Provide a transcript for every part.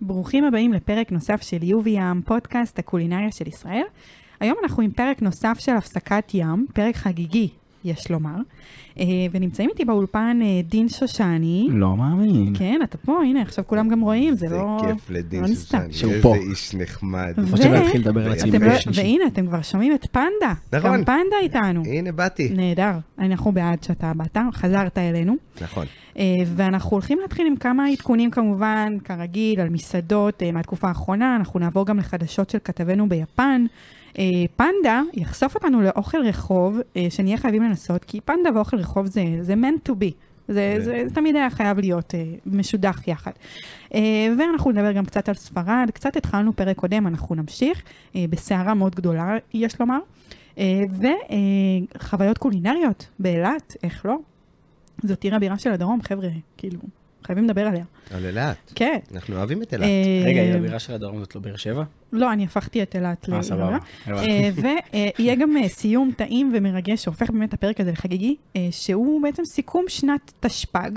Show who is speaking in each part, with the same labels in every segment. Speaker 1: ברוכים הבאים לפרק נוסף של יובי ים, פודקאסט הקולינריה של ישראל. היום אנחנו עם פרק נוסף של הפסקת ים, פרק חגיגי, יש לומר. אה, ונמצאים איתי באולפן אה, דין שושני.
Speaker 2: לא מאמין.
Speaker 1: כן, אתה פה, הנה, עכשיו כולם גם רואים, זה לא...
Speaker 3: נכון. זה כיף לדין
Speaker 1: לא נסתר.
Speaker 3: שושני,
Speaker 2: שהוא
Speaker 3: איזה
Speaker 2: פה.
Speaker 3: איש נחמד.
Speaker 1: ו-
Speaker 2: לפחות שאני אתחיל לדבר על עצמי
Speaker 1: אתם לא-
Speaker 2: באיש אישי.
Speaker 1: והנה, אתם כבר שומעים את פנדה.
Speaker 3: נכון.
Speaker 1: גם פנדה איתנו.
Speaker 3: הנה באתי,
Speaker 1: נהדר, אנחנו בעד שאתה באת, חזרת אלינו.
Speaker 3: נכון.
Speaker 1: אה, ואנחנו הולכים להתחיל עם כמה עדכונים כמובן, כרגיל, על מסעדות אה, מהתקופה האחרונה, אנחנו נעבור גם לחדשות של כתבנו ביפן. אה, פנדה יחשוף אותנו לאוכל רחוב אה, שנהיה חייבים לנסות, כי פנדה ואוכל רחוב זה, זה meant to be. זה,
Speaker 3: כן.
Speaker 1: זה, זה תמיד היה חייב להיות אה, משודח יחד. אה, ואנחנו נדבר גם קצת על ספרד, קצת התחלנו פרק קודם, אנחנו נמשיך, אה, בסערה מאוד גדולה, יש לומר. אה, וחוויות קולינריות באילת, איך לא? זאת עיר הבירה של הדרום, חבר'ה, כאילו, חייבים לדבר עליה.
Speaker 3: על אילת,
Speaker 1: כן.
Speaker 3: אנחנו אוהבים את אילת.
Speaker 1: אה,
Speaker 2: רגע, היא הבירה של הדרום זאת לא באר שבע?
Speaker 1: לא, אני הפכתי את אילת
Speaker 2: אה,
Speaker 1: לעיר
Speaker 2: סבבה.
Speaker 1: הבירה. אה, ויהיה גם אה, סיום טעים ומרגש שהופך באמת את הפרק הזה לחגיגי, אה, שהוא בעצם סיכום שנת תשפ"ג,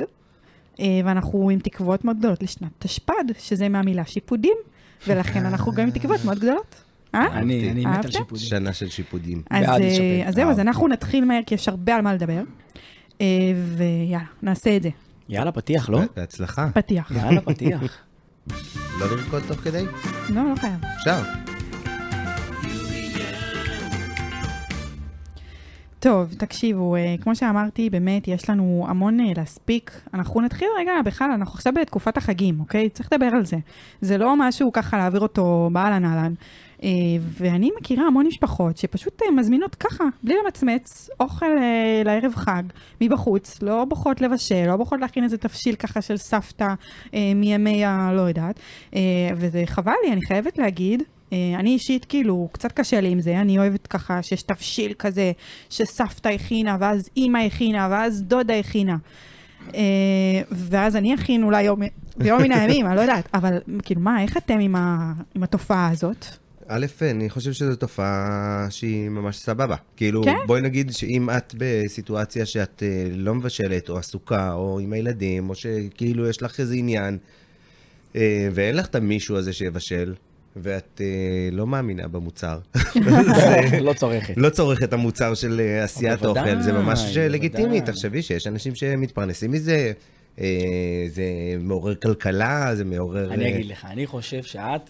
Speaker 1: אה, ואנחנו עם תקוות מאוד גדולות לשנת תשפ"ד, שזה מהמילה שיפודים, ולכן אנחנו גם עם תקוות מאוד גדולות. אה?
Speaker 2: אני אני מת
Speaker 1: אהבת?
Speaker 2: על שיפודים.
Speaker 3: שנה של שיפודים.
Speaker 1: אז,
Speaker 2: בעד
Speaker 1: אה,
Speaker 2: לשפר.
Speaker 1: אז זהו, אז
Speaker 3: וואו.
Speaker 1: אנחנו נתחיל מהר, כי יש הרבה על מה לדבר. אה, ויאללה, נעשה את זה.
Speaker 2: יאללה, פתיח, לא?
Speaker 3: בהצלחה.
Speaker 1: פתיח.
Speaker 2: יאללה, פתיח.
Speaker 3: לא לרקוד תוך כדי?
Speaker 1: לא, לא חייב.
Speaker 3: אפשר.
Speaker 1: טוב, תקשיבו, אה, כמו שאמרתי, באמת יש לנו המון אה, להספיק. אנחנו נתחיל רגע, בכלל, אנחנו עכשיו בתקופת החגים, אוקיי? צריך לדבר על זה. זה לא משהו ככה להעביר אותו באהלן אהלן. אה, ואני מכירה המון משפחות שפשוט אה, מזמינות ככה, בלי למצמץ, אוכל אה, לערב חג מבחוץ, לא בוחרות לבשל, לא בוחרות להכין איזה תבשיל ככה של סבתא אה, מימי הלא יודעת. אה, וזה חבל לי, אני חייבת להגיד. אה, אני אישית, כאילו, קצת קשה לי עם זה, אני אוהבת ככה שיש תבשיל כזה שסבתא הכינה, ואז אימא הכינה, ואז דודה הכינה. אה, ואז אני אכין אולי יום, ביום מן הימים, אני לא יודעת. אבל כאילו, מה, איך אתם עם, ה, עם התופעה הזאת?
Speaker 3: א', אני חושב שזו תופעה שהיא ממש סבבה. כאילו,
Speaker 1: כן.
Speaker 3: בואי נגיד שאם את בסיטואציה שאת אה, לא מבשלת, או עסוקה, או עם הילדים, או שכאילו יש לך איזה עניין, אה, ואין לך את המישהו הזה שיבשל, ואת אה, לא מאמינה במוצר,
Speaker 2: לא צורכת.
Speaker 3: לא צורך את המוצר של אה, עשיית
Speaker 2: בוודאי,
Speaker 3: אוכל, זה ממש אה,
Speaker 2: בוודאי.
Speaker 3: לגיטימי. תחשבי שיש אנשים שמתפרנסים מזה, אה, זה מעורר כלכלה, זה מעורר...
Speaker 2: אני
Speaker 3: אה,
Speaker 2: אגיד לך, אני חושב שאת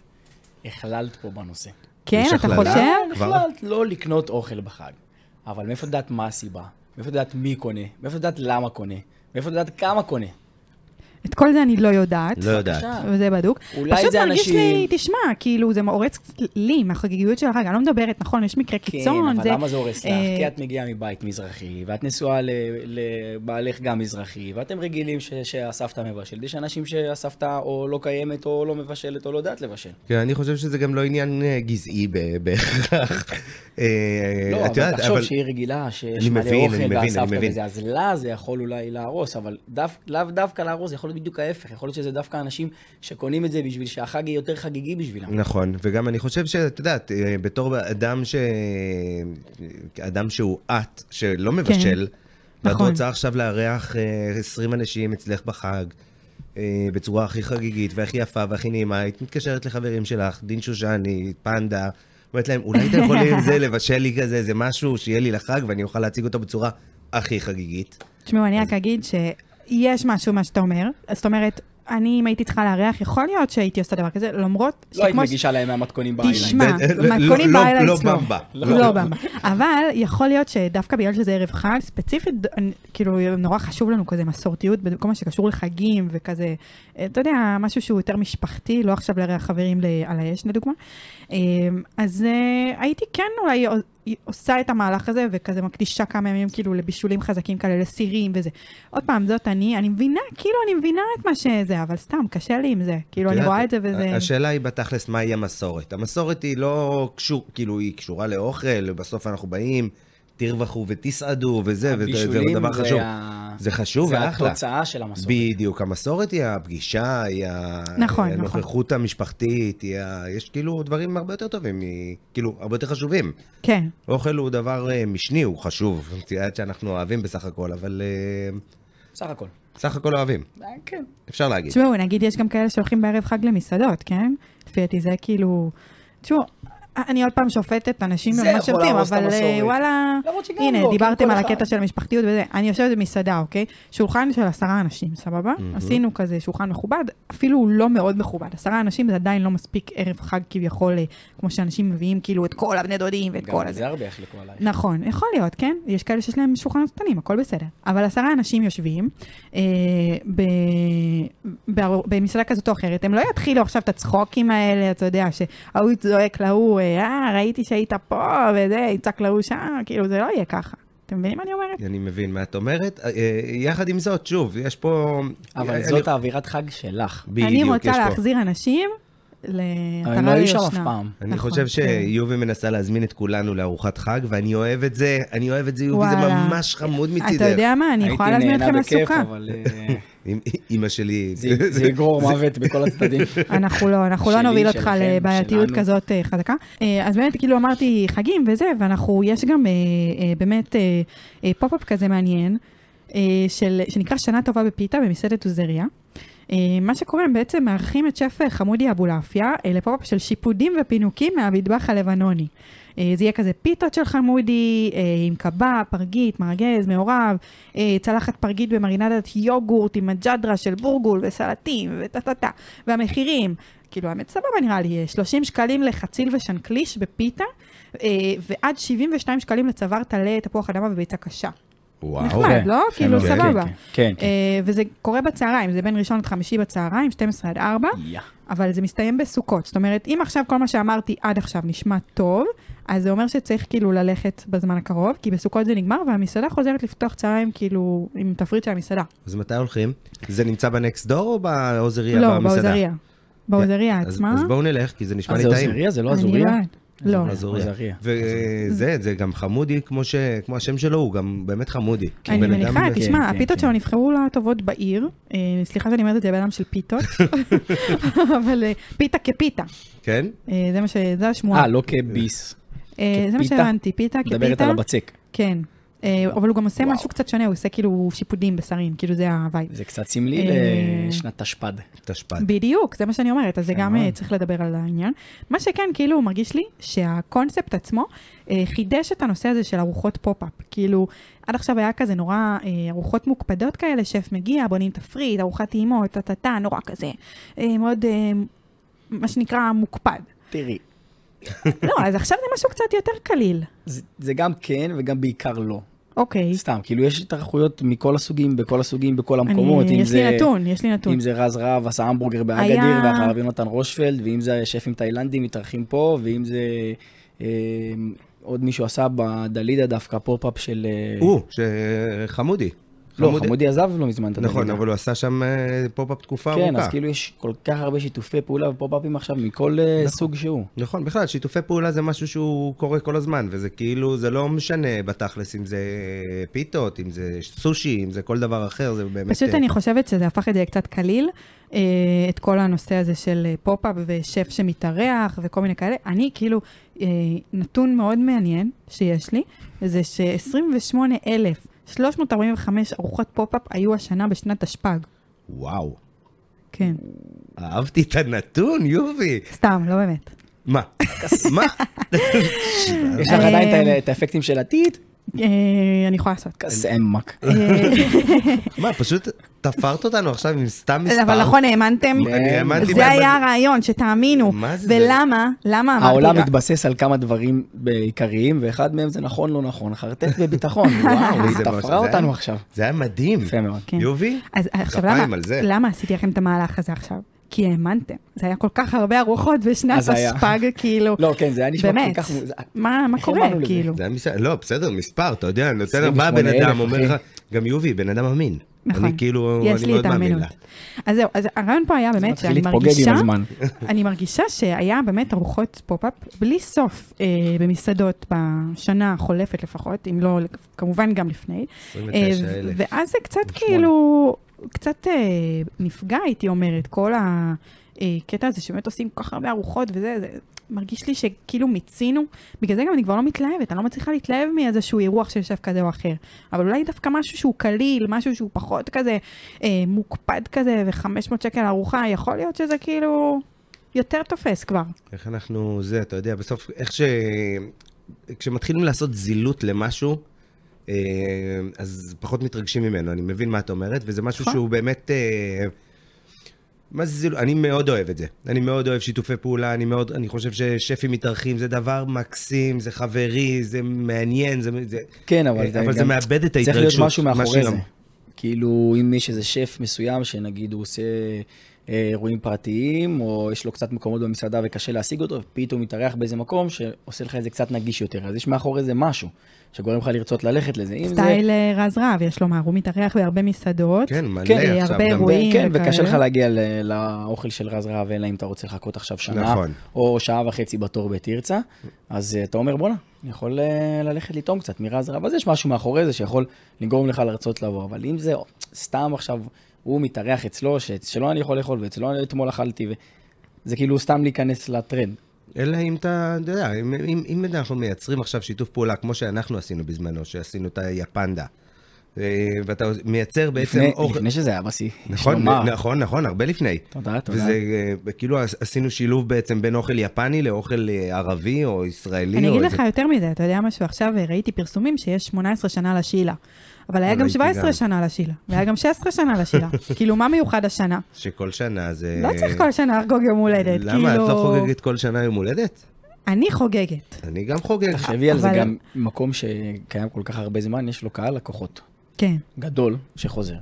Speaker 2: הכללת פה בנושא.
Speaker 1: כן,
Speaker 3: יש
Speaker 1: אתה
Speaker 3: הכללה?
Speaker 1: חושב?
Speaker 2: את
Speaker 3: כבר?
Speaker 2: החלטת לא לקנות אוכל בחג. אבל מאיפה את יודעת מה הסיבה? מאיפה את יודעת מי קונה? מאיפה את יודעת למה קונה? מאיפה את יודעת כמה קונה?
Speaker 1: את כל זה אני לא יודעת.
Speaker 3: לא יודעת.
Speaker 2: בבקשה.
Speaker 1: וזה בדוק.
Speaker 2: אולי
Speaker 1: פשוט
Speaker 2: זה
Speaker 1: מרגיש
Speaker 2: אנשים-
Speaker 1: לי, תשמע, כאילו, זה הורס לי מהחגיגיות של החג, אני לא מדברת, נכון, יש מקרה קיצון.
Speaker 2: כן, אבל למה זה הורס לך?
Speaker 1: אה,
Speaker 2: כי את מגיעה מבית מזרחי, ואת נשואה ל- לבעלך גם מזרחי, ואתם רגילים ש- שהסבתא מבשלת. יש אנשים שהסבתא או לא קיימת, או לא מבשלת, או לא יודעת לבשל.
Speaker 3: כן, אני חושב שזה גם לא עניין אה, גזעי ב- בהכרח. אה,
Speaker 2: לא,
Speaker 3: את
Speaker 2: אבל
Speaker 3: יודעת,
Speaker 2: תחשוב שהיא רגילה, שיש
Speaker 3: אני
Speaker 2: מלא
Speaker 3: מבין, אני
Speaker 2: אוכל
Speaker 3: מבין, אני
Speaker 2: והסבתא
Speaker 3: מבין.
Speaker 2: וזה, אז לה זה יכול אולי להרוס, אבל דף- לאו דווקא להרוס, זה יכול להיות בדיוק ההפך. יכול להיות שזה דווקא אנשים שקונים את זה בשביל שהחג יהיה יותר חגיגי בשבילם.
Speaker 3: נכון, וגם אני חושב שאת יודעת, אה, בתור אדם ש... אדם שהוא את, שלא מבשל, ואת
Speaker 1: נכון.
Speaker 3: רוצה עכשיו לארח אה, 20 אנשים אצלך בחג, אה, בצורה הכי חגיגית והכי יפה והכי נעימה, היית מתקשרת לחברים שלך, דין שושני, פנדה, אומרת להם, אולי אתם יכולים עם זה לבשל לי כזה, איזה משהו שיהיה לי לחג ואני אוכל להציג אותו בצורה הכי חגיגית.
Speaker 1: תשמעו, אני רק אגיד שיש משהו מה שאתה אומר. זאת אומרת, אני, אם הייתי צריכה לארח, יכול להיות שהייתי עושה דבר כזה, למרות
Speaker 2: לא היית
Speaker 1: שכמו ש-
Speaker 2: מגישה להם מהמתכונים בעיניים.
Speaker 1: תשמע,
Speaker 3: זה- לא-
Speaker 1: מתכונים
Speaker 3: לא-
Speaker 1: באיילנדס
Speaker 3: לא
Speaker 1: לא.
Speaker 3: במבה.
Speaker 1: לא במבה. אבל יכול להיות שדווקא בגלל שזה ערב חג, ספציפית, ד- אני- כאילו, נורא חשוב לנו כזה מסורתיות בכל מה שקשור לחגים וכזה, אה, אתה יודע, משהו שהוא יותר משפחתי, לא עכשיו לארח חברים ל- על האש, לדוגמה. אה, אז אה, הייתי כן אולי עו- עושה את המהלך הזה, וכזה מקדישה כמה ימים כאילו לבישולים חזקים כאלה, לסירים וזה. עוד פעם, זאת אני, אני מבינה, כאילו, אני מבינה את מה שזה, אבל סתם, קשה לי עם זה. כאילו, אני
Speaker 3: יודעת, אה,
Speaker 1: רואה את זה וזה...
Speaker 3: השאלה היא בתכלס, מהי המסורת? המסורת היא לא קשור, כאילו, היא קשורה לאוכל, בסוף אנחנו באים, תרווחו ותסעדו וזה, וזה זה
Speaker 2: בישולים
Speaker 3: דבר חשוב.
Speaker 2: ה-
Speaker 3: זה חשוב
Speaker 2: זה
Speaker 3: ואחלה.
Speaker 2: התוצאה של המסורת.
Speaker 3: בדיוק, המסורת היא הפגישה, היא ה-
Speaker 1: נכון, נכון.
Speaker 3: הנוכחות המשפחתית, היא ה... יש כאילו דברים הרבה יותר טובים, מ- כאילו, הרבה יותר חשובים.
Speaker 1: כן.
Speaker 3: אוכל הוא דבר אה, משני, הוא חשוב, את יודעת שאנחנו אוהבים בסך הכל, אבל... אה,
Speaker 2: בסך הכל.
Speaker 3: סך הכל אוהבים,
Speaker 2: אה, כן.
Speaker 3: אפשר להגיד.
Speaker 1: תשמעו, נגיד יש גם כאלה שהולכים בערב חג למסעדות, כן? לפי דעתי זה כאילו... תשמעו, אני עוד פעם שופטת אנשים
Speaker 2: זה
Speaker 1: על מה
Speaker 2: יכול
Speaker 1: שהם עושים,
Speaker 2: להרוס את
Speaker 1: אבל אה,
Speaker 2: המסורת.
Speaker 1: וואלה...
Speaker 2: למרות שגם
Speaker 1: הנה,
Speaker 2: לא, כי
Speaker 1: דיברתם
Speaker 2: כל
Speaker 1: על
Speaker 2: אחד-
Speaker 1: הקטע של המשפחתיות וזה. אני יושבת במסעדה, אוקיי? שולחן של עשרה אנשים, סבבה? עשינו כזה שולחן מכובד, אפילו הוא לא מאוד מכובד. עשרה אנשים זה עדיין לא מספיק ערב חג כביכול, אה, כמו שאנשים מביאים כאילו את כל הבני דודים ואת כל
Speaker 2: גם
Speaker 1: הזה.
Speaker 2: זה הרבה יחלקו עלייך.
Speaker 1: נכון, יכול להיות, כן? יש כאלה שיש להם שולחנות קטנים, הכל בסדר. אבל עשרה אנשים יושבים אה, ב... ב... במסעדה כזאת או אחרת, הם לא יתחילו עכשיו את הצחוקים האלה, אתה יודע, שההוא צועק להוא, אה, "אה, ראיתי שהיית פה, וזה, יצעק להוא שם, כאילו, זה לא יהיה ככה. אתם מבינים מה אני אומרת?
Speaker 3: אני מבין מה את אומרת. אה, אה, יחד עם זאת, שוב, יש פה...
Speaker 2: אבל
Speaker 3: אני-
Speaker 2: זאת האווירת חג שלך.
Speaker 1: אני
Speaker 3: בדיוק,
Speaker 1: רוצה
Speaker 3: יש פה.
Speaker 1: להחזיר אנשים למטרה
Speaker 2: אבל הם לא היו שם אף פעם.
Speaker 3: אני
Speaker 1: נכון,
Speaker 3: חושב
Speaker 1: כן.
Speaker 3: שיובי מנסה להזמין את כולנו לארוחת חג, ואני אוהב את זה, אני אוהב את זה, יובי, זה
Speaker 1: וואלה.
Speaker 3: ממש חמוד מצידך.
Speaker 1: אתה יודע מה, אני יכולה להזמין אתכם לסוכה.
Speaker 2: הייתי נהנה בכיף, אבל אה,
Speaker 3: אימא שלי...
Speaker 2: זה- זה יגרור מוות בכל הצדדים.
Speaker 1: אנחנו לא, אנחנו לא
Speaker 2: שלי,
Speaker 1: נוביל אותך
Speaker 2: שלכם,
Speaker 1: לבעייתיות
Speaker 2: שלנו.
Speaker 1: כזאת אה, חזקה. אה, אז באמת, כאילו אמרתי חגים וזה, ואנחנו, יש גם אה, אה, באמת אה, אה, פופ-אפ כזה מעניין, אה, של, שנקרא שנה טובה בפיתה במסעדת עוזריה. אה, מה שקורה, הם בעצם מארחים את שף אה, חמודי אבולעפיה אה, לפופ-אפ של שיפודים ופינוקים מהמטבח הלבנוני. אה, זה יהיה כזה פיתות של חמודי, אה, עם קבב, פרגית, מרגז, מעורב, אה, צלחת פרגית במרינדת יוגורט עם מג'דרה של בורגול וסלטים וטה טה טה. והמחירים, כאילו האמת סבבה נראה לי, 30 שקלים לחציל ושנקליש בפיתה, אה, ועד 72 שקלים לצוואר טלה, תפוח אדמה וביצה קשה.
Speaker 3: וואו.
Speaker 1: נחמד, לא? כאילו
Speaker 3: כן,
Speaker 1: סבבה.
Speaker 2: אוקיי. כן, כן, כן.
Speaker 1: אה, וזה קורה בצהריים, זה בין ראשון עד חמישי בצהריים, 12 עד 4,
Speaker 2: יא.
Speaker 1: אבל זה מסתיים בסוכות. זאת אומרת, אם עכשיו כל מה שאמרתי עד עכשיו נשמע טוב, אז זה אומר שצריך כאילו ללכת בזמן הקרוב, כי בסוכות זה נגמר, והמסעדה חוזרת לפתוח צהריים כאילו עם תפריט של המסעדה.
Speaker 3: אז מתי הולכים? זה ננמצא בנקסט דור או בעוזריה?
Speaker 1: לא,
Speaker 3: במסעדה? כן.
Speaker 1: באוזריה. באוזריה
Speaker 2: כן,
Speaker 3: אז-
Speaker 1: עצמה.
Speaker 3: אז בואו נלך, כי זה נשמע
Speaker 2: אה,
Speaker 3: לי
Speaker 2: זה
Speaker 3: טעים.
Speaker 2: עוזריה? זה לא
Speaker 1: אני
Speaker 2: עזוריה?
Speaker 1: יודעת. לא.
Speaker 2: אז עוזריה.
Speaker 3: וזה, זה גם חמודי, כמו ש- כמו השם שלו, הוא גם באמת חמודי. הוא
Speaker 1: אני
Speaker 3: בן אדם-
Speaker 1: מניחה,
Speaker 2: כן,
Speaker 1: תשמע,
Speaker 2: כן,
Speaker 1: הפיתות
Speaker 2: כן.
Speaker 1: שלו נבחרו לטובות בעיר. אה, סליחה שאני אומרת את זה, בן אדם של פיתות. אבל אה, פיתה כפיתה.
Speaker 3: כן?
Speaker 1: אה, זה מה ש... זה השמועה.
Speaker 2: אה, לא כביס.
Speaker 1: אה, זה מה
Speaker 2: כפיתה?
Speaker 1: שהבנתי, פיתה
Speaker 2: מדברת
Speaker 1: כפיתה.
Speaker 2: על הבצק.
Speaker 1: כן. אה, אבל הוא גם עושה
Speaker 2: וואו.
Speaker 1: משהו קצת שונה, הוא עושה כאילו שיפודים בשרים, כאילו זה הווייב.
Speaker 2: זה קצת סמלי
Speaker 1: אה,
Speaker 2: לשנת תשפ"ד.
Speaker 3: תשפ"ד.
Speaker 1: בדיוק, זה מה שאני אומרת, אז זה גם
Speaker 2: אה.
Speaker 1: אה, צריך לדבר על העניין. מה שכן, כאילו, מרגיש לי שהקונספט עצמו אה, חידש את הנושא הזה של ארוחות פופ-אפ. כאילו, עד עכשיו היה כזה נורא אה, ארוחות מוקפדות כאלה, שף מגיע, בונים תפריט, ארוחת טעימות, טה-טה-טה, נורא כזה. אה, מאוד, אה, מה שנקרא, מוקפד.
Speaker 2: תראי,
Speaker 1: לא, אז עכשיו זה משהו קצת יותר קליל.
Speaker 2: זה- זה גם כן וגם בעיקר לא.
Speaker 1: אוקיי,
Speaker 2: סתם, כאילו יש התארחויות מכל הסוגים, בכל הסוגים, בכל המקומות.
Speaker 1: אני, יש
Speaker 2: אם
Speaker 1: לי
Speaker 2: זה-
Speaker 1: נתון, יש לי נתון.
Speaker 2: אם זה רז רהב עשה המבורגר
Speaker 1: היה-
Speaker 2: באגדיר, ואחריו יונתן רושפלד, ואם זה שפים תאילנדים מתארחים פה, ואם זה אה, עוד מישהו עשה בדלידה דווקא פופ-אפ של... אה,
Speaker 3: הוא, שחמודי.
Speaker 2: לא, חמודי עזב לא מזמן את הדלידה.
Speaker 3: נכון, אבל הוא עשה שם אה, פופ-אפ תקופה ארוכה.
Speaker 2: כן, אז כאילו יש כל כך הרבה שיתופי פעולה ופופ-אפים עכשיו מכל אה, סוג שהוא.
Speaker 3: נכון, בכלל, שיתופי פעולה זה משהו שהוא קורה כל הזמן, וזה כאילו, זה לא משנה בתכלס אם זה פיתות, אם זה סושי, אם זה כל דבר אחר, זה באמת...
Speaker 1: פשוט
Speaker 3: אה,
Speaker 1: אני חושבת שזה הפך את זה קצת קליל, אה, את כל הנושא הזה של אה, פופ-אפ ושף שמתארח וכל מיני כאלה. אני כאילו, אה, נתון מאוד מעניין שיש לי, זה ש-28,345 ארוחות פופ-אפ היו השנה בשנת תשפ"ג.
Speaker 3: וואו,
Speaker 1: כן,
Speaker 3: אהבתי את הנתון, יובי.
Speaker 1: סתם, לא באמת.
Speaker 3: מה? מה? אה.
Speaker 2: יש לך עדיין את ה- את האפקטים של הטיט?
Speaker 1: אה, אני יכולה לעשות. אה,
Speaker 2: קסמק.
Speaker 3: מה, פשוט תפרת אותנו עכשיו עם סתם מספר?
Speaker 1: אבל נכון, האמנתם?
Speaker 3: אני האמנתי
Speaker 1: זה
Speaker 3: בהם,
Speaker 1: היה
Speaker 3: אבל-
Speaker 1: הרעיון, שתאמינו.
Speaker 3: מה זה זה?
Speaker 1: ולמה? למה אמרתי?
Speaker 2: העולם
Speaker 1: לא?
Speaker 2: מתבסס על כמה דברים עיקריים, ואחד מהם זה נכון, לא נכון. חרטט בביטחון. וואו, היא
Speaker 3: זה ממש-
Speaker 2: תפרה
Speaker 3: זה היה- אה.
Speaker 2: אותנו עכשיו.
Speaker 3: זה היה מדהים.
Speaker 2: יפה מאוד.
Speaker 1: כן.
Speaker 3: יובי?
Speaker 1: אז עכשיו
Speaker 3: כפיים
Speaker 1: למה,
Speaker 3: על זה.
Speaker 1: למה עשיתי לכם את המהלך הזה עכשיו? כי האמנתם. זה היה כל כך הרבה ארוחות בשנת
Speaker 2: אז היה.
Speaker 1: הספג, כאילו.
Speaker 2: לא, כן, זה היה נשמע
Speaker 1: באמת.
Speaker 2: כל כך מוזר.
Speaker 1: מה מה
Speaker 2: איך
Speaker 1: קורה,
Speaker 2: האמנו לזה?
Speaker 1: כאילו?
Speaker 3: זה היה מספר, לא, בסדר, מספר, אתה יודע, נותן הבא בן
Speaker 2: 28,000,
Speaker 3: אדם, אומר לך,
Speaker 2: אחי.
Speaker 3: גם יובי, בן אדם אמין.
Speaker 1: נכון.
Speaker 3: אני כאילו,
Speaker 1: יש
Speaker 3: אני
Speaker 1: לי את
Speaker 3: מאוד מאמין
Speaker 1: האמינות.
Speaker 3: לה.
Speaker 1: אז זהו, אז הרעיון פה היה באמת
Speaker 2: מתחיל
Speaker 1: שאני
Speaker 2: להתפוגג
Speaker 1: מרגישה,
Speaker 2: עם הזמן.
Speaker 1: אני מרגישה שהיה באמת ארוחות פופ-אפ בלי סוף אה, במסעדות בשנה החולפת לפחות, אם לא, כמובן גם לפני.
Speaker 3: 29,000.
Speaker 1: אה, ואז זה קצת כאילו, קצת אה, נפגע, הייתי אומרת, כל ה... הקטע הזה שבאמת עושים כל כך הרבה ארוחות וזה, זה מרגיש לי שכאילו מיצינו. בגלל זה גם אני כבר לא מתלהבת, אני לא מצליחה להתלהב מאיזשהו אירוח שיושב כזה או אחר. אבל אולי דווקא משהו שהוא קליל, משהו שהוא פחות כזה אה, מוקפד כזה, ו-500 שקל ארוחה, יכול להיות שזה כאילו יותר תופס כבר.
Speaker 3: איך אנחנו, זה, אתה יודע, בסוף, איך ש... כשמתחילים לעשות זילות למשהו, אה, אז פחות מתרגשים ממנו, אני מבין מה את אומרת, וזה משהו
Speaker 1: נכון.
Speaker 3: שהוא באמת... אה, מה זה זילות? אני מאוד אוהב את זה. אני מאוד אוהב שיתופי פעולה, אני מאוד, אני חושב ששפים מתארחים, זה דבר מקסים, זה חברי, זה מעניין, זה... זה
Speaker 2: כן, אבל,
Speaker 3: אה, אבל זה מאבד את
Speaker 2: צריך
Speaker 3: ההתרגשות.
Speaker 2: להיות משהו
Speaker 3: מה
Speaker 2: מאחורי זה.
Speaker 3: שהיא-
Speaker 2: כאילו, אם יש איזה שף מסוים, שנגיד הוא עושה אה, אירועים פרטיים, או יש לו קצת מקומות במסעדה וקשה להשיג אותו, ופתאום מתארח באיזה מקום שעושה לך את זה קצת נגיש יותר. אז יש מאחורי זה משהו, שגורם לך לרצות ללכת לזה. אם זה...
Speaker 1: סטייל אה, רז רהב, יש לומר, הוא מתארח בהרבה מסעדות.
Speaker 3: כן, מלא
Speaker 2: כן,
Speaker 3: עכשיו.
Speaker 1: הרבה
Speaker 3: גם-
Speaker 1: אירועים.
Speaker 2: ו- כן, וקשה
Speaker 1: וכאלה.
Speaker 2: לך להגיע ל- לאוכל של רז רהב, אלא אם אתה רוצה לחכות עכשיו שנה,
Speaker 3: נכון.
Speaker 2: או שעה וחצי בתור בתרצה, אז אה, אתה אומר, בואנה, אני יכול אה, ללכת לטעום קצת מרז רהב, אז יש משהו מאחורי זה שיכול לגרום לך לרצות לבוא, אבל אם זה סתם עכשיו, הוא מתארח אצלו, ש- שלא אני יכול לאכול, ואצלו אני אתמול אכלתי, ו- זה כאילו סתם להיכנס לטרנד.
Speaker 3: אלא אם אתה, אתה יודע, אם, אם, אם אנחנו מייצרים עכשיו שיתוף פעולה, כמו שאנחנו עשינו בזמנו, שעשינו את היפנדה, אה, ואתה מייצר בעצם
Speaker 2: לפני,
Speaker 3: אוכל...
Speaker 2: לפני שזה היה בשיא. יש
Speaker 3: נכון,
Speaker 2: לומר.
Speaker 3: נכון, נכון, הרבה לפני.
Speaker 2: תודה, תודה.
Speaker 3: וזה אה, כאילו עשינו שילוב בעצם בין אוכל יפני לאוכל אה, ערבי או ישראלי.
Speaker 1: אני
Speaker 3: או
Speaker 1: אגיד
Speaker 3: איזה-
Speaker 1: לך יותר מזה, אתה יודע משהו? עכשיו אה, ראיתי פרסומים שיש 18 שנה לשאלה. אבל היה גם
Speaker 3: אה, ראיתי
Speaker 1: 17
Speaker 3: גם.
Speaker 1: שנה לשאלה, והיה גם 16 שנה לשאלה. כאילו, מה מיוחד השנה?
Speaker 3: שכל שנה זה...
Speaker 1: לא צריך כל שנה לחגוג יום הולדת, כאילו...
Speaker 3: אה, למה, את לא חוגגת כל שנה יום הולדת?
Speaker 1: אני חוגגת.
Speaker 3: אני גם חוגג.
Speaker 2: תחשבי על זה
Speaker 1: אבל-
Speaker 2: גם, מקום שקיים כל כך הרבה זמן, יש לו קהל לקוחות.
Speaker 1: כן.
Speaker 2: גדול שחוזר.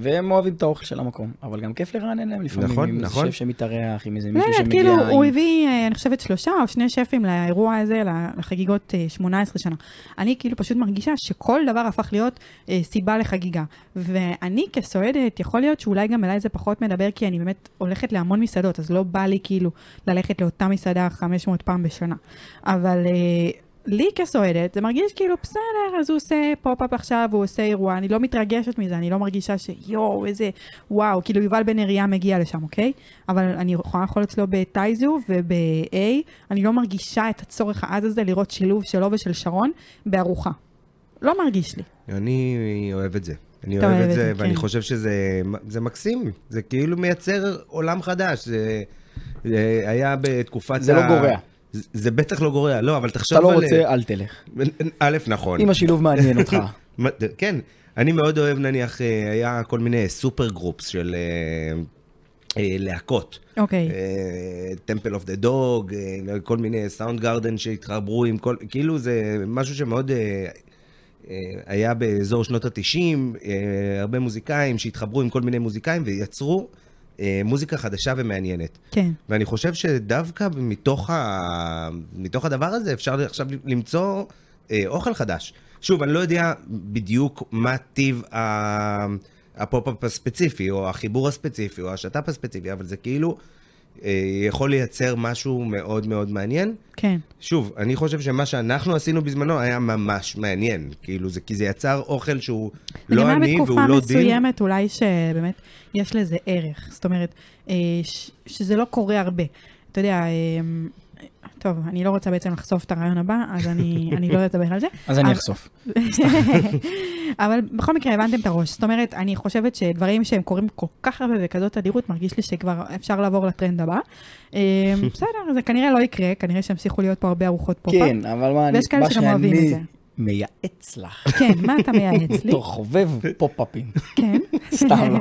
Speaker 2: והם אוהבים את האוכל של המקום, אבל גם כיף לרענן להם לפעמים.
Speaker 3: נכון,
Speaker 2: עם
Speaker 3: נכון.
Speaker 2: איזה שף שמתארח, עם איזה
Speaker 1: לא
Speaker 2: מישהו
Speaker 1: יודעת,
Speaker 2: שמגיע...
Speaker 1: כאילו, הוא
Speaker 2: עם-
Speaker 1: הביא, אה, אני חושבת, שלושה או שני שפים לאירוע הזה, לחגיגות אה, 18 שנה. אני כאילו פשוט מרגישה שכל דבר הפך להיות אה, סיבה לחגיגה. ואני כסועדת, יכול להיות שאולי גם אליי זה פחות מדבר, כי אני באמת הולכת להמון מסעדות, אז לא בא לי כאילו ללכת לאותה מסעדה 500 פעם בשנה. אבל... אה, לי כסועדת, זה מרגיש כאילו בסדר, אז הוא עושה פופ-אפ עכשיו, הוא עושה אירוע, אני לא מתרגשת מזה, אני לא מרגישה שיואו, איזה וואו, כאילו יובל בן אריה מגיע לשם, אוקיי? אבל אני יכולה לאכול אצלו בטייזו וב-A, אני לא מרגישה את הצורך העז הזה לראות שילוב שלו ושל שרון בארוחה. לא מרגיש לי.
Speaker 3: אני אוהב את זה. אני
Speaker 1: אתה
Speaker 3: אוהב
Speaker 1: אוהב
Speaker 3: את
Speaker 1: את
Speaker 3: זה,
Speaker 1: זה,
Speaker 3: ואני
Speaker 1: כן.
Speaker 3: חושב שזה זה מקסים. זה כאילו מייצר עולם חדש. זה זה היה בתקופת
Speaker 2: זה לא גורע.
Speaker 3: זה- זה בטח לא גורע, לא, אבל תחשוב
Speaker 2: אתה
Speaker 3: על...
Speaker 2: לא רוצה, אל תלך.
Speaker 3: א', נכון.
Speaker 2: אם השילוב מעניין אותך.
Speaker 3: מה- כן, אני מאוד אוהב, נניח, אה, היה כל מיני סופר גרופס של אה, אה, להקות.
Speaker 1: אוקיי.
Speaker 3: אה, טמפל אוף דה דוג, אה, כל מיני סאונד גארדן שהתחברו עם כל, כאילו זה משהו שמאוד אה, אה, היה באזור שנות התשעים, אה, הרבה מוזיקאים שהתחברו עם כל מיני מוזיקאים ויצרו אה, מוזיקה חדשה ומעניינת.
Speaker 1: כן.
Speaker 3: ואני חושב שדווקא מתוך, ה... מתוך הדבר הזה אפשר עכשיו למצוא אה, אוכל חדש. שוב, אני לא יודע בדיוק מה טיב ה... הפופ-אפ הספציפי, או החיבור הספציפי, או השת"פ הספציפי, אבל זה כאילו אה, יכול לייצר משהו מאוד מאוד מעניין.
Speaker 1: כן.
Speaker 3: שוב, אני חושב שמה שאנחנו עשינו בזמנו היה ממש מעניין. כאילו, זה, כי זה יצר אוכל שהוא לא
Speaker 1: אני
Speaker 3: עני
Speaker 1: מאמינה
Speaker 3: והוא לא
Speaker 1: בתקופה
Speaker 3: דין.
Speaker 1: מסוימת אולי שבאמת יש לזה ערך. זאת אומרת, אה, ש- שזה לא קורה הרבה. אתה יודע, אה, טוב, אני לא רוצה בעצם לחשוף את הרעיון הבא, אז אני, אני לא אדבר על זה.
Speaker 2: אז אני
Speaker 1: אבל-
Speaker 2: אחשוף.
Speaker 1: אבל בכל מקרה, הבנתם את הראש. זאת אומרת, אני חושבת שדברים שהם קורים כל כך הרבה בכזאת תדירות, מרגיש לי שכבר אפשר לעבור לטרנד הבא. אה, בסדר, זה כנראה לא יקרה, כנראה שימשיכו להיות פה הרבה ארוחות פופ-אפ.
Speaker 2: כן, אבל מה אני-
Speaker 1: ויש כאלה
Speaker 2: מה
Speaker 1: שגם אוהבים את
Speaker 2: שאני
Speaker 1: זה.
Speaker 2: מייעץ לך.
Speaker 1: כן, מה אתה מייעץ לי?
Speaker 2: בתור חובב פופ-אפים.
Speaker 1: כן.
Speaker 2: סתם לא.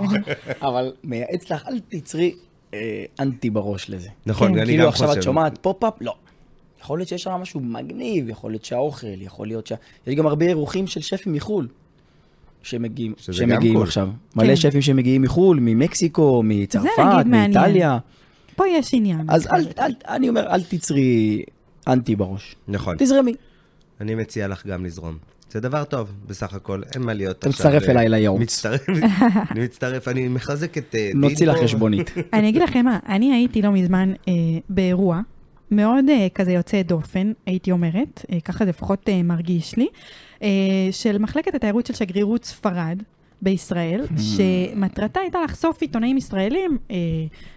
Speaker 2: אבל מייעץ לך, אל תיצרי אה, אנטי בראש לזה.
Speaker 3: נכון,
Speaker 1: כן.
Speaker 3: אני
Speaker 2: כאילו
Speaker 3: גם
Speaker 2: עכשיו
Speaker 3: חושב.
Speaker 2: את שומעת פופ-אפ, לא. יכול להיות שיש שם משהו מגניב, יכול להיות שהאוכל, יכול להיות שה... יש גם הרבה אירוחים של שפים מחו"ל שמגיעים,
Speaker 3: שזה גם
Speaker 2: שמגיעים
Speaker 3: קול.
Speaker 2: עכשיו. מלא שפים שמגיעים מחו"ל, ממקסיקו, מצרפת,
Speaker 1: כן. נגיד מעניין.
Speaker 2: מאיטליה.
Speaker 1: פה יש עניין.
Speaker 2: אז אל, אל, אני אומר, אל תצרי אנטי בראש.
Speaker 3: נכון.
Speaker 2: תזרמי.
Speaker 3: אני מציע לך גם לזרום. זה דבר טוב, בסך הכל, אין מה להיות
Speaker 2: אתה מצטרף
Speaker 3: אה,
Speaker 2: אליי לייעוץ.
Speaker 3: מצטרף, אני מצטרף, אני מחזק את... אה,
Speaker 2: נוציא
Speaker 3: דין
Speaker 2: לך
Speaker 3: פה.
Speaker 2: חשבונית.
Speaker 1: אני אגיד לכם מה, אני הייתי לא מזמן אה, באירוע מאוד אה, כזה יוצא דופן, הייתי אומרת, אה, ככה זה לפחות אה, מרגיש לי, אה, של מחלקת התיירות של שגרירות ספרד. בישראל, שמטרתה הייתה לחשוף עיתונאים ישראלים אה,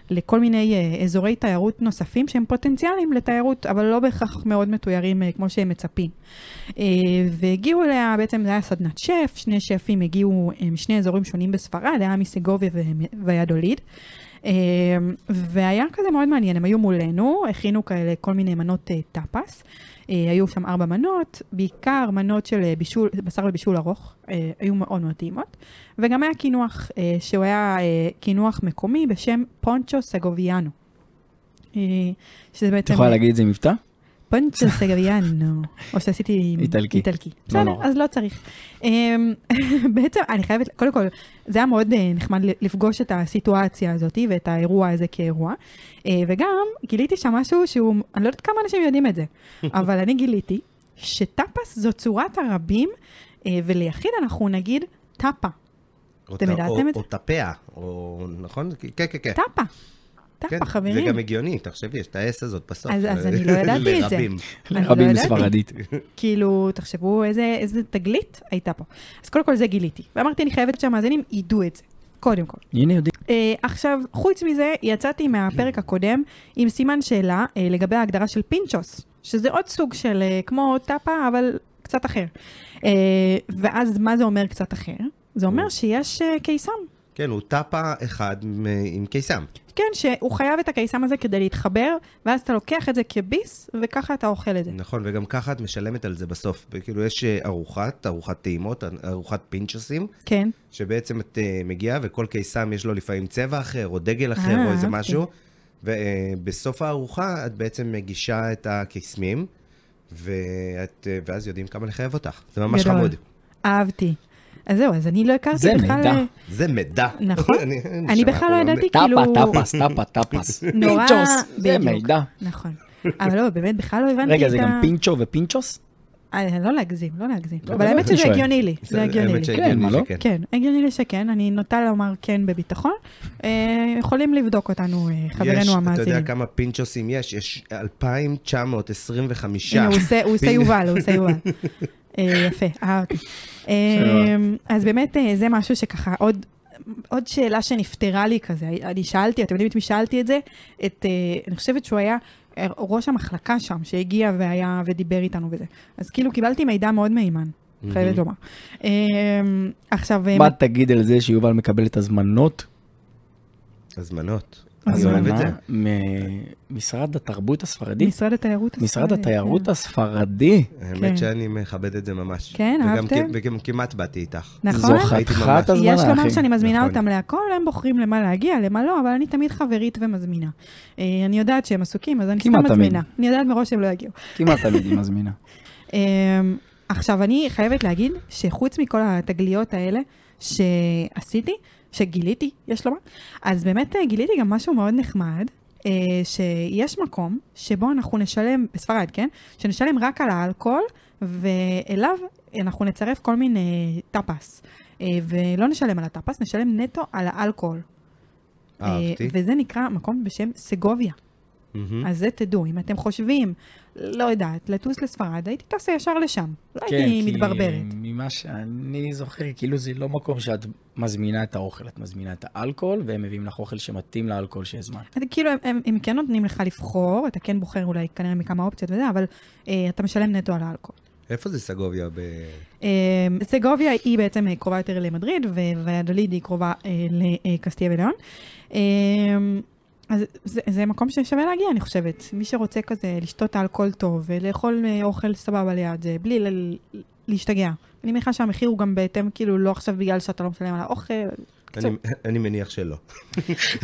Speaker 1: לכל מיני אה, אזורי תיירות נוספים שהם פוטנציאליים לתיירות, אבל לא בהכרח מאוד מתוירים אה, כמו שהם מצפים. אה, והגיעו אליה, בעצם זה היה סדנת שף, שני שפים הגיעו אה, משני אזורים שונים בספרד, היה מסגוביה ו- ויאדוליד. אה, והיה כזה מאוד מעניין, הם היו מולנו, הכינו כאלה כל מיני מנות אה, טאפס. אה, היו שם ארבע מנות, בעיקר מנות של אה, בישול, בשר לבישול ארוך, אה, היו מאוד מאוד טעימות. וגם היה קינוח, אה, שהוא היה אה, קינוח מקומי בשם פונצ'ו סגוביאנו. אה, שזה
Speaker 2: את
Speaker 1: בעצם...
Speaker 2: יכולה להגיד את זה עם מבטא?
Speaker 1: פונצ'ו סגריאנו, או שעשיתי עם-
Speaker 2: איטלקי.
Speaker 1: איטלקי.
Speaker 2: לא
Speaker 1: בסדר,
Speaker 2: נורא.
Speaker 1: אז לא צריך. אמ, בעצם, אני חייבת, קודם כל, זה היה מאוד אה, נחמד ל- לפגוש את הסיטואציה הזאת ואת האירוע הזה כאירוע. אה, וגם גיליתי שם משהו שהוא, אני לא יודעת כמה אנשים יודעים את זה, אבל אני גיליתי שטאפס זו צורת הרבים, אה, וליחיד אנחנו נגיד טאפה,
Speaker 3: או
Speaker 1: אתם
Speaker 3: ת-
Speaker 1: ידעתם
Speaker 3: או-
Speaker 1: את זה?
Speaker 3: או טפיה, או נכון? כן, כן, כן.
Speaker 1: טאפה.
Speaker 3: כן,
Speaker 1: טאפה, חברים.
Speaker 3: זה גם הגיוני, תחשבי, יש את האס הזאת בסוף. אה,
Speaker 1: אז- אז אני לא ידעתי את זה.
Speaker 3: לרבים.
Speaker 1: אני לא
Speaker 2: רבים
Speaker 1: ידעתי.
Speaker 2: ספרדית.
Speaker 1: כאילו, תחשבו איזה, איזה תגלית הייתה פה. אז קודם כל זה גיליתי. ואמרתי, אני חייבת שהמאזינים ידעו את זה, קודם כל.
Speaker 2: הנה יודעים.
Speaker 1: אה, עכשיו, חוץ מזה, יצאתי מהפרק הקודם עם סימן שאלה אה, לגבי ההגדרה של פינצ'וס, שזה עוד סוג של אה, כמו טאפה, אבל קצת אחר. אה, ואז מה זה אומר קצת אחר? זה אומר שיש אה, קיסם.
Speaker 3: כן, הוא טאפה אחד מ- עם קיסם.
Speaker 1: כן, שהוא חייב את הקיסם הזה כדי להתחבר, ואז אתה לוקח את זה כביס, וככה אתה אוכל את זה.
Speaker 3: נכון, וגם ככה את משלמת על זה בסוף. כאילו, יש אה, ארוחת, ארוחת טעימות, ארוחת פינצ'סים,
Speaker 1: כן.
Speaker 3: שבעצם את אה, מגיעה וכל קיסם יש לו לפעמים צבע אחר, או דגל אחר,
Speaker 1: אה,
Speaker 3: או איזה
Speaker 1: אהבתי.
Speaker 3: משהו. ובסוף הארוחה את בעצם מגישה את הקיסמים, ואת, אה, ואז יודעים כמה לחייב אותך. זה ממש
Speaker 1: גדול.
Speaker 3: חמוד.
Speaker 1: אהבתי. אז זהו, אז אני לא הכרתי
Speaker 2: זה
Speaker 1: בכלל...
Speaker 2: מידע.
Speaker 1: אה,
Speaker 3: זה מידע. אה,
Speaker 1: נכון. אני בכלל לא ידעתי כאילו...
Speaker 2: טאפה, טאפס, טאפה, טאפס.
Speaker 1: נורא...
Speaker 2: פינצ'וס, זה
Speaker 1: בדיוק.
Speaker 2: מידע.
Speaker 1: נכון. אבל לא, באמת, בכלל לא הבנתי את ה...
Speaker 2: רגע, זה גם פינצ'ו ופינצ'וס?
Speaker 1: אה, לא להגזים, לא להגזים.
Speaker 2: לא,
Speaker 1: אבל
Speaker 2: לא,
Speaker 1: האמת
Speaker 2: אני
Speaker 1: שזה
Speaker 2: שואל.
Speaker 1: הגיוני לי, זה הגיוני לי.
Speaker 2: כן, מה לא?
Speaker 3: כן.
Speaker 1: כן, הגיוני לי שכן, אני נוטה לומר כן בביטחון. אה, יכולים לבדוק אותנו, אה,
Speaker 3: יש,
Speaker 1: חברינו
Speaker 3: אתה
Speaker 1: המאזינים.
Speaker 3: יודע כמה פינצ'וסים יש? יש 2,925.
Speaker 1: הנה, הוא עושה- הוא עושה
Speaker 3: פינ-
Speaker 1: יובל, הוא עושה יובל. אה, יפה, אהבתי. אה, אז באמת, אה, זה משהו שככה, עוד... עוד שאלה שנפתרה לי כזה, אני שאלתי, אתם יודעים את מי שאלתי את זה? את, אה, אני חושבת שהוא היה אה, ראש המחלקה שם, שהגיע והיה ודיבר איתנו וזה. אז כאילו קיבלתי מידע מאוד מהימן, חייבת לומר. אה, עכשיו, אה,
Speaker 2: מה תגיד על זה שיובל מקבל את הזמנות?
Speaker 3: הזמנות. אני אוהב את זה.
Speaker 1: כן.
Speaker 2: הזמנה ממשרד התרבות הספרדי?
Speaker 1: משרד התיירות
Speaker 2: משרד
Speaker 1: הספרדי,
Speaker 2: התיירות
Speaker 1: כן.
Speaker 2: הספרדי.
Speaker 1: כן.
Speaker 3: האמת שאני מכבד את זה ממש.
Speaker 1: כן,
Speaker 3: וגם
Speaker 1: אהבתם?
Speaker 3: כ- וגם כמעט באתי איתך.
Speaker 1: נכון?
Speaker 2: זו
Speaker 3: הייתי
Speaker 2: חתיכת
Speaker 3: ממש-
Speaker 2: הזמנה,
Speaker 1: יש
Speaker 2: אחי.
Speaker 1: לומר שאני מזמינה
Speaker 3: נכון.
Speaker 1: אותם להכל, הם בוחרים למה להגיע, למה לא, אבל אני תמיד חברית ומזמינה. אה, אני יודעת שהם עסוקים, אז אני
Speaker 2: כמעט
Speaker 1: סתם
Speaker 2: תמיד.
Speaker 1: מזמינה. אני יודעת מראש שהם לא יגיעו.
Speaker 2: כמעט תמיד היא מזמינה.
Speaker 1: אה, עכשיו, אני חייבת להגיד שחוץ מכל התגליות האלה שעשיתי, שגיליתי, יש לומר, אז באמת אה, גיליתי גם משהו מאוד נחמד. אה, שיש מקום שבו אנחנו נשלם, בספרד, כן? שנשלם רק על האלכוהול, ואליו אנחנו נצרף כל מיני טאפס. אה, ולא נשלם על הטאפס, נשלם נטו על האלכוהול. אה,
Speaker 3: אהבתי.
Speaker 1: וזה נקרא מקום בשם סגוביה.
Speaker 3: מהמם.
Speaker 1: אז זה תדעו, אם אתם חושבים, לא יודעת, לטוס לספרד, הייתי טסה ישר לשם. לא הייתי מתברברת.
Speaker 2: כן, ממה שאני זוכר, כאילו זה לא מקום שאת מזמינה את האוכל, את מזמינה את האלכוהול, והם מביאים לך אוכל שמתאים לאלכוהול שהזמנת.
Speaker 1: אז כאילו, הם, הם, הם כן נותנים לך לבחור, אתה כן בוחר אולי כנראה מכמה אופציות וזה, אבל אה, אתה משלם נטו על האלכוהול.
Speaker 3: איפה זה סגוביה? ב...
Speaker 1: אה, סגוביה היא בעצם אה, קרובה יותר למדריד, וויאדוליד היא קרובה אה, לקסטיה ולאון. אה, אז זה, זה מקום ששווה להגיע, אני חושבת. מי שרוצה כזה לשתות אלכוהול טוב ולאכול אה, אוכל סבבה ליד זה, בלי ל- להשתגע. אני מניחה שהמחיר הוא גם בהתאם, כאילו, לא עכשיו בגלל שאתה לא משלם על האוכל.
Speaker 3: אני- אני מניח שלא.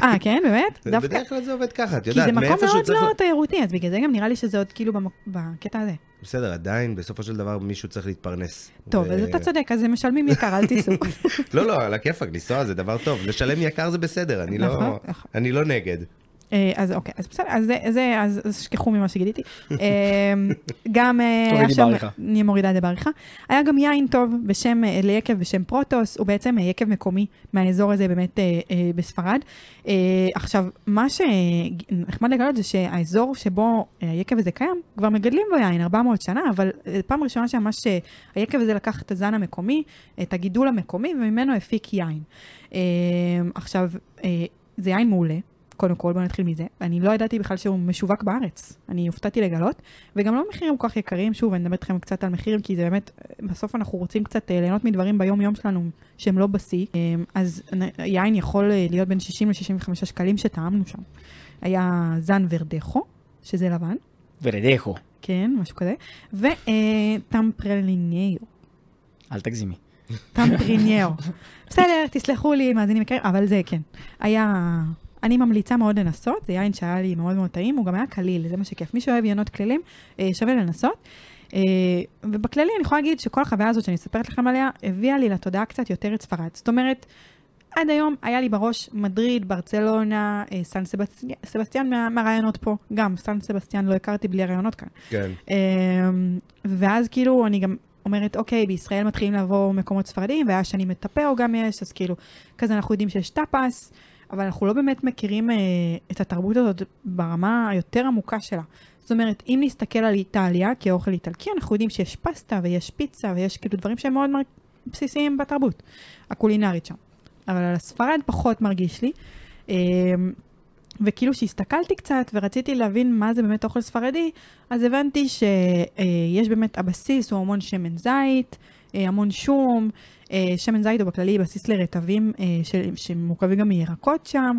Speaker 1: אה, כן, באמת? דווקא.
Speaker 3: בדרך כלל זה עובד ככה, את
Speaker 1: כי
Speaker 3: יודעת,
Speaker 1: זה מקום
Speaker 3: מאיפה שהוא
Speaker 1: מאוד
Speaker 3: צריך...
Speaker 1: לא תיירותי, אז בגלל זה גם נראה לי שזה עוד כאילו במק- בקטע הזה.
Speaker 3: בסדר, עדיין, בסופו של דבר מישהו צריך להתפרנס.
Speaker 1: טוב,
Speaker 3: ו-
Speaker 1: אז אתה צודק, אז הם משלמים יקר, אל תיסעו.
Speaker 3: לא, לא, על הכיפאק, לנסוע זה דבר טוב. לשלם יקר זה בסדר, אני לא-
Speaker 1: נכון, נכון.
Speaker 3: אני לא נגד.
Speaker 1: אה, אז אוקיי, אז בסדר, אז זה, זה אז, אז שכחו ממה שגיליתי. אה, גם אה, היה
Speaker 2: תורידי
Speaker 1: שם-
Speaker 2: בעריכה.
Speaker 1: אני מורידה את זה בעריכה. היה גם יין טוב בשם, אה, ליקב בשם פרוטוס, הוא בעצם אה, יקב מקומי מהאזור הזה באמת אה, אה, בספרד. אה, עכשיו, מה שנחמד לגלות זה שהאזור שבו אה, היקב הזה קיים, כבר מגדלים בו יין 400 שנה, אבל אה, פעם ראשונה שממש אה, היקב הזה לקח את הזן המקומי, את הגידול המקומי, וממנו הפיק יין. אה, עכשיו, אה, זה יין מעולה. קודם כל, בוא נתחיל מזה. אני לא ידעתי בכלל שהוא משווק בארץ. אני הופתעתי לגלות, וגם לא מחירים כל כך יקרים. שוב, אני מדברת איתכם קצת על מחירים, כי זה באמת, אה, בסוף אנחנו רוצים קצת אה, ליהנות מדברים ביום-יום שלנו שהם לא בשיא. אה, אז נ- יין יכול אה, להיות בין 60 ל-65 שקלים שטעמנו שם. היה זן ורדכו, שזה לבן,
Speaker 2: ורדכו,
Speaker 1: כן, משהו כזה, אה, וטמפרליניו.
Speaker 2: אל תגזימי.
Speaker 1: טמפריניאו. בסדר, תסלחו לי, מאזינים יקרים, אבל זה כן. היה... אני ממליצה מאוד לנסות, זה יין שהיה לי מאוד מאוד טעים, הוא גם היה קליל, זה מה שכיף. מי שאוהב ינות כלילים, אה, שווה לנסות. אה, ובכללי אני יכולה להגיד שכל החוויה הזאת שאני מספרת לכם עליה, הביאה לי לתודעה קצת יותר את ספרד. זאת אומרת, עד היום היה לי בראש מדריד, ברצלונה, אה, סן סבסטי- סבסטיאן מה- מהרעיונות פה. גם סן סבסטיאן לא הכרתי בלי הרעיונות כאן.
Speaker 3: כן.
Speaker 1: אמ, ואז כאילו אני גם אומרת, אוקיי, בישראל מתחילים לבוא מקומות ספרדים, והיה שנים את טפאו גם יש, אז כאילו, כזה אנחנו יודעים שיש טאפס, אבל אנחנו לא באמת מכירים אה, את התרבות הזאת ברמה היותר עמוקה שלה. זאת אומרת, אם נסתכל על איטליה כאוכל איטלקי, אנחנו יודעים שיש פסטה ויש פיצה ויש כאילו דברים שהם מאוד מר... בסיסיים בתרבות הקולינרית שם. אבל על הספרד פחות מרגיש לי. אמ, וכאילו שהסתכלתי קצת ורציתי להבין מה זה באמת אוכל ספרדי, אז הבנתי שיש באמת, הבסיס הוא המון שמן זית, אה, המון שום, אה, שמן זית הוא בכללי בסיס לרטבים אה, של- שמורכבים גם מירקות שם.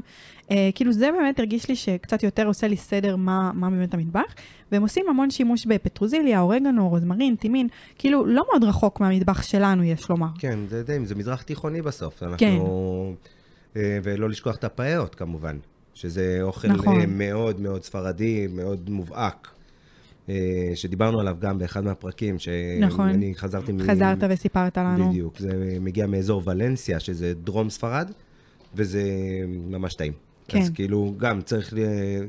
Speaker 1: אה, כאילו זה באמת הרגיש לי שקצת יותר עושה לי סדר מה, מה באמת המטבח, והם עושים המון שימוש בפטרוזיליה, אורגנו, רוזמרין, טימין, כאילו לא מאוד רחוק מהמטבח שלנו, יש לומר.
Speaker 3: כן, זה די, זה מזרח תיכוני בסוף. אנחנו...
Speaker 1: כן.
Speaker 3: אה, ולא לשכוח את הפאיות, כמובן, שזה אוכל
Speaker 1: נכון.
Speaker 3: נכון. מאוד מאוד ספרדי, מאוד מובהק, אה, שדיברנו עליו גם באחד מהפרקים, שאני
Speaker 1: נכון.
Speaker 3: חזרתי מ...
Speaker 1: חזרת וסיפרת לנו.
Speaker 3: בדיוק. זה מגיע מאזור ולנסיה, שזה דרום ספרד, וזה ממש טעים.
Speaker 1: כן.
Speaker 3: אז כאילו, גם צריך, ל-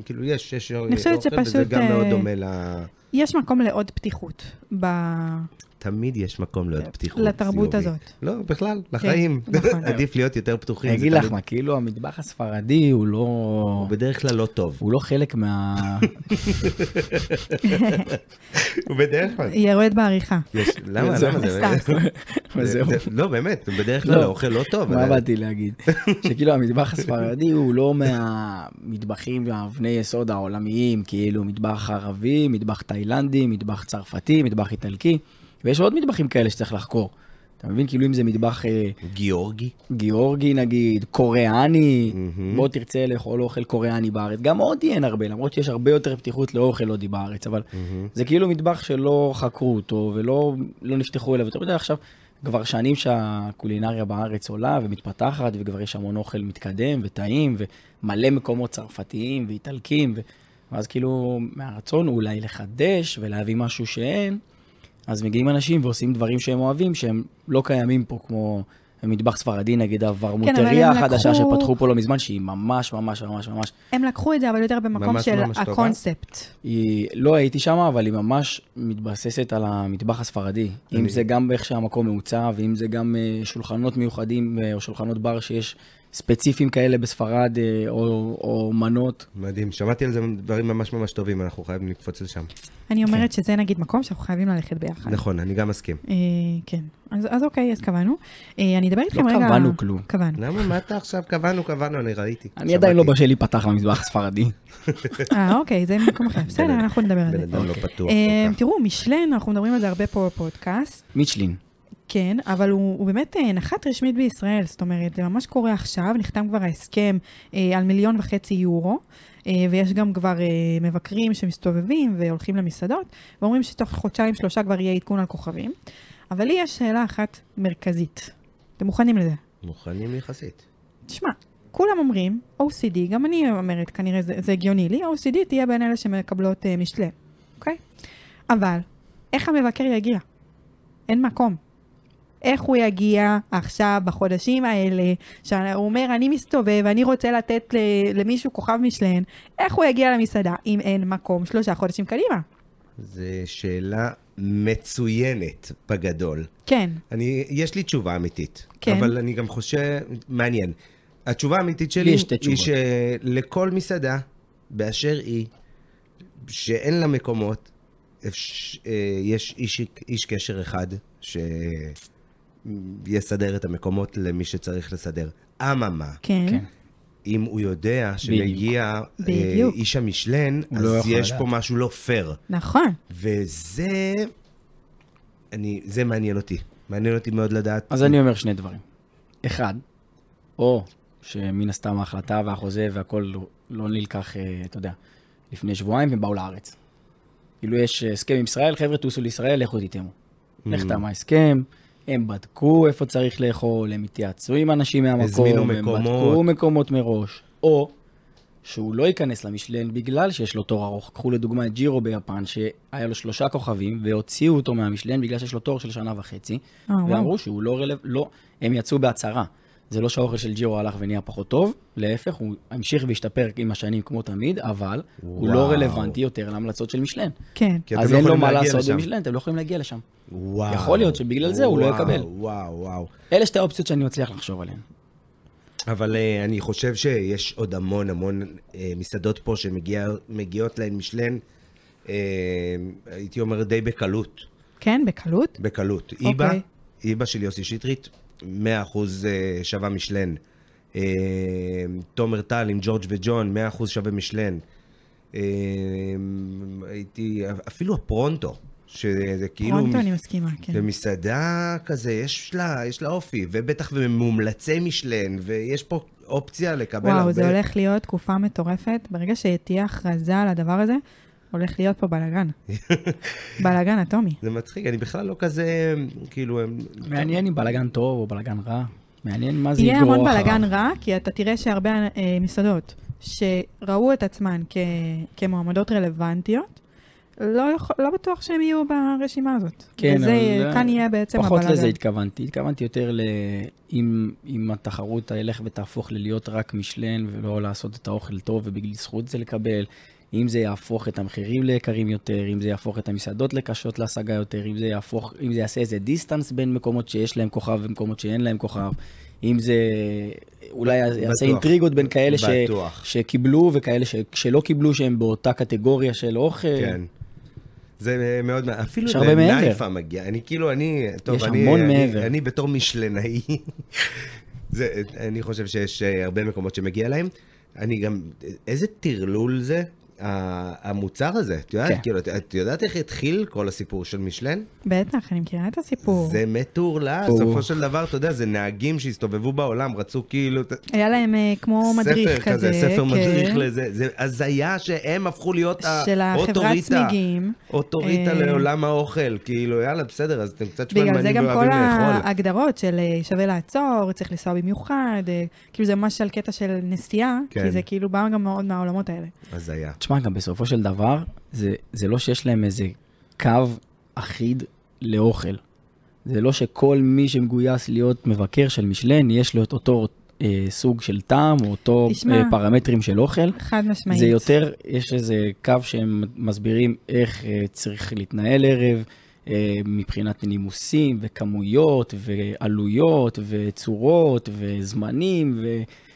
Speaker 3: כאילו, יש, יש
Speaker 1: אני חושבת
Speaker 3: וזה
Speaker 1: שפשוט,
Speaker 3: גם מאוד
Speaker 1: אה,
Speaker 3: דומה ל...
Speaker 1: יש מקום לעוד פתיחות ב-
Speaker 3: תמיד יש מקום לעוד פתיחות.
Speaker 1: לתרבות
Speaker 3: חיובי.
Speaker 1: הזאת.
Speaker 3: לא, בכלל, לחיים.
Speaker 1: נכון.
Speaker 3: עדיף להיות יותר פתוחים.
Speaker 2: אני
Speaker 3: זה
Speaker 2: אגיד לך
Speaker 3: תמיד-
Speaker 2: מה, כאילו המטבח הספרדי הוא לא...
Speaker 3: הוא בדרך כלל לא טוב.
Speaker 2: הוא לא חלק מה...
Speaker 3: הוא בדרך כלל.
Speaker 1: ירד בעריכה.
Speaker 3: יש- למה,
Speaker 2: זה-
Speaker 3: למה זה?
Speaker 1: סתם,
Speaker 2: וזהו.
Speaker 3: זה- לא, באמת, הוא בדרך כלל האוכל לא טוב.
Speaker 2: מה
Speaker 3: אבל-
Speaker 2: באתי להגיד? שכאילו המטבח הספרדי הוא לא מהמטבחים והאבני יסוד העולמיים, כאילו מטבח ערבי, מטבח תאילנדי, מטבח צרפתי, מטבח איטלקי, ויש עוד מטבחים כאלה שצריך לחקור. אתה מבין? כאילו אם זה מטבח אה,
Speaker 3: גיאורגי.
Speaker 2: גיאורגי נגיד, קוריאני,
Speaker 3: מהמם.
Speaker 2: בוא תרצה לאכול אוכל קוריאני בארץ, גם עוד אין הרבה, למרות שיש הרבה יותר פתיחות לאוכל הודי בארץ, אבל זה כאילו מטבח שלא חקרו אותו ולא לא נפתחו אליו, ואתה יודע עכשיו, כבר שנים שהקולינריה בארץ עולה ומתפתחת, וכבר יש המון אוכל מתקדם וטעים, ומלא מקומות צרפתיים ואיטלקים, ו... ואז כאילו מהרצון אולי לחדש ולהביא משהו שאין, אז מגיעים אנשים ועושים דברים שהם אוהבים, שהם לא קיימים פה, כמו מטבח ספרדי, נגיד הוורמוטריה
Speaker 1: כן, הם
Speaker 2: החדשה
Speaker 1: לקחו-
Speaker 2: שפתחו פה לא מזמן, שהיא ממש ממש ממש ממש,
Speaker 1: הם לקחו את זה, אבל יותר במקום
Speaker 3: ממש
Speaker 1: של
Speaker 3: ממש טובה.
Speaker 1: הקונספט.
Speaker 2: היא, לא הייתי שם, אבל היא ממש מתבססת על המטבח הספרדי. אם
Speaker 3: אני-
Speaker 2: זה גם באיך שהמקום מעוצב, ואם זה גם אה, שולחנות מיוחדים, אה, או שולחנות בר שיש ספציפיים כאלה בספרד, אה, או, או מנות.
Speaker 3: מדהים, שמעתי על זה דברים ממש ממש טובים, אנחנו חייבים לקפוץ לשם.
Speaker 1: אני אומרת שזה נגיד מקום שאנחנו חייבים ללכת ביחד.
Speaker 3: כן. נכון, אני גם מסכים.
Speaker 1: אה, כן. אז אז אוקיי, אז קבענו. אה, אני אדבר איתכם
Speaker 2: לא
Speaker 1: רגע...
Speaker 2: קבענו כלום.
Speaker 1: קבענו.
Speaker 3: למה, מה אתה עכשיו? קבענו, קבענו, אני ראיתי.
Speaker 2: אני עדיין לא
Speaker 3: שמעתי.
Speaker 2: בשל להיפתח למטבח הספרדי.
Speaker 1: אה, אוקיי, זה מקום אחר. בסדר, אנחנו נדבר על
Speaker 3: בן
Speaker 1: זה.
Speaker 3: אדם לא
Speaker 2: אוקיי.
Speaker 3: פתוח
Speaker 1: אה,
Speaker 3: כל כך.
Speaker 1: תראו, משלן, אנחנו מדברים על זה הרבה פה בפודקאסט.
Speaker 2: מיצ'לין.
Speaker 1: כן, אבל הוא, הוא באמת אה, נחת רשמית בישראל, זאת אומרת, זה ממש קורה עכשיו, נחתם כבר ההסכם אה, על מיליון וחצי יורו, אה, ויש גם כבר אה, מבקרים שמסתובבים והולכים למסעדות, ואומרים שתוך חודשיים-שלושה כבר יהיה עדכון על כוכבים. אבל לי יש שאלה אחת מרכזית. אתם מוכנים לזה?
Speaker 3: מוכנים יחסית.
Speaker 1: תשמע, כולם אומרים, OCD, גם אני אומרת, כנראה זה, זה הגיוני לי, OCD תהיה בין אלה שמקבלות אה, משלה, אוקיי? אבל, איך המבקר יגיע? אין מקום. איך הוא יגיע עכשיו, בחודשים האלה, שהוא אומר, אני מסתובב, אני רוצה לתת ל- למישהו כוכב משלן, איך הוא יגיע למסעדה אם אין מקום שלושה חודשים קדימה?
Speaker 3: זו שאלה מצוינת בגדול.
Speaker 1: כן.
Speaker 3: אני, יש לי תשובה אמיתית.
Speaker 1: כן.
Speaker 3: אבל אני גם חושב, מעניין. התשובה האמיתית
Speaker 2: לי
Speaker 3: שלי
Speaker 2: יש שתי
Speaker 3: היא
Speaker 2: תשובות.
Speaker 3: שלכל מסעדה, באשר היא, שאין לה מקומות, אפש, אה, יש איש, איש קשר אחד שיסדר את המקומות למי שצריך לסדר. אממה,
Speaker 1: כן.
Speaker 2: כן.
Speaker 3: אם הוא יודע שמגיע אה,
Speaker 1: בדיוק.
Speaker 3: איש המשלן,
Speaker 2: הוא
Speaker 3: אז
Speaker 2: לא
Speaker 3: לא
Speaker 2: יכול
Speaker 3: יש
Speaker 2: לדעת.
Speaker 3: פה משהו לא פייר.
Speaker 1: נכון.
Speaker 3: וזה... אני, זה מעניין אותי. מעניין אותי מאוד לדעת.
Speaker 2: אז אני אומר שני דברים. אחד, או שמן הסתם ההחלטה והחוזה והכל לא, לא נלקח, אה, אתה יודע, לפני שבועיים והם באו לארץ. כאילו יש אה, הסכם עם ישראל, חבר'ה, טוסו לישראל, לכו תטעמו.
Speaker 3: Mm.
Speaker 2: נחתם ההסכם, הם בדקו איפה צריך לאכול, הם התייעצו עם אנשים מהמקום,
Speaker 3: הזמינו
Speaker 2: הם
Speaker 3: מקומות.
Speaker 2: בדקו מקומות מראש. או שהוא לא ייכנס למשלן בגלל שיש לו תור ארוך. קחו לדוגמה את ג'ירו ביפן, שהיה לו שלושה כוכבים, והוציאו אותו מהמשלן בגלל שיש לו תור של שנה וחצי.
Speaker 1: אה, וואו.
Speaker 2: ואמרו שהוא לא רלב... לא, הם יצאו בהצהרה. זה לא שהאוכל של ג'ירו הלך ונהיה פחות טוב, להפך, הוא המשיך והשתפר עם השנים כמו תמיד, אבל וואו. הוא לא
Speaker 3: וואו.
Speaker 2: רלוונטי יותר להמלצות של משלן.
Speaker 1: כן.
Speaker 3: כי אתם
Speaker 2: אז
Speaker 3: לא
Speaker 2: אין לו
Speaker 3: יכולים
Speaker 2: מה
Speaker 3: להגיע
Speaker 2: לעשות
Speaker 3: לשם.
Speaker 2: במשלן, אתם לא יכולים להגיע לשם.
Speaker 3: וואו.
Speaker 2: יכול להיות שבגלל זה הוא לא
Speaker 3: וואו,
Speaker 2: יקבל.
Speaker 3: וואו, וואו.
Speaker 2: אלה שתי האופציות שאני מצליח לחשוב עליהן.
Speaker 3: אבל אה, אני חושב שיש עוד המון המון אה, מסעדות פה שמגיעות להן משלן, אה, הייתי אומר די בקלות.
Speaker 1: כן, בקלות.
Speaker 3: בקלות.
Speaker 1: אוקיי.
Speaker 3: איבה, איבה של יוסי שטרית, 100% אה, שווה משלן. אה, תומר טל עם ג'ורג' וג'ון, 100% שווה משלן. אה, הייתי, אפילו הפרונטו, שזה כאילו...
Speaker 1: פרונטו, אני מסכימה, כן.
Speaker 3: במסעדה כזה, יש לה, יש לה אופי, ובטח ומומלצי משלן, ויש פה אופציה לקבל הרבה...
Speaker 1: וואו, זה הולך להיות תקופה מטורפת. ברגע שתהיה הכרזה על הדבר הזה, הולך להיות פה בלאגן. בלאגן אטומי.
Speaker 3: זה מצחיק, אני בכלל לא כזה, כאילו, הם...
Speaker 2: מעניין אם בלאגן טוב או בלאגן רע, מעניין מה זה יגרור
Speaker 1: יהיה המון
Speaker 2: אחריו.
Speaker 1: בלאגן רע, כי אתה תראה שהרבה אה, מסעדות שראו את עצמן כ- כמועמדות רלוונטיות, לא, יכול- לא בטוח שהן יהיו ברשימה הזאת.
Speaker 2: כן,
Speaker 1: וזה
Speaker 2: אבל-
Speaker 1: כאן יהיה בעצם
Speaker 2: פחות
Speaker 1: הבלאגן.
Speaker 2: לזה התכוונתי, התכוונתי יותר ל... אם, אם התחרות תלך ותהפוך ללהיות רק משלן ולא לעשות את האוכל טוב ובזכות זה לקבל, אם זה יהפוך את המחירים ליקרים יותר, אם זה יהפוך את המסעדות לקשות להשגה יותר, אם זה יהפוך, אם זה יעשה איזה דיסטנס בין מקומות שיש להם כוכב ומקומות שאין להם כוכב, אם זה אולי יעשה
Speaker 3: בטוח.
Speaker 2: אינטריגות בין כאלה ש...
Speaker 3: בטוח.
Speaker 2: שקיבלו וכאלה ש... שלא קיבלו שהם באותה קטגוריה של אוכל.
Speaker 3: כן. זה מאוד, מע- אפילו
Speaker 2: יש הרבה מעבר.
Speaker 3: לנייפה מגיע, אני כאילו, אני, טוב,
Speaker 2: יש
Speaker 3: אני,
Speaker 2: המון
Speaker 3: אני,
Speaker 2: מעבר.
Speaker 3: אני בתור משלנאי, זה, אני חושב שיש אה, הרבה מקומות שמגיע להם. אני גם, איזה טרלול זה, ה- המוצר הזה, את יודעת,
Speaker 2: כן.
Speaker 3: כאילו, את- את יודעת איך התחיל כל הסיפור של משלן?
Speaker 1: בטח, אני מכירה את הסיפור.
Speaker 3: זה מטורלל,
Speaker 2: או.
Speaker 3: סופו של דבר, אתה יודע, זה נהגים שהסתובבו בעולם, רצו כאילו... ת-
Speaker 1: היה להם אה, כמו מדריך
Speaker 3: ספר
Speaker 1: כזה.
Speaker 3: ספר
Speaker 1: כן.
Speaker 3: מדריך לזה, זה הזיה שהם הפכו להיות
Speaker 1: של החברת
Speaker 3: האוטוריטה.
Speaker 1: צמיגים.
Speaker 3: אוטוריטה
Speaker 1: אה,
Speaker 3: לעולם האוכל, כאילו, יאללה, בסדר, אז אתם קצת
Speaker 1: בגלל זה
Speaker 3: שמנמנים
Speaker 1: גם
Speaker 3: ואוהבים
Speaker 1: כל
Speaker 3: לא לאכול.
Speaker 1: ההגדרות של אה, שווה לעצור, צריך לנסוע במיוחד, אה, כאילו זה ממש על קטע של נסיעה, כי
Speaker 3: כן.
Speaker 1: זה כאילו בא גם מאוד מהעולמות האלה.
Speaker 3: אז היה.
Speaker 2: תשמע, גם בסופו של דבר, זה, זה לא שיש להם איזה קו אחיד לאוכל. זה לא שכל מי שמגויס להיות מבקר של משלן, יש לו את אותו אה, סוג של טעם, או אותו
Speaker 1: תשמע,
Speaker 2: אה, פרמטרים של אוכל.
Speaker 1: חד משמעית.
Speaker 2: זה יותר, יש איזה קו שהם מסבירים איך אה, צריך להתנהל ערב, אה, מבחינת נימוסים וכמויות ועלויות וצורות וזמנים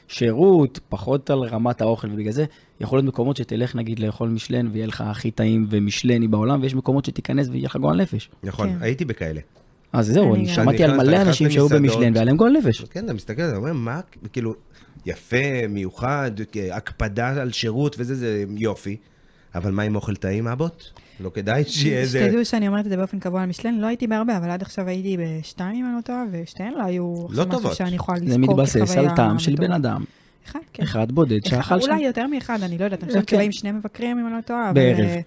Speaker 2: ושירות, פחות על רמת האוכל, ובגלל זה יכול להיות מקומות שתלך נגיד לאכול משלן ויהיה לך הכי טעים ומשלני בעולם, ויש מקומות שתיכנס ויהיה לך גועל נפש.
Speaker 3: נכון,
Speaker 1: כן.
Speaker 3: הייתי בכאלה.
Speaker 2: אז זהו,
Speaker 1: אני
Speaker 2: אני
Speaker 1: גם.
Speaker 2: שמעתי על
Speaker 3: אתה נכנס-
Speaker 2: מלא
Speaker 3: אתה
Speaker 2: אנשים
Speaker 3: נכנס
Speaker 2: שהיו
Speaker 3: למסעדות.
Speaker 2: במשלן והיה להם גועל נפש.
Speaker 3: כן, אתה מסתכל, אתה אומר, מה, כאילו, יפה, מיוחד, אה, הקפדה על שירות וזה, זה יופי. אבל מה עם אוכל טעים, אבוט? לא כדאי שיהיה איזה...
Speaker 1: שתדעו שאני אומרת את זה באופן קבוע על משלן, לא הייתי בהרבה, אבל עד עכשיו הייתי בשתיים אם אני לא טועה, ושתיהן לא היו עכשיו משהו
Speaker 3: טובות.
Speaker 1: שאני יכולה
Speaker 2: זה
Speaker 1: לזכור כחוויה.
Speaker 2: מתבסס על טעם של בן
Speaker 1: מטורפת.
Speaker 2: אדם,
Speaker 1: אחד, כן.
Speaker 2: אחד בודד
Speaker 1: אחד,
Speaker 2: שאכל שם.
Speaker 1: אולי יותר מאחד, אני לא יודעת, אני חושבת
Speaker 2: כן.
Speaker 1: שבאים שני מבקרים אם אני לא טועה. אבל,
Speaker 2: בערב.
Speaker 1: אה,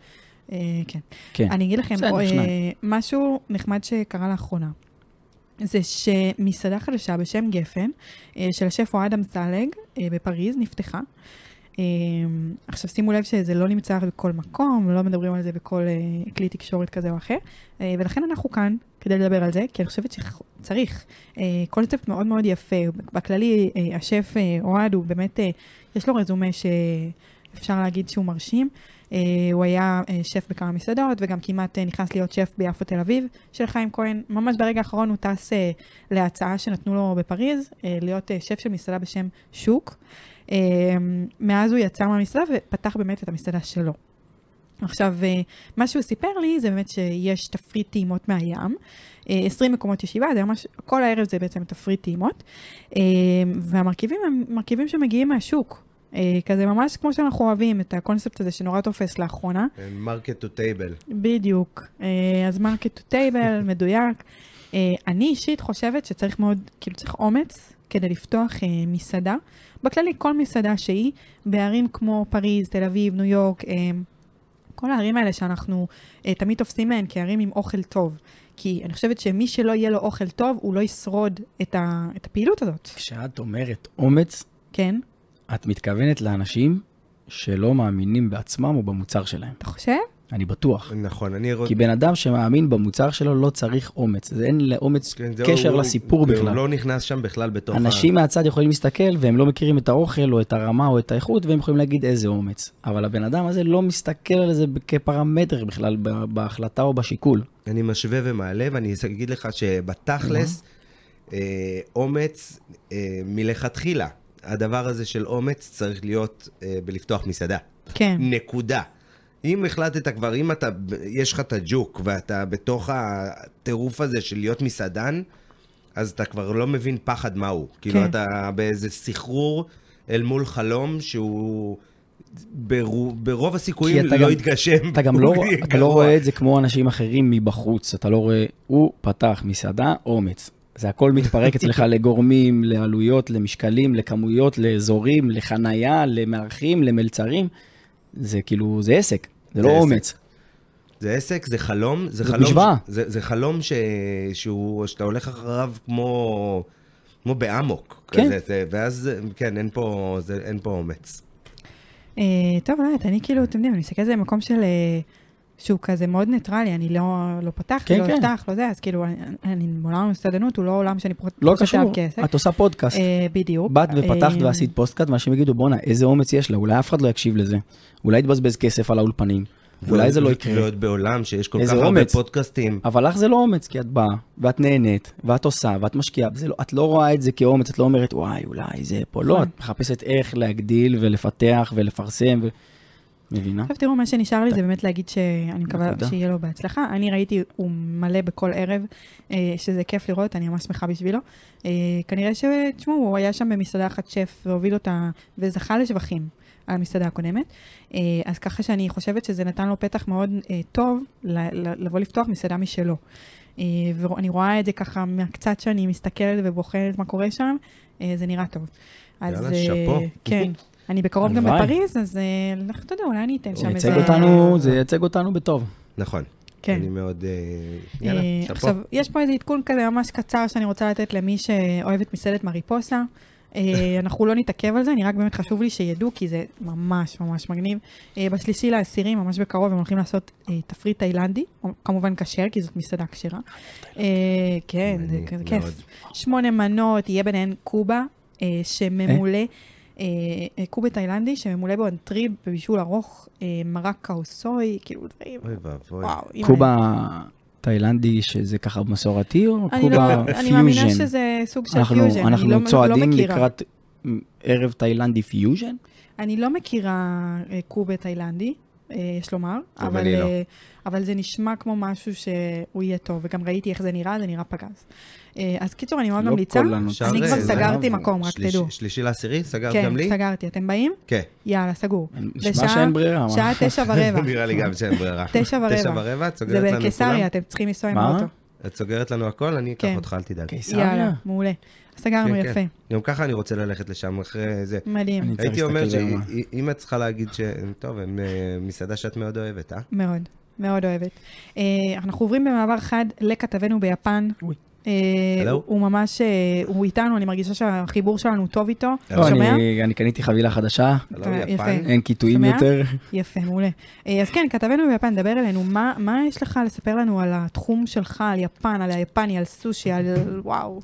Speaker 1: אה, כן.
Speaker 2: כן.
Speaker 1: אני אגיד לכם
Speaker 2: בסדר,
Speaker 1: אה,
Speaker 2: שניים.
Speaker 1: משהו נחמד שקרה לאחרונה. זה שמסעדה חדשה בשם גפן, אה, של השף אוהד אמסלג אה, בפריז, נפתחה. אה, עכשיו, שימו לב שזה לא נמצא בכל מקום, לא מדברים על זה בכל אה, כלי תקשורת כזה או אחר, אה, ולכן אנחנו כאן כדי לדבר על זה, כי אני חושבת שצריך. אה, קונספט מאוד מאוד יפה. בכללי, אה, השף אה, אוהד הוא באמת, אה, יש לו רזומה שאפשר להגיד שהוא מרשים. אה, הוא היה אה, שף בכמה מסעדות, וגם כמעט אה, נכנס להיות שף ביפו תל אביב של חיים כהן. ממש ברגע האחרון הוא טס אה, להצעה שנתנו לו בפריז, אה, להיות אה, שף של מסעדה בשם שוק. אה, מאז הוא יצא מהמסעדה ופתח באמת את המסעדה שלו. עכשיו, אה, מה שהוא סיפר לי זה באמת שיש תפריט טעימות מהים. אה, 20 מקומות ישיבה, זה ממש, כל הערב זה בעצם תפריט טעימות. אה, והמרכיבים הם מרכיבים שמגיעים מהשוק. אה, כזה ממש כמו שאנחנו אוהבים, את הקונספט הזה שנורא תופס לאחרונה.
Speaker 3: מרקט טו טייבל.
Speaker 1: בדיוק. אה, אז מרקט טו טייבל, מדויק. אה, אני אישית חושבת שצריך מאוד, כאילו צריך אומץ כדי לפתוח אה, מסעדה. בכללי, כל מסעדה שהיא, בערים כמו פריז, תל אביב, ניו יורק, אה, כל הערים האלה שאנחנו אה, תמיד תופסים מהן כערים עם אוכל טוב. כי אני חושבת שמי שלא יהיה לו אוכל טוב, הוא לא ישרוד את, ה, את הפעילות הזאת.
Speaker 2: כשאת אומרת אומץ,
Speaker 1: כן?
Speaker 2: את מתכוונת לאנשים שלא מאמינים בעצמם או במוצר שלהם.
Speaker 1: אתה חושב?
Speaker 2: אני בטוח.
Speaker 3: נכון, אני רואה...
Speaker 2: כי בן אדם שמאמין במוצר שלו לא צריך אומץ. זה אין לאומץ
Speaker 3: כן, זהו,
Speaker 2: קשר
Speaker 3: הוא-
Speaker 2: לסיפור
Speaker 3: הוא
Speaker 2: בכלל.
Speaker 3: לא נכנס שם בכלל בתוך
Speaker 2: אנשים מהצד יכולים להסתכל והם לא מכירים את האוכל או את הרמה או את האיכות והם יכולים להגיד איזה אומץ. אבל הבן אדם הזה לא מסתכל על זה כפרמטר בכלל ב- בהחלטה או בשיקול.
Speaker 3: אני משווה ומעלה, ואני אגיד לך שבתכלס, אה, אומץ אה, מלכתחילה, הדבר הזה של אומץ צריך להיות אה, בלפתוח מסעדה.
Speaker 1: כן.
Speaker 3: נקודה. אם החלטת כבר, אם אתה, יש לך את הג'וק ואתה בתוך הטירוף הזה של להיות מסעדן, אז אתה כבר לא מבין פחד מהו. כן. כאילו אתה באיזה סחרור אל מול חלום שהוא ברו, ברוב הסיכויים
Speaker 2: כי אתה
Speaker 3: לא
Speaker 2: גם-
Speaker 3: יתגשם.
Speaker 2: אתה גם
Speaker 3: הוא
Speaker 2: לא,
Speaker 3: יהיה
Speaker 2: אתה לא
Speaker 3: גרוע.
Speaker 2: רואה את זה כמו אנשים אחרים מבחוץ, אתה לא רואה, הוא פתח מסעדה, אומץ. זה הכל מתפרק אצלך לגורמים, לעלויות, למשקלים, לכמויות, לאזורים, לחנייה, למארחים, למלצרים. זה כאילו, זה עסק, זה לא
Speaker 3: זה עסק.
Speaker 2: אומץ.
Speaker 3: זה עסק, זה חלום, זה
Speaker 2: זאת
Speaker 3: חלום,
Speaker 2: משוואה.
Speaker 3: ש- זה, זה חלום ש... שהוא, שאתה הולך אחריו כמו, כמו באמוק.
Speaker 2: כן.
Speaker 3: כזה, זה, ואז, כן, אין פה, זה, אין פה אומץ.
Speaker 1: אה, טוב, לא יודעת, אני כאילו, אתם יודעים, אני מסתכלת על זה במקום של... אה, שהוא כזה מאוד ניטרלי, אני לא, לא פתחתי,
Speaker 2: כן,
Speaker 1: לא
Speaker 2: כן.
Speaker 1: אפתח, לא זה, אז כאילו, אני, אני מעולם המסעדנות, הוא לא עולם שאני פחות
Speaker 2: לא
Speaker 1: פחות
Speaker 2: קשור,
Speaker 1: אוהב כעסק.
Speaker 2: את עושה פודקאסט.
Speaker 1: אה, בדיוק.
Speaker 2: באת ופתחת
Speaker 1: אה,
Speaker 2: ועשית פוסטקאט, ואנשים יגידו, בואנה, איזה אומץ יש לה, אולי אף אחד לא יקשיב לזה. אולי יתבזבז כסף על האולפנים. אולי זה לא יקרה.
Speaker 3: ועוד בעולם שיש כל כך
Speaker 2: איזה
Speaker 3: הרבה
Speaker 2: אומץ.
Speaker 3: פודקאסטים.
Speaker 2: אבל לך זה לא אומץ, כי את באה, ואת נהנית, ואת עושה, ואת משקיעה, זה לא, את לא רואה את זה כאומץ, את לא אומרת, וואי, אולי זה פה. לא,
Speaker 1: נכון.
Speaker 2: את מחפשת איך להגדיל ולפתח ולפרסם, ו... מבינה?
Speaker 1: עכשיו תראו, מה שנשאר לי זה באמת להגיד שאני מקווה
Speaker 2: נקודה.
Speaker 1: שיהיה לו בהצלחה. אני ראיתי, הוא מלא בכל ערב, אה, שזה כיף לראות, אני ממש שמחה בשבילו. אה, כנראה ש... תשמעו, הוא היה שם במסעדה אחת שף והוביל אותה, וזכה לשבחים על המסעדה הקודמת. אה, אז ככה שאני חושבת שזה נתן לו פתח מאוד אה, טוב ל- ל- לבוא לפתוח מסעדה משלו. אה, ואני רואה את זה ככה מהקצת שאני מסתכלת ובוחנת מה קורה שם, אה, זה נראה טוב. אז,
Speaker 3: יאללה,
Speaker 1: אה,
Speaker 3: שאפו.
Speaker 1: כן. אני בקרוב גם
Speaker 2: הלוואי.
Speaker 1: בפריז, אז אה, לך תדע, אולי אני אתן
Speaker 2: זה
Speaker 1: שם איזה...
Speaker 2: ייצג אותנו, זה ייצג אותנו בטוב.
Speaker 3: נכון.
Speaker 1: כן.
Speaker 3: אני מאוד... אה,
Speaker 1: אה,
Speaker 3: יאללה, שאפו.
Speaker 1: עכשיו, יש פה איזה עדכון כזה ממש קצר שאני רוצה לתת למי שאוהבת מסעדת מריפוסה. אה, אנחנו לא נתעכב על זה, אני רק באמת חשוב לי שידעו, כי זה ממש ממש מגניב. אה, בשלישי לעשירי, ממש בקרוב, הם הולכים לעשות אה, תפריט תאילנדי, או- כמובן כשר, כי זאת מסעדה כשרה. אה, כן, זה
Speaker 3: מעניין
Speaker 1: כזה
Speaker 3: מאוד.
Speaker 1: כיף. שמונה מנות, יהיה ביניהן קובה, אה, שממולא, אה, אה, קובה תאילנדי, שממולא באנטריב בבישול ארוך, אה, מרק קאוסוי, כאילו דברים,
Speaker 3: אוי ואבוי.
Speaker 1: וואו. אימא'לה.
Speaker 2: קובה תאילנדי, שזה ככה מסורתי, או
Speaker 1: אני לא-
Speaker 2: קובה
Speaker 1: אני מאמינה
Speaker 2: פיוז'ן?
Speaker 1: שזה סוג של
Speaker 2: אנחנו,
Speaker 1: פיוז'ן, אני
Speaker 2: אנחנו
Speaker 1: לא, לא
Speaker 2: צועדים
Speaker 1: מכירה.
Speaker 2: לקראת מ, ערב תאילנדי פיוז'ן?
Speaker 1: אני לא מכירה אה, קובה תאילנדי, אה, יש לומר,
Speaker 3: גם
Speaker 1: אבל,
Speaker 3: אני לא.
Speaker 1: אה, אבל זה נשמע כמו משהו שהוא יהיה טוב, וגם ראיתי איך זה נראה, זה נראה פגז. אה, אז קיצור, אני מאוד
Speaker 2: לא
Speaker 1: ממליצה.
Speaker 2: כל הנוצ-
Speaker 3: אפשר,
Speaker 1: אני
Speaker 3: אה,
Speaker 1: כבר
Speaker 3: זה-
Speaker 1: סגרתי
Speaker 2: זה-
Speaker 1: מקום, רק
Speaker 3: שליש-
Speaker 1: תדעו.
Speaker 3: שלישי לעשירי? סגרת
Speaker 1: כן,
Speaker 3: גם לי?
Speaker 1: סגרתי. אתם באים?
Speaker 3: כן.
Speaker 1: יאללה, סגור.
Speaker 2: נשמע
Speaker 1: בשעה-
Speaker 2: שאין ברירה. מה?
Speaker 1: שעה תשע ורבע.
Speaker 3: נראה לי גם שאין ברירה.
Speaker 1: תשע ורבע.
Speaker 3: תשע ורבע, את
Speaker 1: זה
Speaker 3: סוגרת לנו
Speaker 1: בקיסריה,
Speaker 3: כולם?
Speaker 1: אתם צריכים לנסוע עם
Speaker 2: מה?
Speaker 1: האוטו.
Speaker 3: את סוגרת לנו הכל, אני אקח
Speaker 1: כן.
Speaker 3: אותך, אל תדאג.
Speaker 2: קיסריה?
Speaker 1: יאללה, מעולה. סגרנו
Speaker 3: כן, כן.
Speaker 1: יפה,
Speaker 3: גם ככה אני רוצה ללכת לשם אחרי זה.
Speaker 1: מדהים,
Speaker 2: אני- צריך
Speaker 3: הייתי אומר
Speaker 2: להסתכל ברמה.
Speaker 3: שאם את צריכה להגיד ש... טוב, הם אה, מסעדה שאת מאוד אוהבת, אה?
Speaker 1: מאוד, מאוד אוהבת. אה, אנחנו עוברים במעבר חד לכתבנו ביפן.
Speaker 2: אוי.
Speaker 1: אה,
Speaker 3: הלו?
Speaker 1: הוא- הוא ממש, אה, הוא איתנו, אני מרגישה שהחיבור שלנו טוב איתו.
Speaker 3: הלו?
Speaker 2: לא,
Speaker 1: אתה שומע?
Speaker 2: אני- אני קניתי חבילה חדשה,
Speaker 3: הלו,
Speaker 1: אתה-
Speaker 3: יפן?
Speaker 1: יפה.
Speaker 2: אין קיטויים
Speaker 1: שומע?
Speaker 2: יותר.
Speaker 1: יפה, מעולה. אה, אז כן, כתבנו ביפן, דבר אלינו, מה, מה יש לך לספר לנו על התחום שלך, על יפן, על היפני, על סושי, על וואו.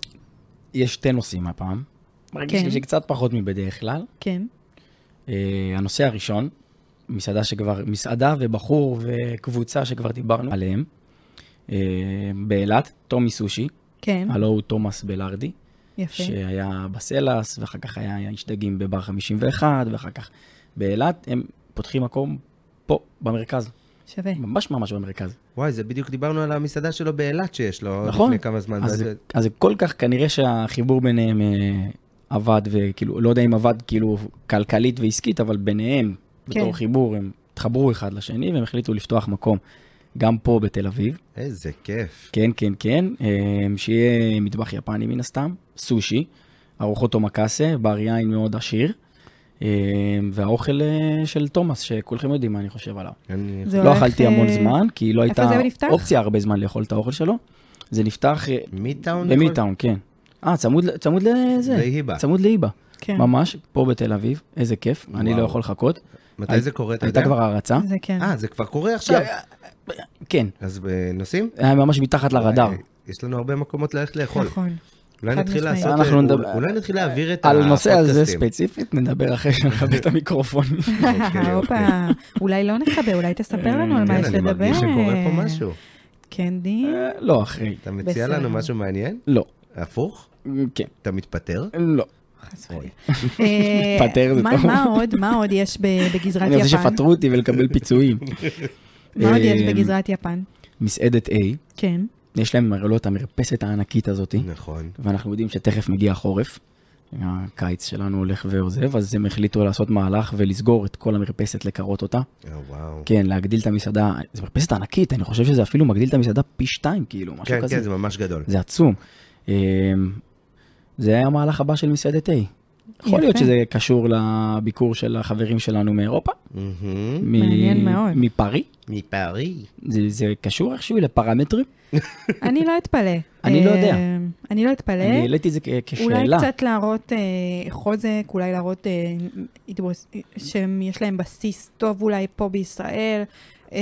Speaker 2: יש שתי נושאים הפעם. מרגיש
Speaker 1: כן.
Speaker 2: לי שקצת פחות מבדרך כלל.
Speaker 1: כן,
Speaker 2: אה, הנושא הראשון, מסעדה שכבר, מסעדה ובחור וקבוצה שכבר דיברנו עליהם, אה, באילת, טומי סושי,
Speaker 1: כן,
Speaker 2: הלו הוא תומאס בלארדי,
Speaker 1: יפה.
Speaker 2: שהיה בסלאס, ואחר כך היה היה איש דגים בבר 51, ואחר כך באילת, הם פותחים מקום פה, במרכז,
Speaker 1: שווה.
Speaker 2: ממש ממש במרכז.
Speaker 3: וואי, זה בדיוק דיברנו על המסעדה שלו באילת שיש לו
Speaker 2: נכון.
Speaker 3: לפני כמה זמן.
Speaker 2: אז,
Speaker 3: זה-
Speaker 2: אז זה כל כך, כנראה שהחיבור ביניהם אה, עבד, וכאילו, לא יודע אם עבד כאילו כלכלית ועסקית, אבל ביניהם,
Speaker 1: כן.
Speaker 2: כן. בתור חיבור, הם התחברו אחד לשני, והם החליטו לפתוח מקום גם פה בתל אביב.
Speaker 3: איזה כיף.
Speaker 2: כן, כן, כן, אה, שיהיה מטבח יפני מן הסתם, סושי, ארוחות אומקאסה, בר יין מאוד עשיר, אה, והאוכל אה, של תומאס, שכולכם יודעים מה אני חושב עליו.
Speaker 3: אני-
Speaker 1: זה
Speaker 2: לא
Speaker 1: הולך,
Speaker 2: אכלתי
Speaker 1: אה,
Speaker 2: המון זמן, כי לא
Speaker 1: איפה
Speaker 2: הייתה
Speaker 1: זה נפתח?
Speaker 2: אופציה הרבה זמן לאכול את האוכל שלו. זה נפתח אה,
Speaker 3: מידטאון?
Speaker 2: במידטאון, כן. אה, צמוד, ל- צמוד לזה.
Speaker 3: להיבה.
Speaker 2: צמוד להיבה.
Speaker 1: כן,
Speaker 2: ממש, פה בתל אביב, איזה כיף, אני
Speaker 3: וואו.
Speaker 2: לא יכול לחכות.
Speaker 3: מתי זה קורה? אתה
Speaker 2: הייתה
Speaker 3: יודע?
Speaker 2: כבר הערצה.
Speaker 1: זה כן.
Speaker 3: אה, זה כבר קורה עכשיו.
Speaker 2: כן,
Speaker 3: אז אה, נוסעים?
Speaker 2: היה ממש מתחת לרדאר.
Speaker 3: אה, יש לנו הרבה מקומות ללכת לאכול.
Speaker 1: נכון.
Speaker 3: אולי
Speaker 1: חד
Speaker 3: נתחיל
Speaker 1: משמעית.
Speaker 3: לעשות...
Speaker 2: אנחנו
Speaker 3: אה,
Speaker 2: נדבר-
Speaker 3: אולי נתחיל להעביר את
Speaker 2: על הנושא הזה
Speaker 3: אה, הפודקאסטים.
Speaker 2: ספציפית, נדבר אחרי שנכבה את המיקרופון.
Speaker 3: אוקיי,
Speaker 1: הופה,
Speaker 3: אוקיי.
Speaker 1: אולי לא נכבה, אולי תספר לנו על מה
Speaker 3: כן,
Speaker 1: יש
Speaker 3: אני
Speaker 1: לדבר. כן,
Speaker 3: מרגיש שקורה פה משהו.
Speaker 1: קנדי,
Speaker 2: אה, לא אחרי.
Speaker 3: אתה מציע
Speaker 1: בסדר.
Speaker 3: לנו משהו מעניין?
Speaker 2: לא.
Speaker 3: הפוך?
Speaker 2: כן.
Speaker 3: אתה מתפטר?
Speaker 2: לא.
Speaker 1: חס
Speaker 3: אוי.
Speaker 1: וחלילה. אה,
Speaker 2: פטר זה
Speaker 1: מה-
Speaker 2: טוב.
Speaker 1: מה עוד, מה עוד יש ב- בגזרת
Speaker 2: אני רוצה
Speaker 1: יפן?
Speaker 2: שיפטרו אותי ולקבל פיצויים.
Speaker 1: מה עוד יש
Speaker 2: אה,
Speaker 1: בגזרת יפן?
Speaker 2: מסעדת A,
Speaker 1: כן,
Speaker 2: יש להם הרי לא את המרפסת הענקית הזאתי.
Speaker 3: נכון.
Speaker 2: ואנחנו יודעים שתכף מגיע החורף, הקיץ שלנו הולך ועוזב, אז הם החליטו לעשות מהלך ולסגור את כל המרפסת, לקרות אותה.
Speaker 3: אה, וואו.
Speaker 2: כן, להגדיל את המסעדה, זו מרפסת ענקית, אני חושב שזה אפילו מגדיל את המסעדה פי שתיים, כאילו, משהו
Speaker 3: כן,
Speaker 2: כזה.
Speaker 3: כן, זה ממש גדול.
Speaker 2: זה עצום. אמ, זה היה המהלך הבא של מסעדת A. יכול להיות
Speaker 1: יפה.
Speaker 2: שזה קשור לביקור של החברים שלנו מאירופה,
Speaker 3: מהמם.
Speaker 2: מ-
Speaker 1: מעניין מאוד.
Speaker 2: מפארי.
Speaker 3: מפרי.
Speaker 2: זה, זה קשור איכשהו לפרמטרים?
Speaker 1: אני לא אתפלא.
Speaker 2: אני לא
Speaker 1: אה,
Speaker 2: יודע.
Speaker 1: אני לא אתפלא.
Speaker 2: אני העליתי את זה כ- כשאלה.
Speaker 1: אולי קצת להראות אה, חוזק, אולי להראות אה, התבוס- שיש להם בסיס טוב אולי פה בישראל. אה,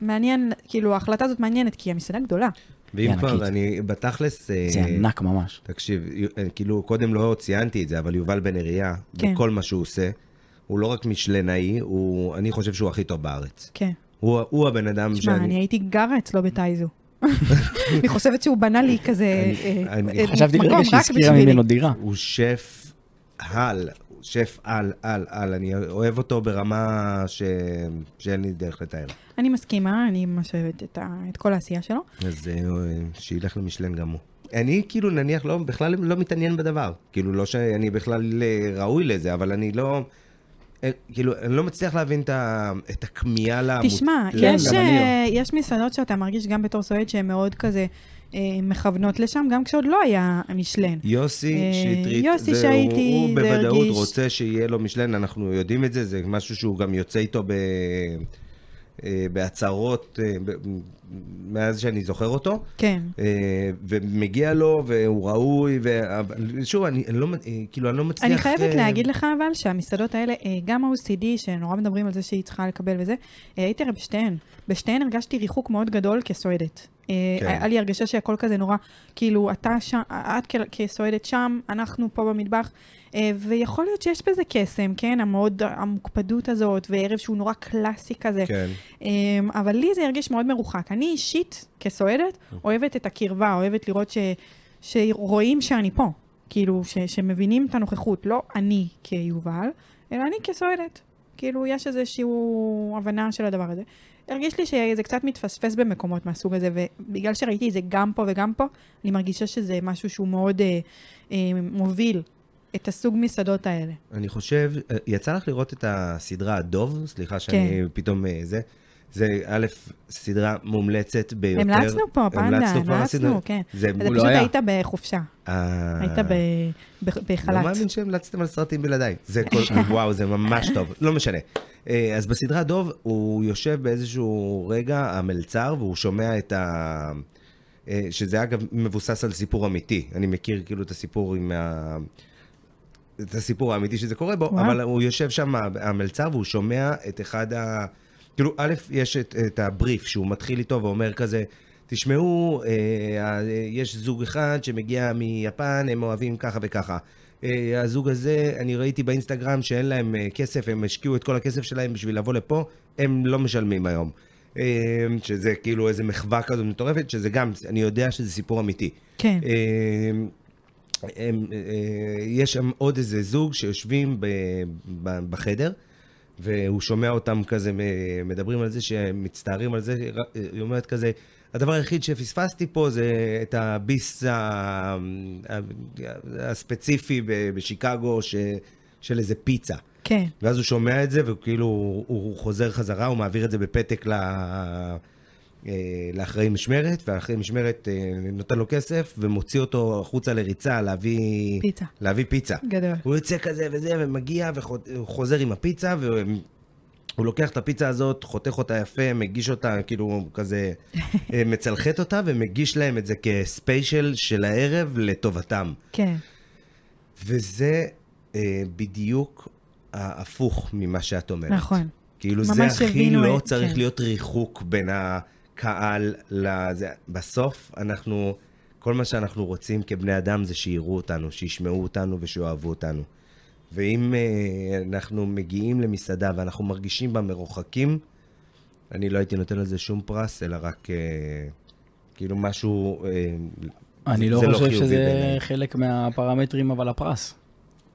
Speaker 1: מעניין, כאילו ההחלטה הזאת מעניינת, כי המסעדה גדולה.
Speaker 3: ואם
Speaker 2: היא
Speaker 3: כבר,
Speaker 2: ענקית.
Speaker 3: אני בתכלס... אה,
Speaker 2: זה ענק ממש.
Speaker 3: תקשיב, יו- אה, כאילו, קודם לא ציינתי את זה, אבל יובל בן אריה,
Speaker 1: כן.
Speaker 3: בכל מה שהוא עושה, הוא לא רק משלנאי, הוא, אני חושב שהוא הכי טוב בארץ.
Speaker 1: כן.
Speaker 3: הוא, הוא הבן אדם
Speaker 1: תשמע, אני
Speaker 3: שאני...
Speaker 1: הייתי גרה אצלו בטייזו. אני חושבת שהוא בנה לי כזה
Speaker 3: אני-
Speaker 1: אה,
Speaker 3: אני
Speaker 1: אה,
Speaker 2: חשבתי
Speaker 1: מקום
Speaker 2: לרגע
Speaker 1: רק
Speaker 2: שהזכירה
Speaker 1: בשבילי.
Speaker 2: ממנו דירה.
Speaker 3: הוא שף על, הוא שף על, על, על, אני אוהב אותו ברמה ש... שאין לי דרך לתאר.
Speaker 1: אני מסכימה, אני ממש אוהבת את ה- את כל העשייה שלו.
Speaker 3: אז אה, שילך למשלן גם הוא. אני כאילו נניח לא, בכלל לא מתעניין בדבר. כאילו לא שאני בכלל אה, ראוי לזה, אבל אני לא... אה, כאילו, אני לא מצליח להבין את, ה, את הכמיהה לעמוד.
Speaker 1: תשמע,
Speaker 2: כן,
Speaker 1: יש,
Speaker 2: גם אני לא.
Speaker 1: אה, יש מסעדות שאתה מרגיש גם בתור סועד שהן מאוד כזה אה, מכוונות לשם, גם כשעוד לא היה משלן.
Speaker 3: יוסי
Speaker 1: אה,
Speaker 3: שטרית,
Speaker 1: יוסי
Speaker 3: זה-
Speaker 1: שהייתי,
Speaker 3: הוא, הוא
Speaker 1: זה
Speaker 3: בוודאות
Speaker 1: הרגיש-
Speaker 3: רוצה שיהיה לו משלן, אנחנו יודעים את זה, זה משהו שהוא גם יוצא איתו ב... אה, בהצהרות אה, ב- מאז שאני זוכר אותו.
Speaker 1: כן.
Speaker 3: אה, ומגיע לו, והוא ראוי, ו... אבל שוב, אני, אני לא, מ- אה, כאילו, אני לא מצליח...
Speaker 1: אני חייבת
Speaker 3: אה,
Speaker 1: להגיד לך אבל שהמסעדות האלה, אה, גם ה-OCD, שנורא מדברים על זה שהיא צריכה לקבל וזה, אה, הייתי הרי בשתיהן. בשתיהן הרגשתי ריחוק מאוד גדול כסועדת. אה,
Speaker 3: כן.
Speaker 1: היה לי הרגשה שהכל כזה נורא, כאילו, אתה שם, את כ- כסועדת שם, אנחנו פה במטבח, אה, ויכול להיות שיש בזה קסם, כן? המאוד, המוקפדות הזאת, וערב שהוא נורא קלאסי כזה.
Speaker 3: כן.
Speaker 1: אמ, אבל לי זה הרגיש מאוד מרוחק. אני אישית, כסועדת,
Speaker 3: אוקיי.
Speaker 1: אוהבת את הקרבה, אוהבת לראות ש, שרואים שאני פה. כאילו, ש, שמבינים את הנוכחות, לא אני כיובל, אלא אני כסועדת. כאילו, יש איזושהי הבנה של הדבר הזה. הרגיש לי שזה קצת מתפספס במקומות מהסוג הזה, ובגלל שראיתי את זה גם פה וגם פה, אני מרגישה שזה משהו שהוא מאוד אה, אה, מוביל את הסוג מסעדות האלה.
Speaker 3: אני חושב, אה, יצא לך לראות את הסדרה דוב, סליחה שאני
Speaker 1: כן.
Speaker 3: פתאום אה, זה. זה א', סדרה מומלצת ביותר.
Speaker 1: המלצנו פה, פנדה,
Speaker 3: המלצנו כבר,
Speaker 1: המלצנו,
Speaker 3: עשינו-
Speaker 1: כן.
Speaker 3: זה
Speaker 1: אתה
Speaker 2: הוא
Speaker 1: פשוט
Speaker 2: לא היה.
Speaker 1: היית בחופשה,
Speaker 3: אה,
Speaker 1: היית ב, ב, בחל"ת.
Speaker 3: לא מאמין שהמלצתם על סרטים בלעדיי. זה כל... וואו, זה ממש טוב. לא משנה. אה, אז בסדרה דוב, הוא יושב באיזשהו רגע, המלצר, והוא שומע את ה... אה, שזה אגב מבוסס על סיפור אמיתי. אני מכיר כאילו את הסיפור עם ה... את הסיפור האמיתי שזה קורה בו,
Speaker 1: וואו.
Speaker 3: אבל הוא יושב שם, המלצר, והוא שומע את אחד ה... כאילו, א', יש את, את הבריף שהוא מתחיל איתו ואומר כזה, תשמעו, אה, אה, יש זוג אחד שמגיע מיפן, הם אוהבים ככה וככה. אה, הזוג הזה, אני ראיתי באינסטגרם שאין להם אה, כסף, הם השקיעו את כל הכסף שלהם בשביל לבוא לפה, הם לא משלמים היום. אה, שזה כאילו איזה מחווה כזו מטורפת, שזה גם, אני יודע שזה סיפור אמיתי.
Speaker 1: כן.
Speaker 3: אה, הם, אה, יש שם עוד איזה זוג שיושבים ב, ב, בחדר, והוא שומע אותם כזה, מ- מדברים על זה, שמצטערים על זה, אה, היא אומרת כזה, הדבר היחיד שפספסתי פה זה את הביס ה- ה- הספציפי ב- בשיקגו ש, של איזה פיצה.
Speaker 1: כן.
Speaker 3: ואז הוא שומע את זה, וכאילו הוא, הוא חוזר חזרה, הוא מעביר את זה בפתק ל... אה, לאחראי משמרת, והאחראי משמרת אה, נותן לו כסף ומוציא אותו החוצה לריצה להביא
Speaker 1: פיצה. כן.
Speaker 3: להביא פיצה.
Speaker 1: גדול.
Speaker 3: הוא יוצא כזה וזה, ומגיע וחוזר עם הפיצה, והוא לוקח את הפיצה הזאת, חותך אותה יפה, מגיש אותה, כאילו כזה אה, מצלחת אותה, ומגיש להם את זה כספיישל של הערב לטובתם.
Speaker 1: כן.
Speaker 3: וזה אה, בדיוק ההפוך ממה שאת אומרת.
Speaker 1: נכון.
Speaker 3: כאילו
Speaker 1: ממש
Speaker 3: זה הכי
Speaker 1: הבינו
Speaker 3: לא
Speaker 1: את-
Speaker 3: צריך
Speaker 1: כן.
Speaker 3: להיות ריחוק בין הקהל לזה. בסוף אנחנו, כל מה שאנחנו רוצים כבני אדם זה שיראו אותנו, שישמעו אותנו ושאוהבו אותנו. ואם אה, אנחנו מגיעים למסעדה ואנחנו מרגישים בה מרוחקים, אני לא הייתי נותן לזה שום פרס, אלא רק אה, כאילו משהו... אה,
Speaker 2: אני לא
Speaker 3: זה
Speaker 2: חושב
Speaker 3: חיובי
Speaker 2: שזה
Speaker 3: בעיניי.
Speaker 2: חלק מהפרמטרים, אבל הפרס.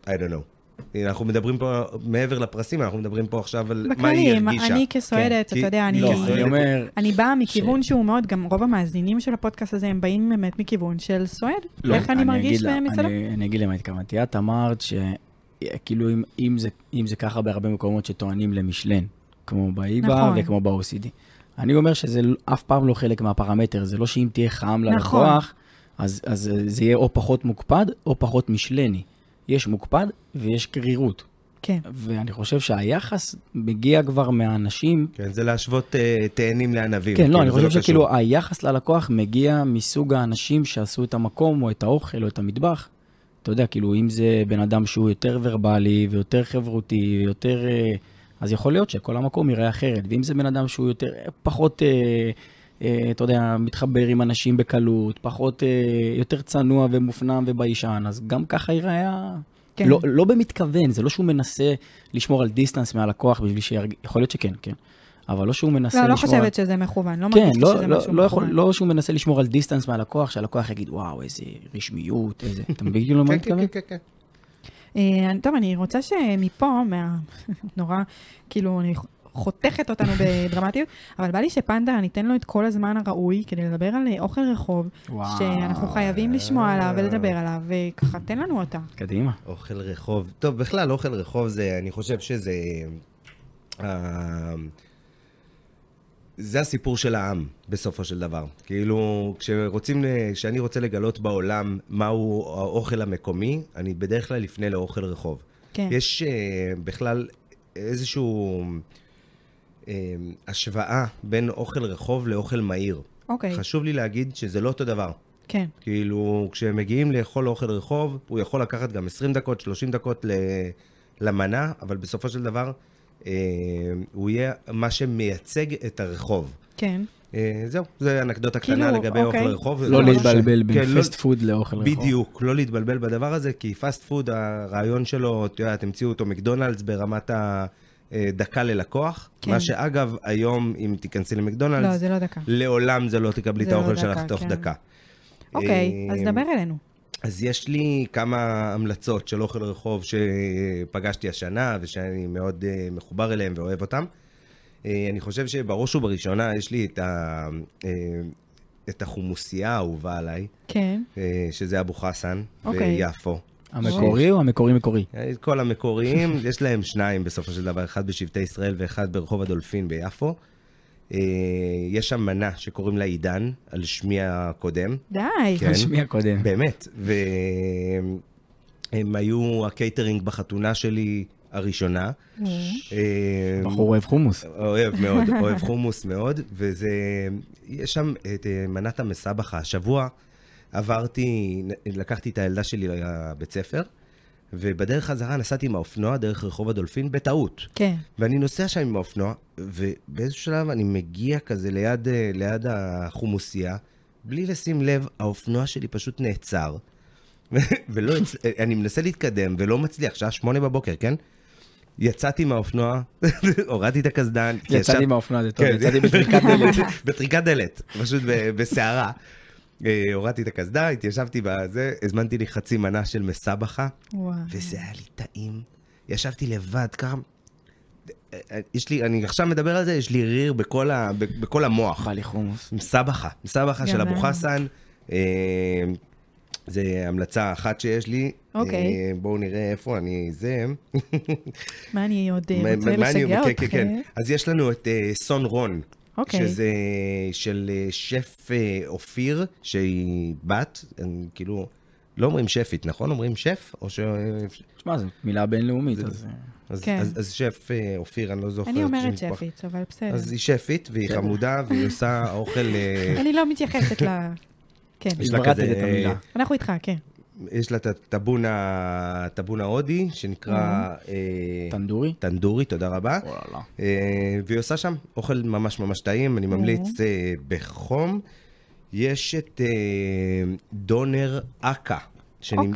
Speaker 3: I don't know. אנחנו מדברים פה, מעבר לפרסים, אנחנו מדברים פה עכשיו על מה היא
Speaker 1: בכללי,
Speaker 3: הרגישה. כן,
Speaker 1: אני כסועדת,
Speaker 3: כי-
Speaker 1: אתה יודע, אני...
Speaker 2: לא,
Speaker 3: כי-
Speaker 2: אני אומר,
Speaker 1: אני באה מכיוון שהוא מאוד, גם רוב המאזינים של הפודקאסט הזה, הם באים באמת מכיוון של סועד.
Speaker 2: לא,
Speaker 1: איך אני מרגיש
Speaker 2: אגיד לה-
Speaker 1: במצדה?
Speaker 2: אני- אני אגיד למה התכוונתי. את אמרת שכאילו אם, אם, זה- אם זה ככה בהרבה מקומות שטוענים למשלן, כמו באיבה
Speaker 1: נכון.
Speaker 2: וכמו ב-OCD. אני אומר שזה לא- אף פעם לא חלק מהפרמטר, זה לא שאם תהיה חם
Speaker 1: נכון.
Speaker 2: ללקוח, אז, אז זה יהיה או פחות מוקפד או פחות משלני. יש מוקפד ויש קרירות.
Speaker 1: כן.
Speaker 2: ואני חושב שהיחס מגיע כבר מהאנשים
Speaker 3: כן, זה להשוות אה, תאנים לענבים.
Speaker 2: כן,
Speaker 3: כאילו,
Speaker 2: לא, אני
Speaker 3: זה
Speaker 2: חושב
Speaker 3: קשור.
Speaker 2: שכאילו היחס ללקוח מגיע מסוג האנשים שעשו את המקום, או את האוכל, או את המטבח. אתה יודע, כאילו, אם זה בן אדם שהוא יותר ורבלי, ויותר חברותי, ויותר... אה, אז יכול להיות שכל המקום ייראה אחרת. ואם זה בן אדם שהוא יותר, פחות, אה, אה, אתה יודע, מתחבר עם אנשים בקלות, פחות, אה, יותר צנוע ומופנם וביישן, אז גם ככה ייראה... ה-
Speaker 1: כן.
Speaker 2: לא, לא במתכוון, זה לא שהוא מנסה לשמור על דיסטנס מהלקוח בשביל שירג... יכול להיות שכן, כן. אבל לא שהוא מנסה
Speaker 1: לא, לא
Speaker 2: לשמור... על-
Speaker 1: חושבת שזה מכוון, לא
Speaker 2: כן,
Speaker 1: מרגיש לי
Speaker 2: לא,
Speaker 1: שזה
Speaker 2: לא,
Speaker 1: משהו
Speaker 2: לא, יכול,
Speaker 1: מכוון.
Speaker 2: לא שהוא מנסה לשמור על דיסטנס מהלקוח, שהלקוח יגיד, וואו, איזה רשמיות, איזה... אתה מבין כאילו למה אני
Speaker 3: כן, כן,
Speaker 2: מתכוון?
Speaker 3: כן, כן.
Speaker 1: אה, טוב, אני רוצה שמפה, מה... נורא, כאילו, אני חותכת אותנו בדרמטיות, אבל בא לי שפנדה, ניתן לו את כל הזמן הראוי כדי לדבר על אה, אוכל רחוב,
Speaker 2: וואו.
Speaker 1: שאנחנו חייבים לשמוע עליו ולדבר עליו, וככה, תן לנו אותה.
Speaker 2: קדימה.
Speaker 3: אוכל רחוב. טוב, בכלל, אוכל רחוב זה, אני חושב שזה... אה, זה הסיפור של העם, בסופו של דבר. כאילו, כשרוצים, ל- כשאני רוצה לגלות בעולם מהו האוכל המקומי, אני בדרך כלל אפנה לאוכל רחוב.
Speaker 1: כן.
Speaker 3: יש אה, בכלל איזשהו אה, השוואה בין אוכל רחוב לאוכל מהיר.
Speaker 1: אוקיי,
Speaker 3: חשוב לי להגיד שזה לא אותו דבר.
Speaker 1: כן,
Speaker 3: כאילו, כשמגיעים לאכול אוכל רחוב, הוא יכול לקחת גם 20 דקות, 30 דקות ל... למנה, אבל בסופו של דבר, אה, הוא יהיה מה שמייצג את הרחוב.
Speaker 1: כן.
Speaker 3: אה, זהו, זו אנקדוטה
Speaker 1: כאילו,
Speaker 3: קטנה לגבי
Speaker 1: אוקיי.
Speaker 3: אוכל רחוב.
Speaker 2: לא
Speaker 3: זה משהו
Speaker 2: להתבלבל
Speaker 3: כן,
Speaker 2: בין
Speaker 3: לא-
Speaker 2: פסט פוד לאוכל רחוב.
Speaker 3: בדיוק, לא להתבלבל בדבר הזה, כי פאסט פוד, הרעיון שלו, את יודעת, המציאו אותו מקדונלדס ברמת הדקה ללקוח.
Speaker 1: כן.
Speaker 3: מה שאגב, היום, אם תיכנסי למקדונלדס,
Speaker 1: לא, זה לא דקה.
Speaker 3: לעולם זה לא תקבלי
Speaker 1: זה
Speaker 3: את האוכל
Speaker 1: לא
Speaker 3: שלך
Speaker 1: דקה,
Speaker 3: תוך
Speaker 1: כן.
Speaker 3: דקה.
Speaker 1: אוקיי, אז
Speaker 3: אה,
Speaker 1: דבר אלינו.
Speaker 3: אז יש לי כמה המלצות של אוכל רחוב שפגשתי השנה, ושאני מאוד אה, מחובר אליהם ואוהב אותם. אה, אני חושב שבראש ובראשונה יש לי את, ה, אה, את החומוסייה האהובה עליי,
Speaker 1: כן,
Speaker 3: אה, שזה אבו חסן
Speaker 1: אוקיי.
Speaker 3: ויפו. אה,
Speaker 2: המקורי או המקורי מקורי?
Speaker 3: כל המקוריים, יש להם שניים בסופו של דבר, אחד בשבטי ישראל ואחד ברחוב הדולפין ביפו. אה, יש שם מנה שקוראים לה עידן, על שמי הקודם.
Speaker 1: די.
Speaker 3: כן.
Speaker 2: השמיע קודם.
Speaker 3: באמת, והם היו הקייטרינג בחתונה שלי, הראשונה. אה,
Speaker 2: בחור אוהב חומוס.
Speaker 3: אוהב מאוד, אוהב חומוס מאוד, וזה... יש שם את אה, מנת המסבכה. השבוע עברתי, לקחתי את הילדה שלי לבית ספר, ובדרך חזרה נסעתי עם האופנוע דרך רחוב הדולפין בטעות.
Speaker 1: כן.
Speaker 3: ואני נוסע שם עם האופנוע, ובאיזשהו שלב אני מגיע כזה ליד, אה, ליד החומוסייה, בלי לשים לב, האופנוע שלי פשוט נעצר. ו- ולא, הצ- אה, אני מנסה להתקדם ולא מצליח, שעה שמונה בבוקר, כן? יצאתי מהאופנוע, הורדתי את הקסדן. כי
Speaker 2: יצאתי
Speaker 3: ישב-
Speaker 2: מהאופנוע, זה טוב,
Speaker 3: כן,
Speaker 2: יצאתי בטריקת דלת.
Speaker 3: בטריקת דלת, פשוט ב- בסערה. אה, הורדתי את הקסדה, התיישבתי בזה, הזמנתי לי חצי מנה של מסבכה,
Speaker 1: וואו.
Speaker 3: וזה היה לי טעים. ישבתי לבד, ככה... אה, יש לי, אני עכשיו מדבר על זה, יש לי ריר בכל, ה, ב- בכל המוח.
Speaker 2: אכל לי חומוס.
Speaker 3: מסבכה, מסבכה של
Speaker 1: יאללה.
Speaker 3: אבו חסן. אה, זה המלצה אחת שיש לי.
Speaker 1: אוקיי.
Speaker 3: אה, בואו נראה איפה אני זה.
Speaker 1: מה אני עוד אה,
Speaker 3: מה-
Speaker 1: רוצה
Speaker 3: מה אני-
Speaker 1: לשגע
Speaker 3: כן, כן,
Speaker 1: אותך?
Speaker 3: כן. אז יש לנו את אה, סון רון.
Speaker 1: אוקיי.
Speaker 3: שזה של אה, שף אה, אופיר, שהיא בת, הם כאילו, לא אומרים שפית, נכון? אומרים שף? או ש...
Speaker 2: תשמע, זו מילה בינלאומית, אז... אה,
Speaker 3: אז,
Speaker 1: כן.
Speaker 3: אז, אז שף אה, אופיר, אני לא זוכר.
Speaker 1: אני
Speaker 3: את
Speaker 1: אומרת
Speaker 3: שם
Speaker 1: שפית, כן. אבל
Speaker 3: המשפחה.
Speaker 1: בסדר.
Speaker 3: אז היא שפית, והיא
Speaker 2: בסדר.
Speaker 3: חמודה, והיא עושה אוכל... אה,
Speaker 1: אני לא מתייחסת ל... כן.
Speaker 3: יש לה
Speaker 2: הברטת
Speaker 3: כזה-
Speaker 2: את המילה.
Speaker 1: אנחנו איתך, כן.
Speaker 3: יש לה את הטבון ה- הטבון ההודי, שנקרא... אה,
Speaker 2: טנדורי?
Speaker 3: טנדורי, תודה רבה.
Speaker 2: וואלה.
Speaker 3: אה, והיא עושה שם אוכל ממש ממש טעים, אני ממליץ אה, בחום. יש את אה, דונר אכה, שנמצא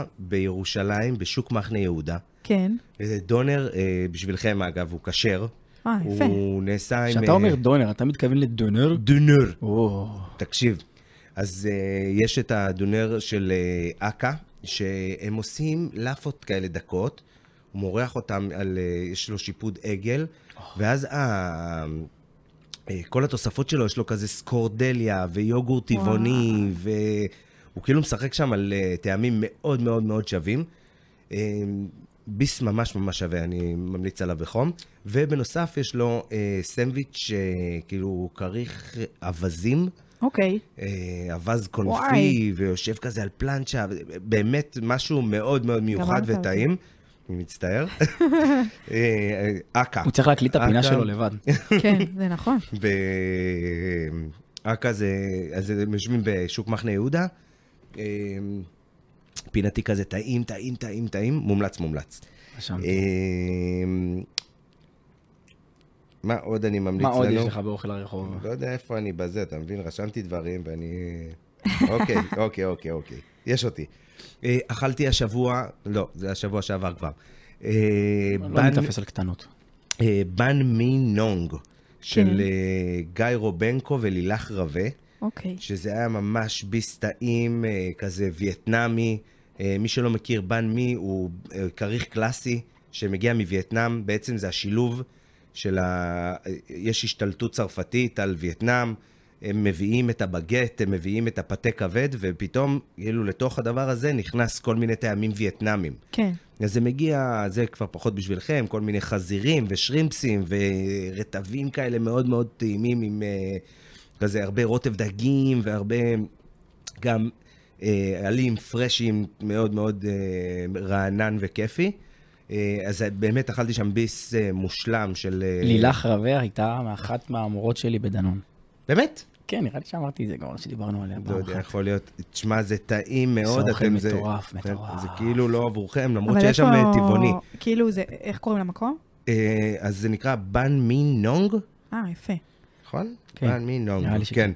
Speaker 1: אוקיי.
Speaker 3: בירושלים, בשוק מחנה יהודה.
Speaker 1: כן.
Speaker 3: אה, דונר, אה, בשבילכם אגב, הוא כשר.
Speaker 1: אה, יפה.
Speaker 3: הוא נעשה עם...
Speaker 2: כשאתה
Speaker 3: אה,
Speaker 2: אומר דונר, אתה מתכוון לדונר?
Speaker 3: דונר.
Speaker 2: או,
Speaker 3: תקשיב, אז אה, יש את הדונר של אה, אכה, שהם עושים לאפות כאלה דקות, הוא מורח אותם על, אה, יש לו שיפוד עגל, ואז ה... אה, כל התוספות שלו, יש לו כזה סקורדליה ויוגורט
Speaker 1: וואו.
Speaker 3: טבעוני, והוא כאילו משחק שם על אה, טעמים מאוד מאוד מאוד שווים. אה, ביס ממש ממש שווה, אני ממליץ עליו בחום. ובנוסף יש לו אה, סנדוויץ' אה, כאילו כריך אווזים,
Speaker 1: אוקיי.
Speaker 3: אה, אווז קונפי,
Speaker 1: וואי.
Speaker 3: ויושב כזה על פלנצ'ה, באמת משהו מאוד מאוד מיוחד
Speaker 1: גמרת אותי.
Speaker 3: וטעים. אני מצטער. אה, אכ"א.
Speaker 2: הוא צריך להקליט את הפינה
Speaker 3: אכ"א.
Speaker 2: שלו לבד.
Speaker 1: כן, זה נכון.
Speaker 3: ואכ"א אה, זה, אז הם יושבים בשוק מחנה יהודה. אה, פינתי כזה טעים, טעים, טעים, טעים, מומלץ, מומלץ.
Speaker 2: שם.
Speaker 3: אה, מה עוד אני ממליץ
Speaker 2: מה
Speaker 3: לנו?
Speaker 2: עוד יש לך באוכל הרחוב?
Speaker 3: לא יודע איפה אני בזה, אתה מבין? רשמתי דברים ואני... אוקיי, אוקיי, אוקיי, אוקיי. יש אותי. אה, אכלתי השבוע, לא, זה השבוע שעבר כבר. אה,
Speaker 2: לא
Speaker 3: בן-
Speaker 2: מתאפס על קטנות.
Speaker 3: אה, בן מי נונג של אה, גיא רובנקו ולילך רווה,
Speaker 1: אוקיי.
Speaker 3: שזה היה ממש ביס טעים, אה, כזה וייטנאמי. אה, מי שלא מכיר, בן מי הוא אה, כריך קלאסי שמגיע מווייטנאם, בעצם זה השילוב של ה... אה, יש השתלטות צרפתית על וייטנאם, הם מביאים את הבגט, הם מביאים את הפתה כבד, ופתאום, כאילו, לתוך הדבר הזה נכנס כל מיני טעמים וייטנאמים.
Speaker 1: כן.
Speaker 3: אז זה מגיע, זה כבר פחות בשבילכם, כל מיני חזירים ושרימפסים ורטבים כאלה מאוד מאוד טעימים עם אה, כזה הרבה רוטב דגים והרבה גם אה, עלים פרשים מאוד מאוד אה, רענן וכיפי. אה, אז באמת אכלתי שם ביס אה, מושלם של... אה,
Speaker 2: לילך רווה הייתה מאחת מהמורות שלי בדנון.
Speaker 3: באמת?
Speaker 2: כן, נראה לי שאמרתי את זה כבר, שדיברנו עליה
Speaker 3: לא
Speaker 2: פעם
Speaker 3: יודע,
Speaker 2: אחת.
Speaker 3: יכול להיות. תשמע, זה טעים מאוד.
Speaker 2: זה אוכל
Speaker 3: אתם- זה-
Speaker 2: מטורף, מטורף.
Speaker 3: זה כאילו לא עבורכם, למרות
Speaker 1: אבל
Speaker 3: שיש שם
Speaker 1: איפה-
Speaker 3: אה, טבעוני.
Speaker 1: כאילו זה, איך קוראים למקום?
Speaker 3: אה, אז זה נקרא בן מין נונג.
Speaker 1: אה, יפה.
Speaker 3: נכון?
Speaker 2: כן.
Speaker 3: בן מי נונג.
Speaker 2: נראה לי
Speaker 3: כן.
Speaker 2: שכן.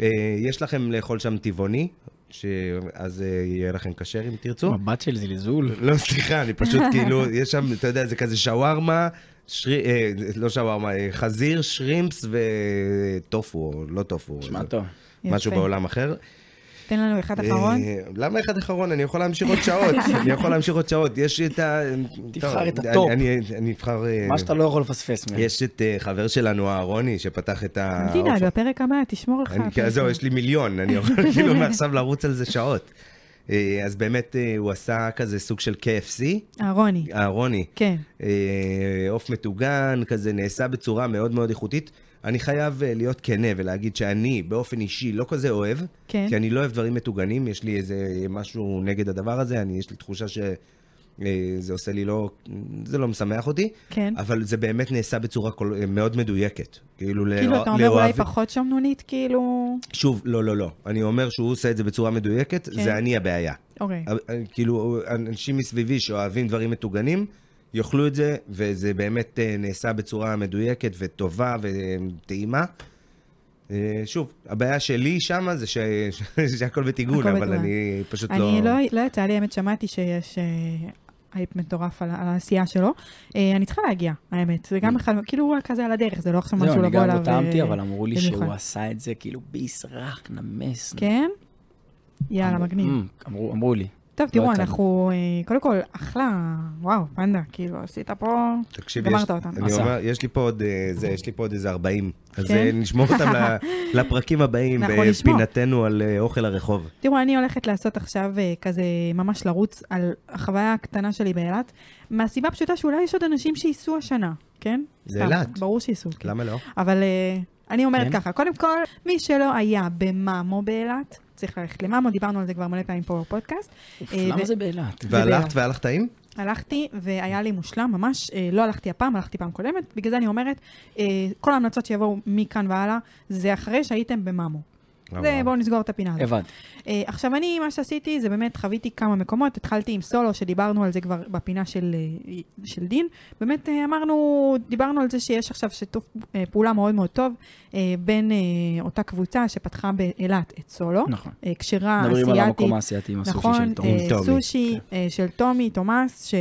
Speaker 3: אה, יש לכם לאכול שם טבעוני, שאז אה, יהיה לכם כשר אם תרצו.
Speaker 2: מבט של זלזול.
Speaker 3: לא, סליחה, אני פשוט כאילו, יש שם, אתה יודע, זה כזה שווארמה, שרי- אה, לא שווארמה, אה, חזיר, שרימפס וטופו, או לא טופו.
Speaker 2: נשמע
Speaker 3: זה-
Speaker 2: טוב.
Speaker 3: משהו
Speaker 1: יפה.
Speaker 3: בעולם אחר.
Speaker 1: תן לנו אחד אחרון.
Speaker 3: אה, למה אחד אחרון? אני יכול להמשיך עוד שעות. אני יכול להמשיך עוד שעות. יש את ה... אה,
Speaker 2: תבחר
Speaker 3: טוב,
Speaker 2: את
Speaker 3: אני-
Speaker 2: הטופ.
Speaker 3: אני אני אבחר... אה,
Speaker 2: מה שאתה לא יכול לפספס ממנו.
Speaker 3: יש את אה, חבר שלנו, אהרוני, שפתח את ה...
Speaker 1: אל תדאג, בפרק הבא תשמור לך.
Speaker 3: אני,
Speaker 1: הפרק
Speaker 3: אז זהו,
Speaker 1: הבא.
Speaker 3: יש לי מיליון, אני יכול כאילו מעכשיו לרוץ על זה שעות. אה, אז באמת אה, הוא עשה כזה סוג של KFC,
Speaker 1: אה, רוני.
Speaker 3: אהרוני.
Speaker 1: כן.
Speaker 3: אה, עוף מטוגן, כזה נעשה בצורה מאוד מאוד איכותית. אני חייב אה, להיות כנה ולהגיד שאני באופן אישי לא כזה אוהב,
Speaker 1: כן.
Speaker 3: כי אני לא אוהב דברים מטוגנים, יש לי איזה משהו נגד הדבר הזה, אני, יש לי תחושה ש... אה, זה עושה לי לא, זה לא משמח אותי,
Speaker 1: כן.
Speaker 3: אבל זה באמת נעשה בצורה כל, מאוד מדויקת.
Speaker 1: כאילו,
Speaker 3: כאילו, לאוה-
Speaker 1: אתה אומר אולי
Speaker 3: לאוהב-
Speaker 1: פחות שמנונית, כאילו...
Speaker 3: שוב, לא, לא, לא. אני אומר שהוא עושה את זה בצורה מדויקת,
Speaker 1: כן.
Speaker 3: זה אני הבעיה.
Speaker 1: אוקיי.
Speaker 3: כאילו, אנשים מסביבי שאוהבים דברים מטוגנים, יאכלו את זה, וזה באמת אה, נעשה בצורה מדויקת וטובה וטעימה. אה, שוב, הבעיה שלי שמה זה ש... שהכל בטיגון,
Speaker 1: הכל
Speaker 3: אבל
Speaker 1: בטיגון.
Speaker 3: אני פשוט לא...
Speaker 1: אני לא, לא יצא לי, האמת, שמעתי שיש אה, הייפ מטורף על, על העשייה שלו. אה, אני צריכה להגיע, האמת. זה גם בכלל, כאילו הוא כזה על הדרך, זה לא עכשיו
Speaker 2: זהו,
Speaker 1: משהו
Speaker 2: אני
Speaker 1: לבוא
Speaker 2: גם
Speaker 1: אליו.
Speaker 2: לא טעמתי,
Speaker 1: אה,
Speaker 2: אבל אמרו לי
Speaker 1: במיוחד.
Speaker 2: שהוא עשה את זה כאילו ביסרח, נמס.
Speaker 1: כן? יאללה,
Speaker 2: אמרו-
Speaker 1: מגניב.
Speaker 2: Mm, אמרו אמרו לי.
Speaker 1: טוב, תראו,
Speaker 2: יצא לי.
Speaker 1: אנחנו, אה, קודם כל, אחלה, וואו, פנדה, כאילו, עשית פה...
Speaker 3: תקשיב,
Speaker 1: גמרת
Speaker 3: יש,
Speaker 1: אותנו.
Speaker 3: אני
Speaker 2: עשה.
Speaker 3: אומר, יש לי פה עוד, אה, זה, יש לי פה עוד איזה 40. אז
Speaker 1: כן?
Speaker 3: אה, נשמור אותם ל- לפרקים הבאים,
Speaker 1: אנחנו נשמור.
Speaker 3: בפינתנו על אה, אוכל הרחוב.
Speaker 1: תראו, אני הולכת לעשות עכשיו אה, כזה ממש לרוץ על החוויה הקטנה שלי באילת, מהסיבה הפשוטה שאולי יש עוד אנשים שייסעו השנה, כן?
Speaker 3: זה
Speaker 1: סתם,
Speaker 3: אילת.
Speaker 1: ברור שייסעו. כן.
Speaker 3: למה לא?
Speaker 1: אבל אה, אני אומרת
Speaker 2: כן.
Speaker 1: ככה, קודם כל, מי שלא היה במאמו באילת, צריך ללכת למאמו, דיברנו על זה כבר מלא פעמים פה בפודקאסט.
Speaker 2: אוף,
Speaker 1: אה,
Speaker 2: למה
Speaker 1: ו-
Speaker 2: זה באילת?
Speaker 3: והלכת והלכת טעים?
Speaker 1: הלכתי וההיה לי מושלם ממש, אה, לא הלכתי הפעם, הלכתי פעם קודמת, בגלל זה אני אומרת, אה, כל ההמלצות שיבואו מכאן והלאה, זה אחרי שהייתם במאמו.
Speaker 3: לא
Speaker 1: זה, בואו נסגור את הפינה הזאת.
Speaker 2: הבנתי.
Speaker 1: אה, עכשיו אני, מה שעשיתי, זה באמת חוויתי כמה מקומות, התחלתי עם סולו, שדיברנו על זה כבר בפינה של, אה, של דין. באמת אה, אמרנו, דיברנו על זה שיש עכשיו שיתוף אה, פעולה מאוד מאוד טוב אה, בין אה, אותה קבוצה שפתחה באילת את סולו,
Speaker 2: נכון.
Speaker 1: אה, כשרה
Speaker 2: מדברים על המקום
Speaker 1: אסיאתית.
Speaker 2: האסייתי עם הסושי
Speaker 1: נכון,
Speaker 2: של תום.
Speaker 1: אה,
Speaker 3: טומי.
Speaker 1: סושי אה, של טומי, תומאס,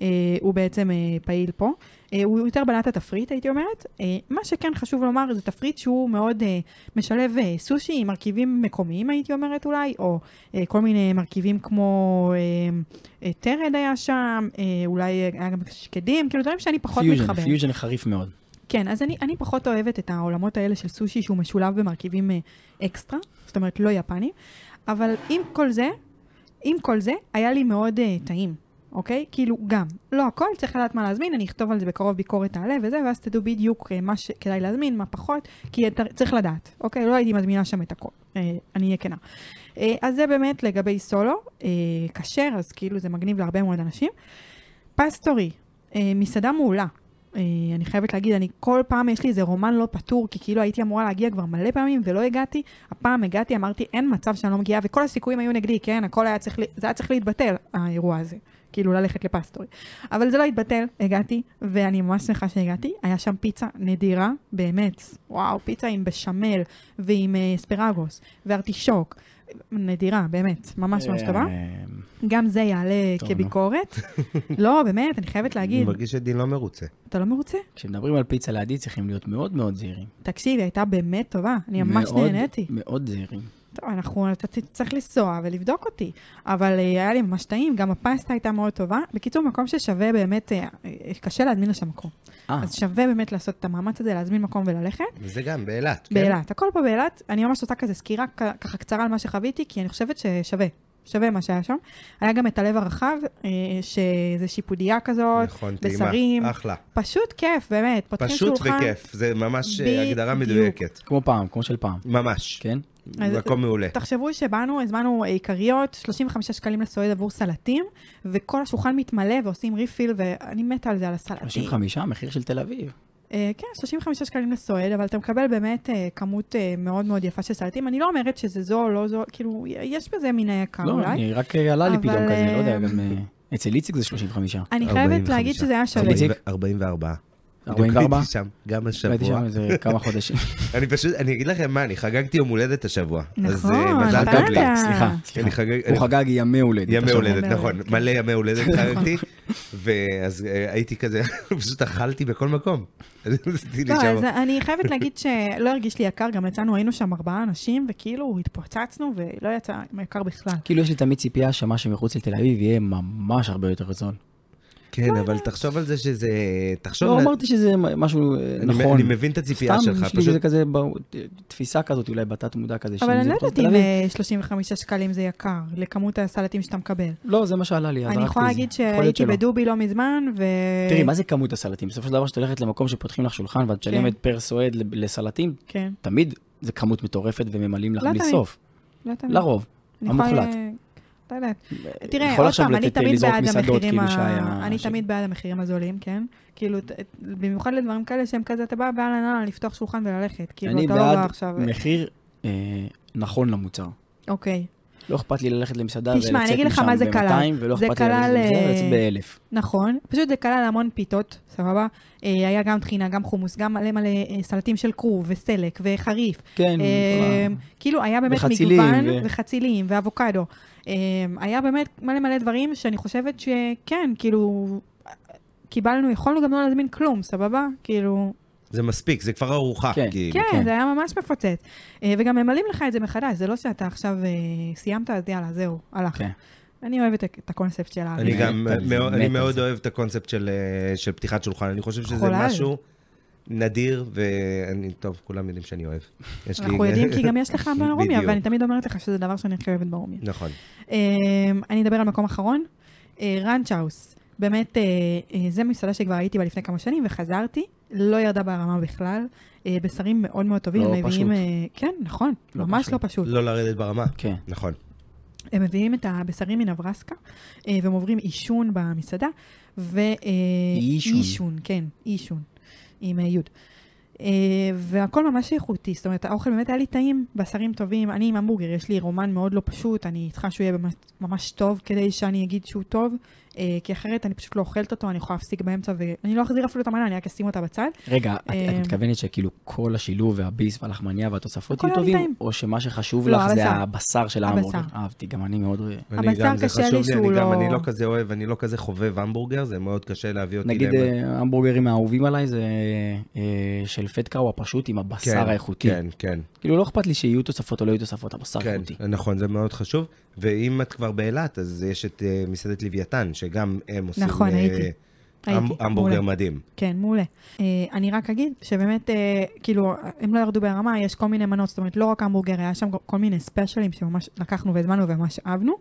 Speaker 1: שהוא בעצם אה, פעיל פה. אה, הוא יותר בלט התפריט, הייתי אומרת. אה, מה שכן חשוב לומר, זה תפריט שהוא מאוד אה, משלב אה, סושי עם מרכיבים מקומיים, הייתי אומרת אולי, או אה, כל מיני מרכיבים כמו אה, אה, טרד היה שם, אה, אולי היה גם שקדים, כאילו דברים שאני פחות
Speaker 2: פיוז'ן,
Speaker 1: מתחברת.
Speaker 2: פיוז'ן חריף מאוד.
Speaker 1: כן, אז אני, אני פחות אוהבת את העולמות האלה של סושי שהוא משולב במרכיבים אה, אקסטרה, זאת אומרת לא יפני, אבל עם כל זה, עם כל זה, היה לי מאוד אה, טעים, אוקיי? כאילו, גם, לא הכל, צריך לדעת מה להזמין, אני אכתוב על זה בקרוב ביקורת תעלה וזה, ואז תדעו בדיוק אה, מה שכדאי להזמין, מה פחות, כי אתה, צריך לדעת, אוקיי? לא הייתי מזמינה שם את הכל, אה, אני אהיה כנה. אה, אז זה באמת לגבי סולו, אה, כשר, אז כאילו זה מגניב להרבה מאוד אנשים. פסטורי, אה, מסעדה מעולה. אה, אני חייבת להגיד, אני כל פעם יש לי איזה רומן לא פתור, כי כאילו הייתי אמורה להגיע כבר מלא פעמים ולא הגעתי. הפעם הגעתי, אמרתי, אין מצב שאני לא מגיעה, וכל הסיכויים היו נגדי, כן? הכל היה צריך, ל- זה היה צריך להתבטל, האירוע הזה. כאילו ללכת לפסטורי. אבל זה לא התבטל, הגעתי, ואני ממש שמחה שהגעתי. היה שם פיצה נדירה, באמת. וואו, פיצה עם בשמל, ועם אה, אספרגוס, וארטישוק. נדירה, באמת. ממש ממש טובה.
Speaker 2: אה,
Speaker 1: גם זה יעלה
Speaker 2: טוב, נו.
Speaker 1: כביקורת. לא, באמת, אני חייבת
Speaker 3: אני
Speaker 1: להגיד,
Speaker 3: מרגיש שדין לא מרוצה.
Speaker 1: אתה לא מרוצה?
Speaker 2: כשמדברים על פיצה לידי צריכים להיות מאוד מאוד זהירים.
Speaker 1: תקשיב, היא הייתה באמת טובה, אני ממש
Speaker 2: מאוד-
Speaker 1: נהניתי.
Speaker 2: מאוד זהירים.
Speaker 1: טוב, אנחנו, אתה ת- צריך לנסוע ולבדוק אותי, אבל אה, היה לי ממש טעים, גם הפסטה הייתה מאוד טובה. בקיצור, מקום ששווה באמת, אה, אה, קשה להזמין לשם מקום.
Speaker 2: אה,
Speaker 1: אז שווה באמת לעשות את המאמץ הזה, להזמין מקום וללכת.
Speaker 3: וזה גם באילת, כן?
Speaker 1: באילת, הכל פה באילת, אני ממש עושה כזה סקירה כ- ככה קצרה על מה שחוויתי, כי אני חושבת ששווה, שווה מה שהיה שם. היה גם את הלב הרחב, אה, שזה שיפודייה כזאת,
Speaker 3: נכון, טעימה.
Speaker 1: בשרים,
Speaker 3: אחלה.
Speaker 1: פשוט כיף, באמת, פותחים
Speaker 3: פשוט
Speaker 1: שולחן.
Speaker 3: וכיף, זה ממש אה,
Speaker 1: בדיוק.
Speaker 3: הגדרה מדויקת.
Speaker 2: כמו פעם, כמו של פעם.
Speaker 3: ממש.
Speaker 2: כן?
Speaker 1: אז-
Speaker 3: מקום מעולה.
Speaker 1: תחשבו שבאנו, הזמנו אה, עיקריות, 35 שקלים לסועד עבור סלטים, וכל השולחן מתמלא ועושים ריפיל, ואני מתה על זה, על הסלטים.
Speaker 2: 35, מחיר של תל אביב.
Speaker 1: אה, כן, 35 שקלים לסועד, אבל אתה מקבל באמת אה, כמות אה, מאוד מאוד יפה של סלטים. אני לא אומרת שזה זול, לא זול, כאילו, יש בזה מן היקר
Speaker 2: לא,
Speaker 1: אולי.
Speaker 2: אני- רק אה, עלה לי
Speaker 1: אבל,
Speaker 2: פתאום כזה, לא יודע,
Speaker 1: אה,
Speaker 2: גם אה, אצל איציק זה 35.
Speaker 1: אני חייבת
Speaker 3: 45.
Speaker 1: להגיד שזה היה שווה.
Speaker 2: איציק?
Speaker 3: 44.
Speaker 2: 44?
Speaker 3: בדיוק הייתי שם, גם
Speaker 2: הייתי שם
Speaker 3: השבוע.
Speaker 2: איזה כמה חודשים.
Speaker 3: אני פשוט, אני אגיד לכם מה, אני חגגתי יום הולדת השבוע. אז
Speaker 1: נכון,
Speaker 3: אה, מזל
Speaker 1: אתה
Speaker 3: טוב לי.
Speaker 1: יודע.
Speaker 2: לא סליחה,
Speaker 3: אני
Speaker 2: סליחה.
Speaker 3: חגג...
Speaker 2: הוא חגג ימי הולדת.
Speaker 3: ימי
Speaker 2: השבוע.
Speaker 3: הולדת,
Speaker 1: ימי
Speaker 3: נכון,
Speaker 1: הולדת, כן.
Speaker 3: מלא ימי הולדת חגגתי, ואז אה, הייתי כזה, פשוט אכלתי בכל מקום. אז עשיתי לי
Speaker 1: לא, אז
Speaker 3: שם.
Speaker 1: אני חייבת להגיד שלא הרגיש לי יקר, גם יצאנו, היינו שם ארבעה אנשים, וכאילו התפוצצנו, ולא יצא יקר בכלל.
Speaker 2: כאילו יש לי תמיד ציפייה שמה שמחוץ לתל אביב יהיה ממש הרבה יותר זול.
Speaker 3: כן, אבל תחשוב על זה שזה... תחשוב...
Speaker 2: לא
Speaker 3: על-
Speaker 2: אמרתי שזה משהו אה,
Speaker 3: אני-
Speaker 2: נכון.
Speaker 3: אני מבין את הציפייה שלך,
Speaker 2: סתם יש לי
Speaker 3: פשוט
Speaker 2: איזה כזה ב- תפיסה כזאת אולי בתת מודע כזה. שאם
Speaker 1: אבל אני
Speaker 2: זה
Speaker 1: לא
Speaker 2: מחוץ
Speaker 1: יודעת
Speaker 2: לתל
Speaker 1: אם
Speaker 2: אביב-
Speaker 1: אה, 35 שקלים זה יקר, לכמות הסלטים שאתה מקבל.
Speaker 2: לא, זה מה שעלה לי, אז
Speaker 1: אני
Speaker 2: הלכתי
Speaker 1: יכולה
Speaker 2: לזה.
Speaker 1: להגיד
Speaker 2: יכול להיות
Speaker 1: שהייתי
Speaker 2: שלא.
Speaker 1: בדובי לא מזמן, ו... אה,
Speaker 2: תראי, מה זה כמות הסלטים? בסופו של דבר, כשאת הולכת למקום שפותחים לך שולחן ואת משלמת פר סועד ל- לסלטים,
Speaker 1: כן,
Speaker 2: תמיד זה כמות מטורפת וממלאים לך
Speaker 1: לא
Speaker 2: בלי
Speaker 1: תמיד.
Speaker 2: סוף.
Speaker 1: לא תמיד.
Speaker 2: לרוב,
Speaker 1: אני יכולה-
Speaker 2: המוחלט. אה,
Speaker 1: לא יודעת.
Speaker 2: יכול
Speaker 1: תראה, עוד
Speaker 2: עכשיו
Speaker 1: פעם, אני
Speaker 2: לתת-
Speaker 1: תמיד
Speaker 2: לזרוק
Speaker 1: בעד
Speaker 2: מסעדות,
Speaker 1: המחירים,
Speaker 2: כאילו,
Speaker 1: ה...
Speaker 2: שהיה-
Speaker 1: אני
Speaker 2: ש-
Speaker 1: תמיד בעד המחירים הזולים, כן? כאילו, ת- במיוחד לדברים כאלה שהם כזה, אתה בא באהלן אהלן לפתוח שולחן וללכת. כאילו,
Speaker 2: אני
Speaker 1: אתה לא בא
Speaker 2: בעד
Speaker 1: עכשיו...
Speaker 2: מחיר אה, נכון למוצר.
Speaker 1: אוקיי,
Speaker 2: לא אכפת לי ללכת למסעדה
Speaker 1: תשמע, אני
Speaker 2: ולצאת
Speaker 1: אגיד לך
Speaker 2: משם
Speaker 1: מה זה
Speaker 2: ב-200, ולא
Speaker 1: זה
Speaker 2: אכפת לי ללכת
Speaker 1: כלל,
Speaker 2: למסעדה
Speaker 1: אה,
Speaker 2: ולצאת ב-1000.
Speaker 1: נכון. פשוט זה כלל המון פיתות, סבבה? אה, היה גם טחינה, גם חומוס, גם מלא מלא אה, סלטים של כרוב, וסלק, וחריף.
Speaker 2: כן,
Speaker 1: אמ, כאילו, היה באמת
Speaker 2: וחצילים
Speaker 1: מגוון,
Speaker 2: ו-
Speaker 1: וחצילים, ואבוקדו. אמ, היה באמת מלא מלא דברים שאני חושבת שכן, כאילו, קיבלנו, יכולנו גם לא להזמין כלום, סבבה? כאילו,
Speaker 3: זה מספיק, זה כבר ארוחה,
Speaker 2: כן.
Speaker 3: כאילו.
Speaker 1: כן,
Speaker 2: כן.
Speaker 1: זה היה ממש מפוצץ. אה, וגם ממלאים לך את זה מחדש, זה לא שאתה עכשיו אה, סיימת, אז יאללה, זהו, הלך.
Speaker 2: כן.
Speaker 1: אני אוהבת את את הקונספט של
Speaker 3: אני
Speaker 1: הארץ.
Speaker 2: מת
Speaker 3: גם,
Speaker 2: על זה,
Speaker 3: מאוד-
Speaker 2: מת
Speaker 3: אני
Speaker 2: על
Speaker 3: מאוד
Speaker 2: זה.
Speaker 3: אוהב את הקונספט של, אה, של פתיחת שולחן, אני חושב שזה
Speaker 1: חולה על זה.
Speaker 3: משהו נדיר, ואני, טוב, כולם יודעים שאני אוהב. יש לי-
Speaker 1: אנחנו
Speaker 2: כן.
Speaker 1: יודעים כי גם יש לך ברומיה,
Speaker 3: בדיוק.
Speaker 1: ואני תמיד אומרת לך שזה דבר שאני הכי אוהבת ברומיה.
Speaker 3: נכון.
Speaker 1: אמ, אני אדבר על מקום אחרון, אה, ראנצ'האוס. באמת, אה, אה, זו מסעדה שכבר הייתי בה לפני כמה שנים וחזרתי, לא ירדה ברמה בכלל. אה, בשרים מאוד מאוד טובים,
Speaker 2: לא
Speaker 1: הם מביאים...
Speaker 2: פשוט.
Speaker 1: אה, כן, נכון,
Speaker 2: לא
Speaker 1: ממש
Speaker 2: פשוט.
Speaker 1: לא פשוט.
Speaker 3: לא לרדת ברמה.
Speaker 2: כן.
Speaker 3: נכון.
Speaker 1: הם מביאים את הבשרים מנברסקה, אה, והם עוברים עישון במסעדה, ו... אה,
Speaker 2: עישון.
Speaker 1: עישון, כן, עישון, עם אה, יוד. אה, והכל ממש איכותי, זאת אומרת, האוכל באמת היה לי טעים, בשרים טובים, אני עם המבורגר, יש לי רומן מאוד לא פשוט, אני צריכה שהוא יהיה ממש, ממש טוב כדי שאני אגיד שהוא טוב, אה, כי אחרת אני פשוט לא אוכלת אותו, אני יכולה להפסיק באמצע, ואני לא אחזיר אפילו את המנה, אני רק אשים אותה בצד.
Speaker 2: רגע, את-
Speaker 1: אמ,
Speaker 2: את מתכוונת שכאילו כל השילוב והביס והלחמניה והתוספות
Speaker 1: הכל
Speaker 2: יהיו
Speaker 1: היה לי
Speaker 2: טובים,
Speaker 1: טעים.
Speaker 2: או שמה שחשוב
Speaker 1: לא,
Speaker 2: לך זה
Speaker 1: הבשר.
Speaker 2: הבשר של ההמבורגר? אה,
Speaker 1: הבשר.
Speaker 2: אהבתי, גם אני מאוד...
Speaker 3: אני
Speaker 1: הבשר
Speaker 3: גם, זה
Speaker 1: קשה לי
Speaker 3: חשוב לי,
Speaker 1: שהוא
Speaker 3: אני גם,
Speaker 1: לא-
Speaker 3: אני לא כזה אוהב, אני לא כזה חובב המבורגר, זה מאוד קשה להביא אותי
Speaker 2: נגיד
Speaker 3: ל...
Speaker 2: אה, ההמבורגרים האהובים עליי זה אה, של פטקאו הפשוט עם הבשר האיכותי.
Speaker 3: כן, כן,
Speaker 2: כאילו לא אכפת לי שיהיו תוספות או לא יהיו תוספות, הבשר
Speaker 3: כן,
Speaker 2: איכותי.
Speaker 3: נכון, זה מאוד חשוב. ואם את כבר באילת, אז יש את אה, מסעדת לוויתן, שגם הם עושים...
Speaker 1: נכון,
Speaker 3: אה,
Speaker 1: הייתי.
Speaker 3: המב-
Speaker 1: הייתי,
Speaker 3: המבורגר
Speaker 1: מעולה.
Speaker 3: מדהים.
Speaker 1: כן, מעולה. אה, אני רק אגיד שבאמת, אה, כאילו, הם לא ירדו ברמה, יש כל מיני מנות, זאת אומרת, לא רק המבורגר, היה שם כל מיני ספיישלים שממש לקחנו והזמנו וממש אהבנו,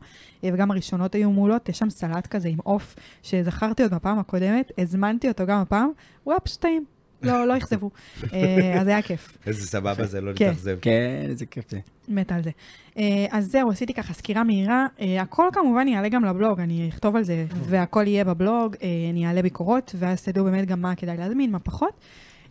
Speaker 1: אה, וגם הראשונות היו מעולות, יש שם סלט כזה עם עוף, שזכרתי עוד בפעם הקודמת, הזמנתי אותו גם הפעם, הוא היה פשוט טעים, לא, לא אכזבו, אה, אז היה כיף,
Speaker 3: איזה סבבה זה לא
Speaker 1: כן.
Speaker 3: להתאכזב.
Speaker 2: כן, איזה כיף זה.
Speaker 1: מתה על זה. אה, אז זהו, עשיתי ככה סקירה מהירה, אה, הכל כמובן יעלה גם לבלוג, אני אכתוב על זה, והכל יהיה בבלוג, אה, אני אעלה ביקורות, ואז תדעו באמת גם מה כדאי להזמין, מה פחות.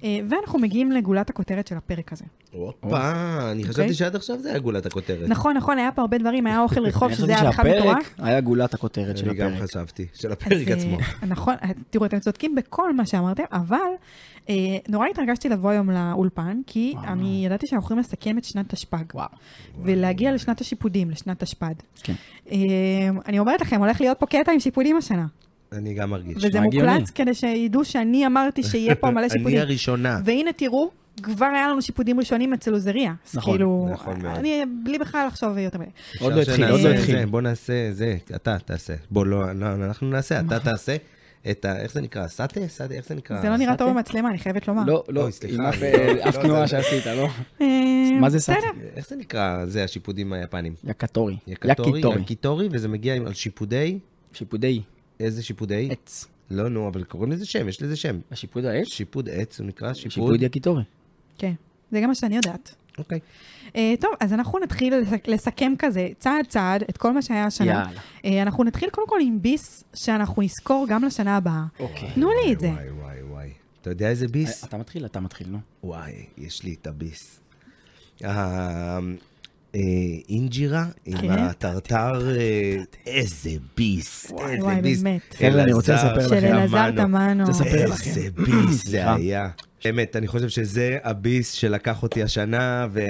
Speaker 1: אה, ואנחנו מגיעים לגולת הכותרת של הפרק הזה.
Speaker 3: הופה, אני חשבתי שעד עכשיו זה היה גולת הכותרת.
Speaker 1: אוקיי. נכון, נכון, היה פה הרבה דברים, היה אוכל רחוב,
Speaker 2: אה. אני
Speaker 1: שזה
Speaker 2: חשבתי
Speaker 1: היה בכלל מטורף.
Speaker 2: שהפרק היה גולת הכותרת של
Speaker 3: אני גם
Speaker 2: הפרק.
Speaker 3: חשבתי, של
Speaker 1: אז,
Speaker 3: הפרק
Speaker 1: אה,
Speaker 3: עצמו.
Speaker 1: נכון, אה, תראו, אתם צודקים בכל מה שאמרתם, אבל אה, נורא התרגשתי לבוא היום לאולפן, כי
Speaker 2: וואו.
Speaker 1: אני ידעתי שאנחנו הולכים לסכם את שנת תשפ"ג,
Speaker 2: וואו.
Speaker 1: ולהגיע לשנת השיפודים, לשנת תשפ"ד.
Speaker 2: כן.
Speaker 1: אה, אני אומרת לכם, הולך להיות פה קטע עם שיפודים השנה,
Speaker 3: אני גם מרגיש.
Speaker 1: וזה
Speaker 2: הגיוני.
Speaker 1: מוקלט כדי שידעו שאני אמרתי שיהיה פה מלא
Speaker 3: אני
Speaker 1: שיפודים.
Speaker 3: הראשונה.
Speaker 1: והנה תראו, כבר היה לנו שיפודים ראשונים אצל עוזריה. אז
Speaker 2: נכון,
Speaker 1: כאילו,
Speaker 3: נכון מאוד.
Speaker 1: אני בלי בכלל לחשוב יותר מדי.
Speaker 2: עוד לא
Speaker 3: אפשר
Speaker 2: התחיל, עוד
Speaker 3: שנעשה
Speaker 2: לא
Speaker 3: את
Speaker 2: התחיל.
Speaker 3: זה, בוא נעשה זה, אתה תעשה. בוא, לא, לא, אנחנו נעשה, אתה תעשה. את ה... איך זה נקרא? סאטה? סאטה? איך זה נקרא?
Speaker 1: נכון. זה לא נראה
Speaker 3: סאטה?
Speaker 1: טוב במצלמה, אני חייבת לומר.
Speaker 2: כן, לא, לא,
Speaker 3: אוי, סליחה,
Speaker 2: עם אף-
Speaker 3: אני-
Speaker 2: אף
Speaker 3: לא,
Speaker 2: תנועה
Speaker 3: זה-
Speaker 2: שעשית, לא?
Speaker 1: אה,
Speaker 2: מה זה סאטה?
Speaker 1: בסדר.
Speaker 3: איך זה נקרא? זה השיפודים היפנים.
Speaker 2: יקטורי.
Speaker 3: יקטורי,
Speaker 2: יקיטורי.
Speaker 3: יקיטורי, וזה מגיע עם- על שיפודי,
Speaker 2: שיפודי
Speaker 3: איזה שיפודי?
Speaker 2: עץ.
Speaker 3: לא, נו, אבל קוראים לזה שם, יש לזה שם.
Speaker 2: השיפוד העץ?
Speaker 3: שיפוד עץ, הוא נקרא שיפוד.
Speaker 2: שיפוד יקיטורי.
Speaker 1: כן, זה גם מה שאני יודעת.
Speaker 3: אוקיי.
Speaker 1: אה, טוב, אז אנחנו נתחיל לס- לסכם כזה, צעד צעד, את כל מה שהיה השנה.
Speaker 2: יאללה.
Speaker 1: אה, אנחנו נתחיל קודם כל עם ביס, שאנחנו נזכור גם לשנה הבאה.
Speaker 2: אוקיי.
Speaker 1: תנו לי את זה. אה,
Speaker 3: וואי, וואי, וואי. אתה יודע איזה ביס?
Speaker 2: אה, אתה מתחיל, אתה מתחיל, נו.
Speaker 3: וואי, יש לי את הביס. ה- אה, אינג'ירה עם
Speaker 1: כן.
Speaker 3: הטרטר, אה, איזה ביס,
Speaker 1: וואי,
Speaker 3: איזה
Speaker 1: וואי,
Speaker 3: ביס.
Speaker 1: באמת.
Speaker 2: חבר'ה, כן, אני רוצה
Speaker 3: אלעזר
Speaker 2: לספר
Speaker 1: של אלעזר
Speaker 3: תמנו.
Speaker 1: תמנו. אה,
Speaker 2: זה ספר. לספר לכם.
Speaker 3: איזה ביס זה
Speaker 2: סליחה.
Speaker 3: היה. באמת, אני חושב שזה הביס שלקח אותי השנה, ו-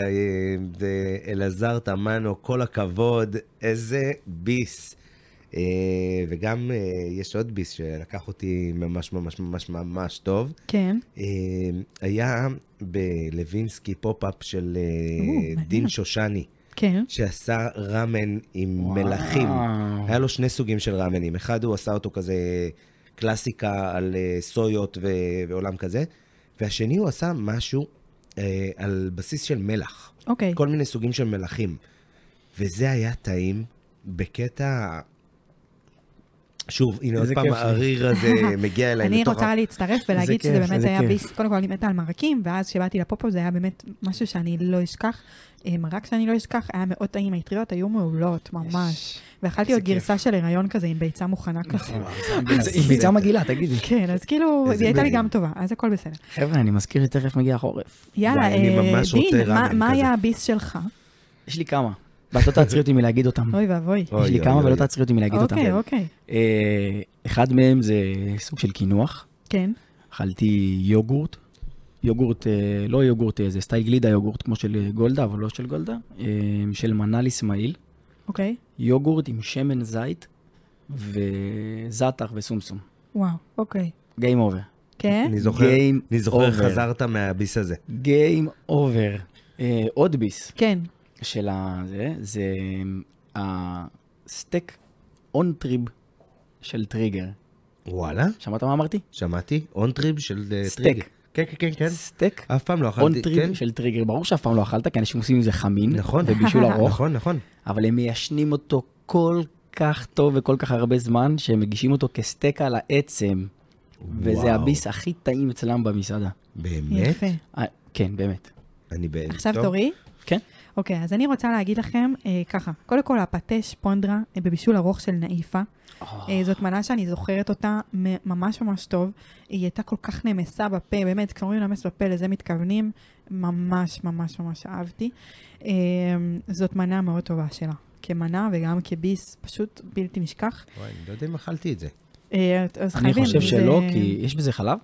Speaker 3: ואלעזר תמנו, כל הכבוד, איזה ביס. אה, וגם אה, יש עוד ביס שלקח אותי ממש ממש ממש ממש טוב.
Speaker 1: כן,
Speaker 3: אה, היה בלווינסקי פופ-אפ של אה,
Speaker 1: או, מעניין.
Speaker 3: דין שושני,
Speaker 1: כן.
Speaker 3: שעשה ראמן עם
Speaker 2: וואו.
Speaker 3: מלכים. היה לו שני סוגים של ראמנים. אחד, הוא עשה אותו כזה קלאסיקה על אה, סויות ו... ועולם כזה, והשני, הוא עשה משהו אה, על בסיס של מלח.
Speaker 1: אוקיי.
Speaker 3: כל מיני סוגים של מלכים. וזה היה טעים בקטע שוב, הנה עוד
Speaker 2: איזה
Speaker 3: פעם
Speaker 2: כיף לי.
Speaker 3: הריר הזה מגיע אליי.
Speaker 1: אני
Speaker 3: לתוך ה-
Speaker 1: רוצה להצטרף ולהגיד
Speaker 2: כיף,
Speaker 1: שזה
Speaker 2: איזה
Speaker 1: באמת היה
Speaker 2: כיף.
Speaker 1: ביס, קודם כל אני מתה על מרקים, ואז כשבאתי לפופו זה היה באמת משהו שאני לא אשכח. אה, מרק שאני לא אשכח, היה מאוד טעים, האטריות היו מעולות, ממש. ואכלתי עוד
Speaker 3: איזה כיף. נכון.
Speaker 1: גרסה של הריון כזה עם ביצה מוכנה כזה.
Speaker 3: אה,
Speaker 2: עם ביצה מגעילה, תגידי.
Speaker 1: כן, אז כאילו,
Speaker 3: איזה
Speaker 1: היא הייתה לי
Speaker 3: מדהים.
Speaker 1: גם טובה, אז הכל בסדר.
Speaker 2: חבר'ה, אני מזכיר שתכף מגיע החורף.
Speaker 1: יאללה,
Speaker 3: אני
Speaker 1: אה,
Speaker 3: ממש רוצה
Speaker 1: דין, מה-
Speaker 3: ראמן
Speaker 1: מה
Speaker 3: כזה. Mm.
Speaker 1: היה הביס שלך?
Speaker 2: יש לי כמה, ואת לא תעצרי אותי מלהגיד אותם.
Speaker 1: אוי ואבוי.
Speaker 3: אוי,
Speaker 2: יש לי
Speaker 3: אוי,
Speaker 2: כמה
Speaker 3: אוי.
Speaker 2: ולא תעצרי אותי מלהגיד אותם.
Speaker 1: אוקיי,
Speaker 2: כן.
Speaker 1: אוקיי.
Speaker 2: אה, אחד מהם זה סוג של קינוח.
Speaker 1: כן.
Speaker 2: אכלתי יוגורט. יוגורט, אה, לא יוגורט, אה, זה סטייל גלידה יוגורט, כמו של אה, גולדה, אבל לא של גולדה, אה, של מנל אסמאעיל.
Speaker 1: אוקיי.
Speaker 2: יוגורט עם שמן זית וזעתר וסומסום.
Speaker 1: וואו, אוקיי.
Speaker 2: גיים אובר.
Speaker 1: כן?
Speaker 3: אני זוכר,
Speaker 2: Game
Speaker 3: אני זוכר,
Speaker 2: over.
Speaker 3: חזרת מהביס הזה.
Speaker 2: גיים אובר. אה, עוד ביס
Speaker 1: כן.
Speaker 2: של הזה, זה אמ, הסטייק און טריב של טריגר.
Speaker 3: וואלה,
Speaker 2: שמעת מה אמרתי?
Speaker 3: שמעתי, אונטריב של אה,
Speaker 2: סטייק.
Speaker 3: טריגר. כן, כן, כן, כן.
Speaker 2: סטייק
Speaker 3: אף פעם לא אכלתי,
Speaker 2: און טריב
Speaker 3: כן.
Speaker 2: של טריגר. ברור שאף פעם לא אכלת, כי אנשים עושים עם זה חמין.
Speaker 3: נכון.
Speaker 2: ובישול ארוך.
Speaker 3: נכון, נכון.
Speaker 2: אבל הם מיישנים אותו כל כך טוב וכל כך הרבה זמן, שהם מגישים אותו כסטייק על העצם.
Speaker 3: וואו.
Speaker 2: וזה הביס הכי טעים אצלם במסעדה.
Speaker 3: באמת?
Speaker 1: יפה.
Speaker 2: אה, כן, באמת.
Speaker 3: אני בהלם.
Speaker 1: עכשיו
Speaker 3: טוב.
Speaker 1: תורי?
Speaker 2: כן.
Speaker 1: אוקיי, אז אני רוצה להגיד לכם אה, ככה, קודם כל הפתה שפונדרה אה, בבישול ארוך של נאיפה. אה, זאת מנה שאני זוכרת אותה מ- ממש ממש טוב. היא הייתה כל כך נמסה בפה, באמת, כשאומרים נמס בפה, לזה מתכוונים. ממש ממש ממש אהבתי. אה, זאת מנה מאוד טובה שלה, כמנה וגם כביס, פשוט בלתי נשכח.
Speaker 3: וואי, אני לא יודע אם אכלתי את זה.
Speaker 1: אה, אז
Speaker 2: אני
Speaker 1: חייבים,
Speaker 2: חושב
Speaker 1: זה-
Speaker 2: שלא, כי יש בזה חלב?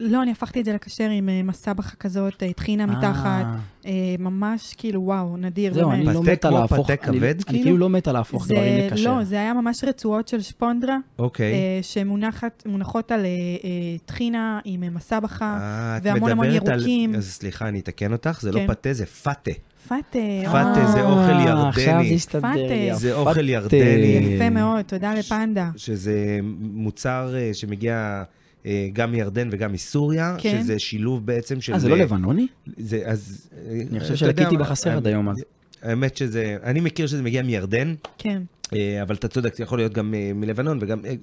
Speaker 1: לא, אני הפכתי את זה לכשר עם אה, מסבכה כזאת, אה, טחינה מתחת,
Speaker 2: אה,
Speaker 1: אה, ממש כאילו, וואו, נדיר,
Speaker 2: זהו,
Speaker 1: באמת.
Speaker 2: אני לא
Speaker 3: פתה
Speaker 2: מת על
Speaker 3: כמו
Speaker 2: להפוך...
Speaker 3: פתה
Speaker 2: אני-
Speaker 3: כבד,
Speaker 2: אני
Speaker 3: כאילו?
Speaker 2: כאילו לא מת על להפוך דברים
Speaker 1: זה,
Speaker 2: לקשר.
Speaker 1: לא, זה היה ממש רצועות של שפונדרה,
Speaker 3: אוקיי.
Speaker 1: אה, שמונחות על אה, אה, טחינה עם אה, מסבכה,
Speaker 3: אה, את
Speaker 1: והמון המון
Speaker 3: מדברת על-
Speaker 1: ירוקים.
Speaker 3: אז סליחה, אני אתקן אותך, זה לא
Speaker 1: כן.
Speaker 3: פתה, זה פאטה.
Speaker 1: פאטה.
Speaker 3: פאטה
Speaker 1: אה,
Speaker 3: זה אוכל ירדני.
Speaker 2: עכשיו זה הסתדר לי.
Speaker 1: פאטה.
Speaker 3: זה
Speaker 2: הפאטה.
Speaker 3: אוכל
Speaker 2: אה,
Speaker 3: ירדני.
Speaker 1: יפה מאוד, תודה לפנדה.
Speaker 3: שזה מוצר אה, שמגיע אה, גם מירדן וגם מסוריה,
Speaker 1: כן.
Speaker 3: שזה שילוב בעצם של...
Speaker 2: אה, זה לא לבנוני?
Speaker 3: זה, אז... אה,
Speaker 2: אני חושב
Speaker 3: אתה יודע
Speaker 2: שלקיתי
Speaker 3: מה,
Speaker 2: בחסר
Speaker 3: האמת-
Speaker 2: עד היום, אז.
Speaker 3: האמת שזה, אני מכיר שזה מגיע מירדן,
Speaker 1: כן,
Speaker 3: אה, אבל אתה צודק, זה יכול להיות גם אה, מלבנון וגם אה,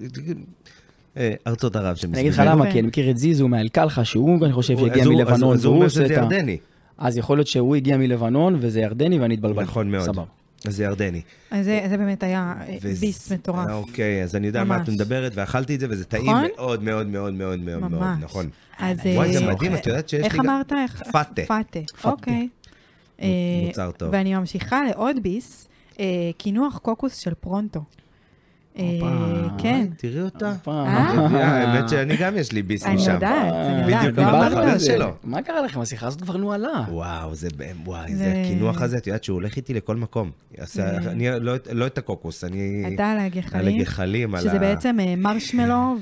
Speaker 3: אה, ארצות ערב
Speaker 2: אני אגיד לך
Speaker 3: שמסביבנו.
Speaker 2: למה,
Speaker 1: יפה.
Speaker 2: כי אני מכיר את זיזו מאלקלחה, שהוא, אני חושב,
Speaker 3: הוא-
Speaker 2: שהגיע
Speaker 3: אז הוא-
Speaker 2: מלבנון,
Speaker 3: אז הוא
Speaker 2: והוא
Speaker 3: אומר
Speaker 2: עושה
Speaker 3: שזה
Speaker 2: את ה...
Speaker 3: ירדני.
Speaker 2: אז יכול להיות שהוא הגיע מלבנון, וזה ירדני, ואני התבלבלתי.
Speaker 3: נכון מאוד.
Speaker 2: סבבה.
Speaker 3: אז זה ירדני.
Speaker 1: אז זה זה באמת היה אה,
Speaker 3: וזה-
Speaker 1: ביס מטורף.
Speaker 3: אה, אוקיי, אז אני יודע על מה את
Speaker 1: ממש.
Speaker 3: מדברת, ואכלתי את זה, וזה טעים
Speaker 1: נכון?
Speaker 3: מאוד מאוד מאוד מאוד מאוד, מאוד,
Speaker 1: ממש.
Speaker 3: נכון.
Speaker 1: אז...
Speaker 3: וואי, זה
Speaker 1: אה,
Speaker 3: מדהים, את יודעת שיש לי
Speaker 1: איך
Speaker 3: גם-
Speaker 1: אמרת? איך-
Speaker 3: פאטה.
Speaker 1: פאטה, אוקיי.
Speaker 3: מ-
Speaker 1: אה,
Speaker 3: מוצר טוב.
Speaker 1: ואני ממשיכה לעוד ביס, אה, קינוח קוקוס של פרונטו. אה,
Speaker 2: הופה.
Speaker 1: כן.
Speaker 3: תראי אותה.
Speaker 2: הופה.
Speaker 1: אה?
Speaker 3: האמת שאני גם יש לי ביס
Speaker 1: אני
Speaker 3: משם.
Speaker 1: יודעת, אני
Speaker 2: בדיוק,
Speaker 1: יודעת.
Speaker 3: דיברנו
Speaker 1: לא
Speaker 3: על
Speaker 1: אמרת
Speaker 3: זה.
Speaker 1: את זה.
Speaker 3: שלו.
Speaker 2: מה קרה לכם? השיחה הזאת כבר נוהלה.
Speaker 3: וואו, זה, באמת- וואי,
Speaker 1: זה-
Speaker 3: זה הקינוח הזה, את יודעת שהוא הולך איתי לכל מקום. אז
Speaker 1: זה-
Speaker 3: אני לא- לא את הקוקוס, אני...
Speaker 1: אתה על
Speaker 3: על
Speaker 1: הגחלים,
Speaker 3: הגחלים, על ה...
Speaker 1: שזה בעצם אה, מרשמלו
Speaker 3: וואו.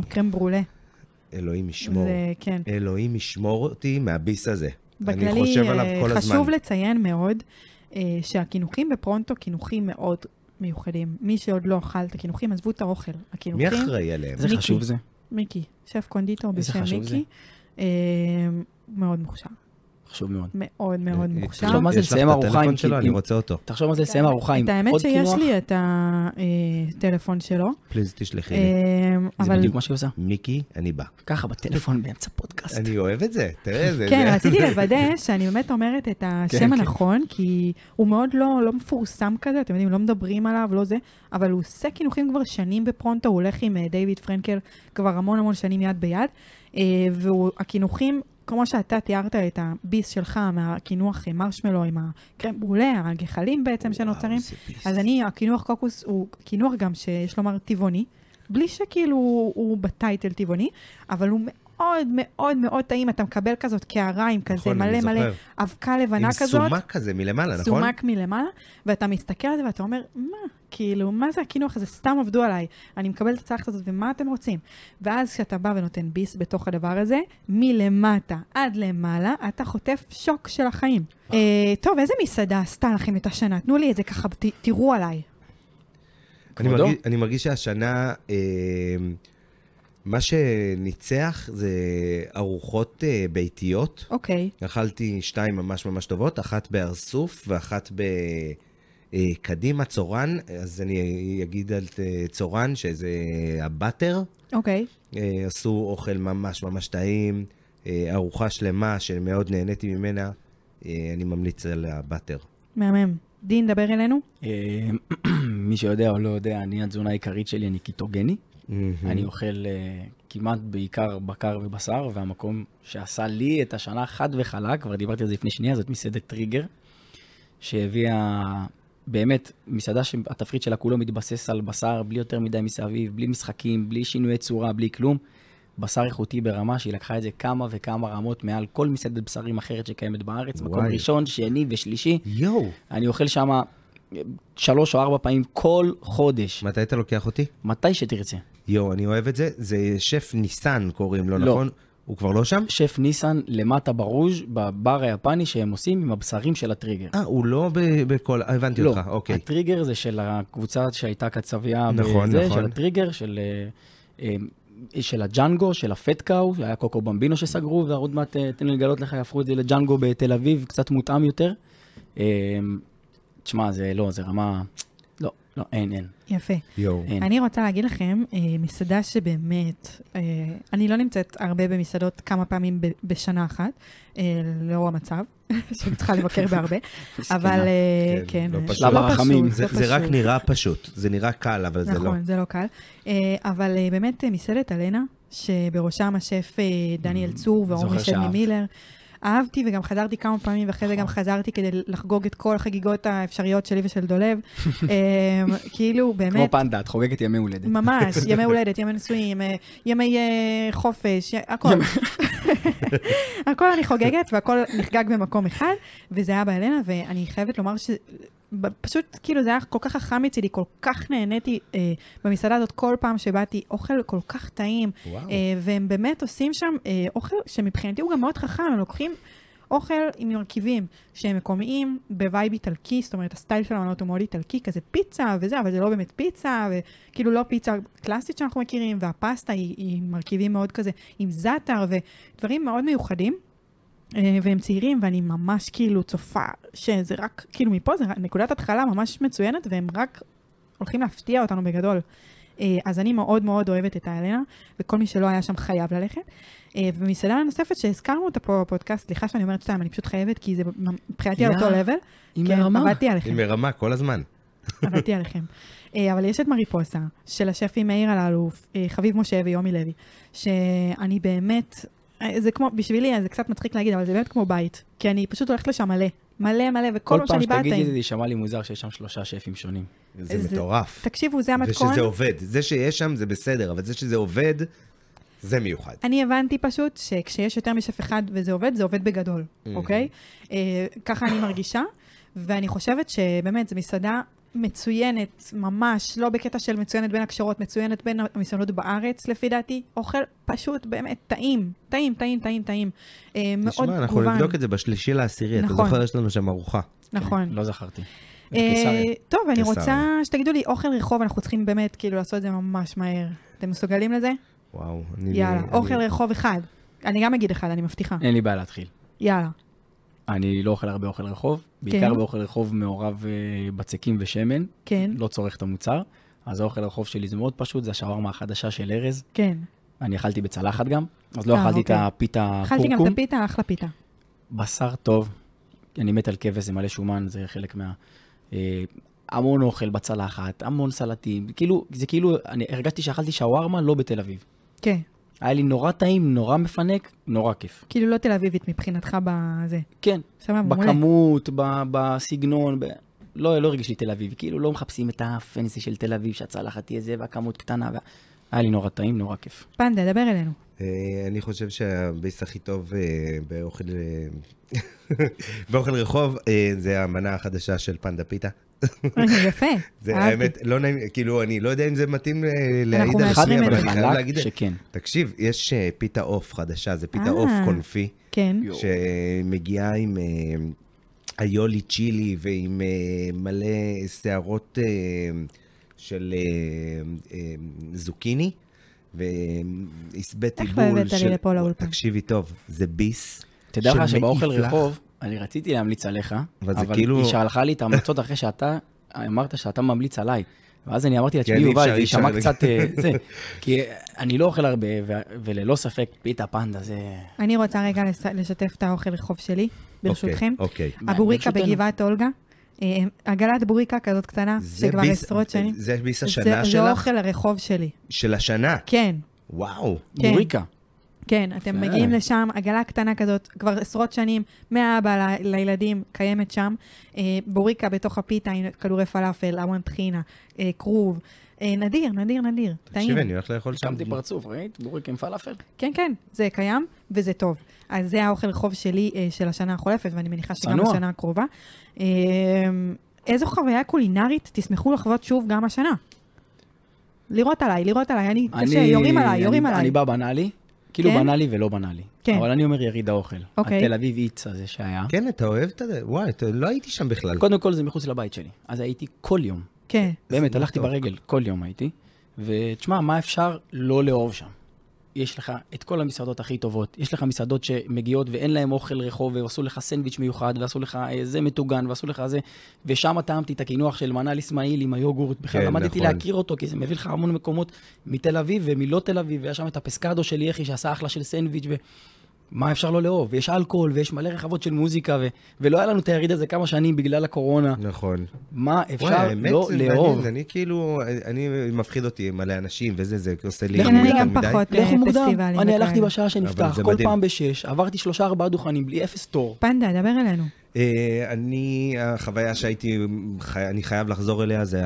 Speaker 1: וקרם ברולה.
Speaker 3: אלוהים ישמור.
Speaker 1: זה, כן.
Speaker 3: אלוהים ישמור אותי מהביס הזה. אני
Speaker 1: בכללי,
Speaker 3: חושב עליו
Speaker 1: אה,
Speaker 3: כל הזמן.
Speaker 1: חשוב לציין מאוד אה, שהקינוחים בפרונטו קינוחים מאוד מיוחדים. מי שעוד לא אכל את הקינוחים, עזבו את האוכל.
Speaker 3: מי
Speaker 1: הקינוחים,
Speaker 3: אחראי עליהם?
Speaker 2: איזה
Speaker 1: מיקי.
Speaker 2: חשוב זה.
Speaker 1: מיקי, שף קונדיטור
Speaker 2: איזה
Speaker 1: בשם
Speaker 2: חשוב
Speaker 1: מיקי, אה, מאוד מוכשר.
Speaker 2: חשוב מאוד.
Speaker 1: מאוד מאוד
Speaker 3: אה,
Speaker 1: מוכשר.
Speaker 2: תחשוב מה זה
Speaker 3: יש לך
Speaker 2: לסיים
Speaker 3: את
Speaker 2: ארוחה
Speaker 3: הטלפון
Speaker 2: עם-
Speaker 3: שלו,
Speaker 2: עם-
Speaker 3: אני רוצה אותו.
Speaker 2: תחשוב מה זה לסיים ארוחה עם
Speaker 1: את האמת
Speaker 2: עוד
Speaker 1: שיש
Speaker 2: קינוח.
Speaker 1: לי את הטלפון שלו,
Speaker 3: פליז תשלחי לי.
Speaker 1: אה,
Speaker 2: זה
Speaker 1: אבל
Speaker 2: בדיוק מה שהיא עושה.
Speaker 3: מיקי, אני בא.
Speaker 2: ככה בטלפון באמצע פודקאסט.
Speaker 3: אני אוהב את זה, תראה איזה...
Speaker 1: כן, רציתי לוודא שאני באמת אומרת את השם
Speaker 2: כן.
Speaker 1: הנכון, כי הוא מאוד לא, לא מפורסם כזה, אתם יודעים, לא מדברים עליו, לא זה, אבל הוא עושה קינוחים כבר שנים בפרונטו, הוא הולך עם אה, דיוויד פרנקל כבר המון המון שנים יד ביד, אה, והקינוחים, כמו שאתה תיארת את הביס שלך מהקינוח אה, מרשמלו עם הקרם ברולה, הגחלים בעצם שנוצרים, אז אני, הקינוח קוקוס הוא קינוח גם שיש לומר טבעוני, בלי שכאילו הוא, הוא בטייטל טבעוני, אבל הוא מאוד מאוד מאוד טעים, אתה מקבל כזאת קערה עם כזה
Speaker 3: נכון,
Speaker 1: מלא
Speaker 3: אני
Speaker 1: מלא
Speaker 3: זוכר.
Speaker 1: אבקה לבנה
Speaker 3: עם
Speaker 1: כזאת,
Speaker 3: סומק כזה מלמעלה, נכון?
Speaker 1: סומק מלמעלה, ואתה מסתכל על זה ואתה אומר, מה? כאילו, מה זה הקינוח הזה? סתם עבדו עליי. אני מקבל את הצלחת הזאת, ומה אתם רוצים? ואז כשאתה בא ונותן ביס בתוך הדבר הזה, מלמטה עד למעלה, אתה חוטף שוק של החיים. אה, טוב, איזה מסעדה עשתה לכם את השנה? תנו לי את זה ככה, ת- תראו עליי.
Speaker 3: אני
Speaker 2: כבודו?
Speaker 3: מרגיש- אני מרגיש שהשנה, אה, מה שניצח זה ארוחות אה, ביתיות.
Speaker 1: אוקיי.
Speaker 3: אכלתי שתיים ממש ממש טובות, אחת בהר סוף ואחת ב... אה, קדימה, צורן, אז אני אגיד על אה, צורן, שזה הבאטר.
Speaker 1: אוקיי.
Speaker 3: אה, עשו אוכל ממש ממש טעים, אה, ארוחה שלמה שמאוד נהניתי ממנה. אה, אני ממליץ על הבאטר.
Speaker 1: מהמם. דין, דבר אלינו.
Speaker 2: אה, מי שיודע או לא יודע, אני, התזונה העיקרית שלי, אני קיטוגני.
Speaker 3: Mhm.
Speaker 2: אני אוכל אה, כמעט בעיקר בקר ובשר, והמקום שעשה לי את השנה חד וחלק, כבר דיברתי על זה לפני שנייה, זאת מסעדת טריגר, שהביאה באמת מסעדה שהתפריט שלה כולו מתבסס על בשר, בלי יותר מדי מסביב, בלי משחקים, בלי שינויי צורה, בלי כלום. בשר איכותי ברמה שהיא לקחה את זה כמה וכמה רמות מעל כל מסעדת בשרים אחרת שקיימת בארץ, מקום
Speaker 3: וואי.
Speaker 2: ראשון, שני ושלישי.
Speaker 3: יואו,
Speaker 2: אני אוכל שם שלוש או ארבע פעמים כל חודש,
Speaker 3: מתי אתה לוקח אותי?
Speaker 2: מתי שתרצה.
Speaker 3: יואו, אני אוהב את זה. זה שף ניסן קוראים לו,
Speaker 2: לא.
Speaker 3: נכון? הוא כבר לא שם?
Speaker 2: שף ניסן למטה ברוז' בבר היפני שהם עושים עם הבשרים של הטריגר.
Speaker 3: אה, הוא לא ב- בכל... אה, הבנתי
Speaker 2: לא,
Speaker 3: אותך, אוקיי.
Speaker 2: הטריגר זה של הקבוצה שהייתה קצבייה,
Speaker 3: נכון,
Speaker 2: בזה,
Speaker 3: נכון.
Speaker 2: של הטריגר, של, אה, אה, של הג'אנגו, של הפטקאו, היה קוקו במבינו שסגרו, ועוד מעט, אה, תן לי לגלות לך, יהפכו את זה לג'אנגו בתל אביב, קצת מותאם יותר. אה, תשמע, זה לא, זה רמה... לא, לא, אין, אין.
Speaker 1: יפה.
Speaker 3: יואו.
Speaker 2: אין.
Speaker 1: אני רוצה להגיד לכם, אה, מסעדה שבאמת, אה, אני לא נמצאת הרבה במסעדות כמה פעמים ב- בשנה אחת, אה, לאור המצב, שאני צריכה לבקר בהרבה, אבל אה,
Speaker 3: כן,
Speaker 1: כן,
Speaker 3: לא
Speaker 1: אה,
Speaker 3: פשוט.
Speaker 2: שלב הרחמים.
Speaker 1: פשוט,
Speaker 3: זה
Speaker 1: לא
Speaker 3: זה רק
Speaker 1: פשוט.
Speaker 3: נראה פשוט, זה נראה קל, אבל זה לא.
Speaker 1: נכון, זה לא קל. אה, אבל אה, באמת אה, מסעדת אלנה, שבראשם השף אה, דניאל
Speaker 3: Mm-hmm.
Speaker 1: צור
Speaker 2: זוכר
Speaker 1: והעומר של
Speaker 2: שאהבת.
Speaker 1: מילר. אהבתי וגם חזרתי כמה פעמים, ואחרי זה גם
Speaker 3: נכון.
Speaker 1: חזרתי כדי לחגוג את כל החגיגות האפשריות שלי ושל דולב. אה, כאילו,
Speaker 2: כמו
Speaker 1: באמת,
Speaker 2: פנדה, את חוגגת ימי הולדת.
Speaker 1: ממש, ימי הולדת, ימי נישואים, אה, ימי אה, חופש, י- הכל. הכל אני חוגגת והכל נחגג במקום אחד, וזה היה באלנה, ואני חייבת לומר ש... ב- פשוט, כאילו, זה היה כל כך חכם מצידי, כל כך נהניתי אה, במסעדה הזאת כל פעם שבאתי, אוכל כל כך טעים,
Speaker 3: וואו.
Speaker 1: אה, והם באמת עושים שם אה, אוכל שמבחינתי הוא גם מאוד חכם, הם לוקחים אוכל עם מרכיבים שהם מקומיים, בווייב איטלקי, זאת אומרת, הסטייל של המנות הוא מאוד איטלקי, כזה פיצה וזה, אבל זה לא באמת פיצה, וכאילו לא פיצה קלאסית שאנחנו מכירים, והפסטה היא, היא מרכיבים מאוד כזה, עם זאטר ודברים מאוד מיוחדים. אה, והם צעירים, ואני ממש כאילו צופה שזה רק, כאילו מפה זה רק- נקודת התחלה ממש מצוינת, והם רק הולכים להפתיע אותנו בגדול. אה, אז אני מאוד מאוד אוהבת את האלנה, וכל מי שלא היה שם חייב ללכת. אה, ומסעדה נוספת שהזכרנו אותה פה בפודקאסט, סליחה שאני אומרת שתיים, אני פשוט חייבת, כי זה מבחינתי על
Speaker 2: יא,
Speaker 1: אותו לבל.
Speaker 2: היא
Speaker 1: כן,
Speaker 2: מרמה.
Speaker 1: עבדתי עליכם.
Speaker 3: היא מרמה כל הזמן.
Speaker 1: עבדתי עליכם. אה, אבל יש את מריפוסה, של השפים מאיר אלאלוף, אה, חביב משה ויומי לוי, שאני באמת, אה, זה כמו, בשבילי אה, זה קצת מצחיק להגיד, אבל זה באמת כמו בית, כי אני פשוט הולכת לשם מלא, מלא מלא, וכל
Speaker 2: כל
Speaker 1: פעם
Speaker 2: פעם
Speaker 1: שאני באה
Speaker 2: שתגידי את זה,
Speaker 1: טעים.
Speaker 2: זה יישמע לי מוזר שיש שם שלושה שפים שונים.
Speaker 3: זה
Speaker 1: זה-
Speaker 3: מטורף.
Speaker 1: תקשיבו, זה המתכון.
Speaker 3: ושזה עובד. זה שיש שם זה בסדר, אבל זה שזה עובד, זה מיוחד.
Speaker 1: אני הבנתי פשוט שכשיש יותר משף אחד וזה עובד, זה עובד בגדול, אוקיי? אה, ככה אני מרגישה, ואני חושבת שבאמת, זו מסעדה מצוינת, ממש, לא בקטע של מצוינת בין הקשרות, מצוינת בין המסעדות בארץ, לפי דעתי. אוכל פשוט באמת טעים, טעים, טעים, טעים, טעים. אה, מאוד מגוון.
Speaker 3: תשמע, אנחנו נבדוק את זה בשלישי לעשירי, אתה
Speaker 1: נכון.
Speaker 3: זוכר, יש לנו שם ארוחה.
Speaker 1: נכון.
Speaker 2: לא זכרתי.
Speaker 1: אה,
Speaker 2: בקיסריה.
Speaker 1: טוב, אני
Speaker 3: קיסריה.
Speaker 1: רוצה שתגידו לי, אוכל רחוב, אנחנו צריכים באמת כאילו לעשות את זה ממש מהר. אתם מסוגלים לזה?
Speaker 3: וואו. אני-
Speaker 1: יאללה,
Speaker 3: אני-
Speaker 1: אוכל רחוב אחד. אני גם אגיד אחד, אני מבטיחה.
Speaker 2: אין לי בעיה להתחיל.
Speaker 1: יאללה.
Speaker 2: אני לא אוכל הרבה אוכל רחוב, בעיקר
Speaker 1: כן.
Speaker 2: באוכל רחוב מעורב אה, בצקים ושמן,
Speaker 1: כן,
Speaker 2: לא צורך את המוצר. אז האוכל הרחוב שלי זה מאוד פשוט, זה השווארמה החדשה של ארז.
Speaker 1: כן.
Speaker 2: אני אכלתי בצלחת גם, אז לא
Speaker 1: אה,
Speaker 2: אכלתי את
Speaker 1: אוקיי.
Speaker 2: הפיתה
Speaker 1: אכלתי גם את
Speaker 2: קורקום.
Speaker 1: הפיתה, אחלה פיתה.
Speaker 2: בשר טוב, אני מת על כבש, זה מלא שומן, זה חלק מה... אה, המון אוכל בצלחת, המון סלטים, כאילו, זה כאילו, אני הרגשתי שאכלתי שווארמה לא בתל אביב.
Speaker 1: כן.
Speaker 2: היה לי נורא טעים, נורא מפנק, נורא כיף.
Speaker 1: כאילו לא תל אביבית מבחינתך בזה.
Speaker 2: כן,
Speaker 1: סבבה,
Speaker 3: אה,
Speaker 1: מעולה.
Speaker 2: בכמות, ב- בסגנון, ב... לא, לא הרגיש לי תל אביב. כאילו, לא מחפשים את הפנסי של תל אביב, שהצלחת תהיה זה, והכמות קטנה. וה... היה לי נורא טעים, נורא כיף.
Speaker 1: פנדה, דבר אלינו.
Speaker 3: אה, אני חושב שהבייס הכי טוב אה, באוכל אה, באוכל רחוב אה, זה המנה החדשה של פנדה פיתה.
Speaker 1: אוקיי, יפה.
Speaker 3: זה
Speaker 1: אהבתי.
Speaker 3: האמת, לא נעים, כאילו, אני לא יודע אם זה מתאים אה, להעיד על
Speaker 1: אוקיי. מאשרים
Speaker 2: אחד
Speaker 3: עצמי,
Speaker 1: את
Speaker 3: אבל
Speaker 1: זה.
Speaker 3: אני חייב
Speaker 2: חלק
Speaker 3: להגיד,
Speaker 2: שכן.
Speaker 3: תקשיב, יש אה, פיתה עוף חדשה, זה פיתה
Speaker 1: אה.
Speaker 3: עוף קונפי,
Speaker 1: כן.
Speaker 2: יואו.
Speaker 3: שמגיעה עם אה, איולי צ'ילי ועם אה, מלא שערות אה, של אה, אה, זוקיני, והסבט
Speaker 1: איך
Speaker 3: עיבול
Speaker 1: לא הבאת לי לפה לאולפן?
Speaker 3: תקשיבי טוב, זה ביס.
Speaker 2: תדע לך
Speaker 3: שמעיף
Speaker 2: שבאוכל
Speaker 3: לך.
Speaker 2: רחוב, אני רציתי להמליץ עליך,
Speaker 3: אבל זה
Speaker 2: אבל
Speaker 3: כאילו-
Speaker 2: היא שלחה לי את ההמלצות אחרי שאתה אמרת שאתה ממליץ עליי. ואז אני אמרתי לעצמי,
Speaker 3: כן, אי
Speaker 2: יובל,
Speaker 3: אפשר,
Speaker 2: זה
Speaker 3: אי אפשר
Speaker 2: יישמע
Speaker 3: להגיד."
Speaker 2: קצת... אה, זה, כי אה, אני לא אוכל הרבה, ו- וללא ספק, פיתה פנדה זה...
Speaker 1: אני רוצה רגע לס- לשתף את האוכל רחוב שלי, ברשותכם.
Speaker 3: אוקיי. אוקיי.
Speaker 1: הבוריקה
Speaker 2: ברשותנו.
Speaker 1: בגבעת אולגה, אה, עגלת בוריקה כזאת קטנה,
Speaker 3: זה
Speaker 1: שכבר
Speaker 3: ביס-
Speaker 1: אה,
Speaker 3: אה,
Speaker 1: עשרות שנים.
Speaker 3: זה ביס
Speaker 1: זה-
Speaker 3: השנה
Speaker 1: זה
Speaker 3: שלך?
Speaker 1: אוכל הרחוב שלי.
Speaker 3: של השנה.
Speaker 1: כן,
Speaker 3: וואו.
Speaker 1: כן.
Speaker 2: בוריקה.
Speaker 1: כן, אתם
Speaker 2: יפה.
Speaker 1: מגיעים לשם, עגלה קטנה כזאת, כבר עשרות שנים, מהאבא ל- לילדים, קיימת שם. אה, בוריקה בתוך הפיתה עם כדורי פלאפל, ארון טחינה, אה, כרוב. אה, נדיר, נדיר, נדיר. טעים.
Speaker 3: תקשיבי, אני הולך לאכול שם.
Speaker 2: שמתי פרצוף, ראית? בוריקה עם פלאפל.
Speaker 1: כן, כן, זה קיים וזה טוב. אז זה האוכל חוב שלי אה, של השנה החולפת, ואני מניחה שגם
Speaker 2: צנוע.
Speaker 1: בשנה הקרובה. אה, איזו חוויה קולינרית תשמחו לחוות שוב גם השנה. לראות עליי, לראות עליי, אני קשה,
Speaker 2: אני-
Speaker 1: יורים עליי, יורים
Speaker 2: אני-
Speaker 1: עליי.
Speaker 2: אני בא בנאלי, כאילו
Speaker 1: כן?
Speaker 2: בנאלי ולא בנאלי.
Speaker 1: כן.
Speaker 2: אבל אני אומר יריד האוכל.
Speaker 1: אוקיי.
Speaker 2: התל אביב איץ הזה שהיה.
Speaker 3: כן, אתה אוהב את זה? וואי, אתה- לא הייתי שם בכלל.
Speaker 2: קודם כל זה מחוץ לבית שלי. אז הייתי כל יום.
Speaker 1: כן,
Speaker 2: באמת,
Speaker 3: זה
Speaker 2: הלכתי
Speaker 3: מתוק.
Speaker 2: ברגל, כל יום הייתי. ותשמע, מה אפשר לא לאהוב שם? יש לך את כל המסעדות הכי טובות. יש לך מסעדות שמגיעות ואין להן אוכל רחוב, ועשו לך סנדוויץ' מיוחד, ועשו לך אה, זה מטוגן, ועשו לך זה. ושם טעמתי את הקינוח של מנאל אסמאעיל עם היוגורט. בכלל
Speaker 3: כן,
Speaker 2: למדתי
Speaker 3: נכון.
Speaker 2: להכיר אותו, כי זה מביא לך המון מקומות מתל אביב ומלא תל אביב, והיה שם את הפסקדו של יחי שעשה אחלה של סנדוויץ'. ו... מה אפשר לא לאהוב? ויש אלכוהול, ויש מלא רחבות של מוזיקה, ו... ולא היה לנו את היריד הזה כמה שנים בגלל הקורונה.
Speaker 3: נכון.
Speaker 2: מה
Speaker 3: וואי,
Speaker 2: אפשר
Speaker 3: האמת,
Speaker 2: לא
Speaker 3: זה
Speaker 2: לאהוב?
Speaker 3: מעניין, אני כאילו, אני מפחיד אותי מלא אנשים וזה, זה עושה לי
Speaker 2: כן,
Speaker 1: אני
Speaker 3: יותר
Speaker 1: גם
Speaker 3: מדי.
Speaker 1: פחות.
Speaker 2: לכו מוקדם.
Speaker 1: לפסטיבלים
Speaker 2: אני
Speaker 1: אוקיי, וכאלה.
Speaker 2: הלכתי בשעה
Speaker 3: אבל
Speaker 2: שנפתח,
Speaker 3: זה
Speaker 2: כל
Speaker 3: מדהים.
Speaker 2: פעם בשש, עברתי שלושה ארבעה דוכנים בלי אפס תור.
Speaker 1: פנדה, דבר אלינו.
Speaker 3: אה, אני, החוויה שהייתי, חי- אני חייב לחזור אליה, זה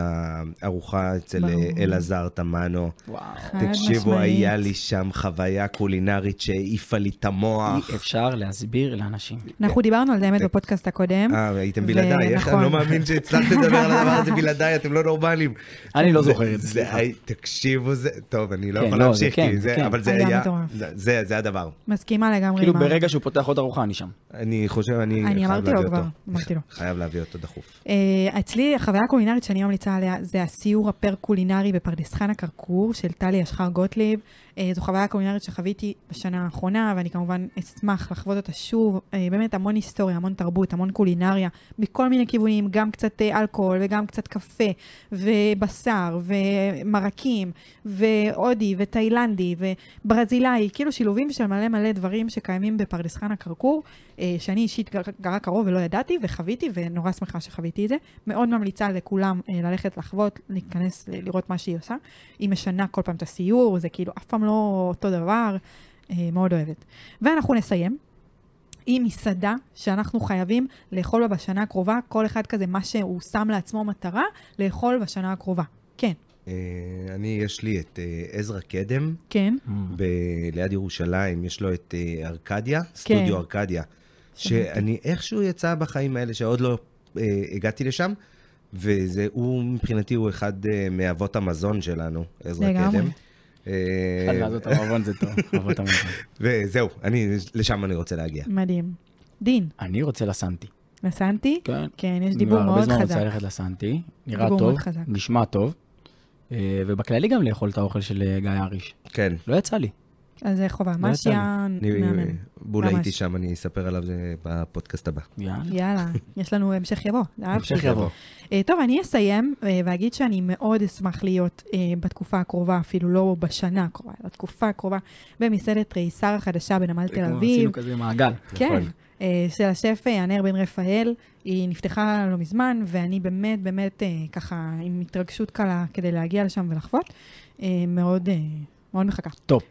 Speaker 3: הארוחה אצל אה,
Speaker 1: ברור.
Speaker 3: אלעזר תמנו.
Speaker 2: וואו.
Speaker 1: חד
Speaker 3: תקשיבו,
Speaker 1: משמעית.
Speaker 3: היה לי שם חוויה קולינרית שהעיפה לי את המוח.
Speaker 2: אי אפשר להסביר לאנשים.
Speaker 1: אנחנו דיברנו על זה, האמת, בפודקאסט הקודם.
Speaker 3: אה, הייתם בלעדיי, איך, אני לא
Speaker 1: ונכון.
Speaker 3: מאמין שהצלחת לדבר על הדבר הזה בלעדיי, אתם לא נורמלים.
Speaker 2: אני לא זוכר את זה,
Speaker 3: זה.
Speaker 2: סליחה.
Speaker 3: הי- תקשיבו, זה, טוב, אני לא
Speaker 2: כן,
Speaker 3: יכול
Speaker 2: לא, זה
Speaker 3: להמשיך,
Speaker 2: כן,
Speaker 3: כי
Speaker 2: כן.
Speaker 3: זה, אבל זה
Speaker 1: היה
Speaker 3: היה,
Speaker 1: מטורף.
Speaker 3: זה- זה זה הדבר.
Speaker 1: מסכימה לגמרי.
Speaker 2: כאילו
Speaker 1: עם ה-
Speaker 2: ברגע שהוא פותח עוד ארוחה אני שם.
Speaker 3: אני חושב, אני
Speaker 1: אני
Speaker 3: חייב
Speaker 1: אמרתי לו
Speaker 3: להביא
Speaker 1: כבר,
Speaker 3: אותו.
Speaker 1: אמרתי לו.
Speaker 3: חייב להביא אותו דחוף.
Speaker 1: אה, אצלי החוויה הקולינרית שאני ממליצה עליה זה הסיור הפר-קולינרי בפרדס חנה כרכור של טלי אשחר גוטליב. אה, זו חוויה קולינרית שחוויתי בשנה האחרונה, ואני כמובן אשמח לחוות אותה שוב. אה, באמת המון היסטוריה, המון תרבות, המון קולינריה, מכל מיני כיוונים, גם קצת אה, אלכוהול וגם קצת קפה, ובשר, ומרקים, והודי, ותאילנדי, וברזילאי, כאילו שילובים של מלא מלא דברים שקיימים בפרדס חנה כרכור. אה, שאני אישית גר- גרה קרוב ולא ידעתי, וחוויתי, ונורא שמחה שחוויתי את זה. מאוד ממליצה לכולם אה, ללכת לחוות, להיכנס, ל- לראות מה שהיא עושה. היא משנה כל פעם את הסיור, זה כאילו אף פעם לא אותו דבר, אה, מאוד אוהבת. ואנחנו נסיים. עם מסעדה שאנחנו חייבים לאכול בה בשנה הקרובה, כל אחד כזה, מה שהוא שם לעצמו מטרה, לאכול בשנה הקרובה. כן,
Speaker 3: אה, אני, יש לי את אה, עזרא קדם,
Speaker 1: כן,
Speaker 3: ב- ליד ירושלים, יש לו את אה, ארקדיה,
Speaker 1: כן.
Speaker 3: סטודיו ארקדיה. שאני איכשהו יצא בחיים האלה, שעוד לא אה, הגעתי לשם, וזה, הוא מבחינתי הוא אחד אה, מאבות המזון שלנו, עזרא
Speaker 1: לגמרי.
Speaker 3: קדם. אה,
Speaker 2: אחד לעזות המבון זה טוב, אבל אתה מבין.
Speaker 3: וזהו, אני, לשם אני רוצה להגיע.
Speaker 1: מדהים. דין,
Speaker 2: אני רוצה לסנטי.
Speaker 1: נסנתי?
Speaker 2: כן.
Speaker 1: כן, יש דיבור
Speaker 2: הרבה
Speaker 1: מאוד
Speaker 2: זמן לא
Speaker 1: חזק.
Speaker 2: רוצה ללכת לסנטי, נראה
Speaker 1: דיבור
Speaker 2: טוב,
Speaker 1: מאוד חזק.
Speaker 2: נשמע טוב, אה, ובכללי גם לאכול את האוכל של אה, גיא אריש.
Speaker 3: כן.
Speaker 2: לא יצא לי.
Speaker 1: אז זה חובה,
Speaker 2: לא יצא לי.
Speaker 1: משיה
Speaker 3: אני-
Speaker 1: מהמם.
Speaker 3: בול
Speaker 1: ממש.
Speaker 3: הייתי שם, אני אספר עליו אה, בפודקאסט הבא.
Speaker 2: יאללה.
Speaker 1: יאללה, יש לנו המשך יבוא. זה היה
Speaker 2: המשך
Speaker 1: פשוט.
Speaker 2: יבוא.
Speaker 1: אה, טוב, אני אסיים אה, ואגיד שאני מאוד אשמח להיות אה, בתקופה הקרובה, אפילו לא בשנה הקרובה, אלא בתקופה הקרובה, במסעדת תריסר החדשה בנמל
Speaker 2: זה
Speaker 1: תל
Speaker 2: כמו
Speaker 1: אביב.
Speaker 2: אה, עשינו כזה מעגל.
Speaker 1: כן,
Speaker 3: נכון.
Speaker 1: אה, של השף אה, ענר בן רפאל. היא נפתחה לא מזמן, ואני באמת, באמת, אה, ככה, עם התרגשות קלה כדי להגיע לשם ולחוות. אה, מאוד, אה, מאוד מחכה.
Speaker 2: טופ,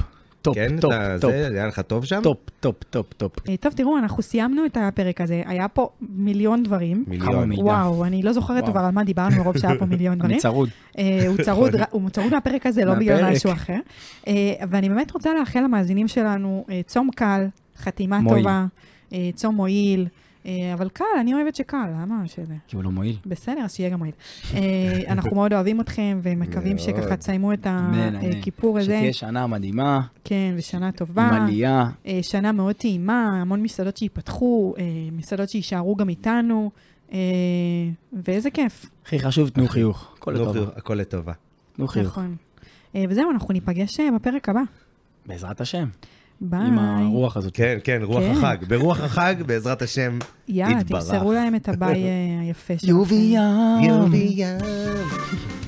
Speaker 2: טופ,
Speaker 3: כן,
Speaker 2: טופ,
Speaker 3: אתה-
Speaker 2: טופ,
Speaker 3: זה היה לך טוב שם?
Speaker 2: טופ, טופ, טופ, טופ.
Speaker 1: אה, טוב, תראו, אנחנו סיימנו את הפרק הזה. היה פה מיליון דברים.
Speaker 2: כמה מיליון.
Speaker 3: מיליון.
Speaker 2: מידע.
Speaker 1: וואו, אני לא זוכרת
Speaker 2: וואו.
Speaker 1: אבל על מה דיברנו, מרוב שהיה פה מיליון דברים.
Speaker 2: אני צרוד.
Speaker 1: אה, הוא צרוד, ר- הוא צרוד מהפרק הזה, לא בגלל
Speaker 2: מהפרק.
Speaker 1: משהו אחר. אה, ואני באמת רוצה לאחל למאזינים שלנו אה, צום קל, חתימה
Speaker 2: מועיל.
Speaker 1: טובה, אה, צום מועיל, אה, אבל קל, אני אוהבת שקל, למה שזה?
Speaker 2: כי הוא לא מועיל.
Speaker 1: בסדר, אז שיהיה גם מועיל. אה, אנחנו מאוד אוהבים אתכם, ומקווים
Speaker 3: מאוד.
Speaker 1: שככה תסיימו את
Speaker 2: אמן, אמן.
Speaker 1: הכיפור אה, הזה.
Speaker 2: שתהיה שנה מדהימה,
Speaker 1: כן, ושנה
Speaker 2: עם
Speaker 1: טובה.
Speaker 2: עלייה.
Speaker 1: אה, שנה מאוד טעימה, המון מסעדות שייפתחו, אה, מסעדות שיישארו גם איתנו, אה, ואיזה כיף.
Speaker 2: הכי חשוב, תנו חיוך. הכל
Speaker 3: נו,
Speaker 2: לטובה.
Speaker 3: הכל לטובה.
Speaker 2: תנו חיוך.
Speaker 1: נכון. אה, וזהו, אנחנו ניפגש אה, בפרק הבא.
Speaker 2: בעזרת השם.
Speaker 1: ביי.
Speaker 2: עם הרוח הזאת.
Speaker 3: כן, כן, רוח
Speaker 1: כן.
Speaker 3: החג. ברוח החג, בעזרת השם,
Speaker 1: יאללה,
Speaker 3: יתברך.
Speaker 1: תמסרו להם את הביי אה, היפה שלכם.
Speaker 2: יובי ים.
Speaker 3: יום וים.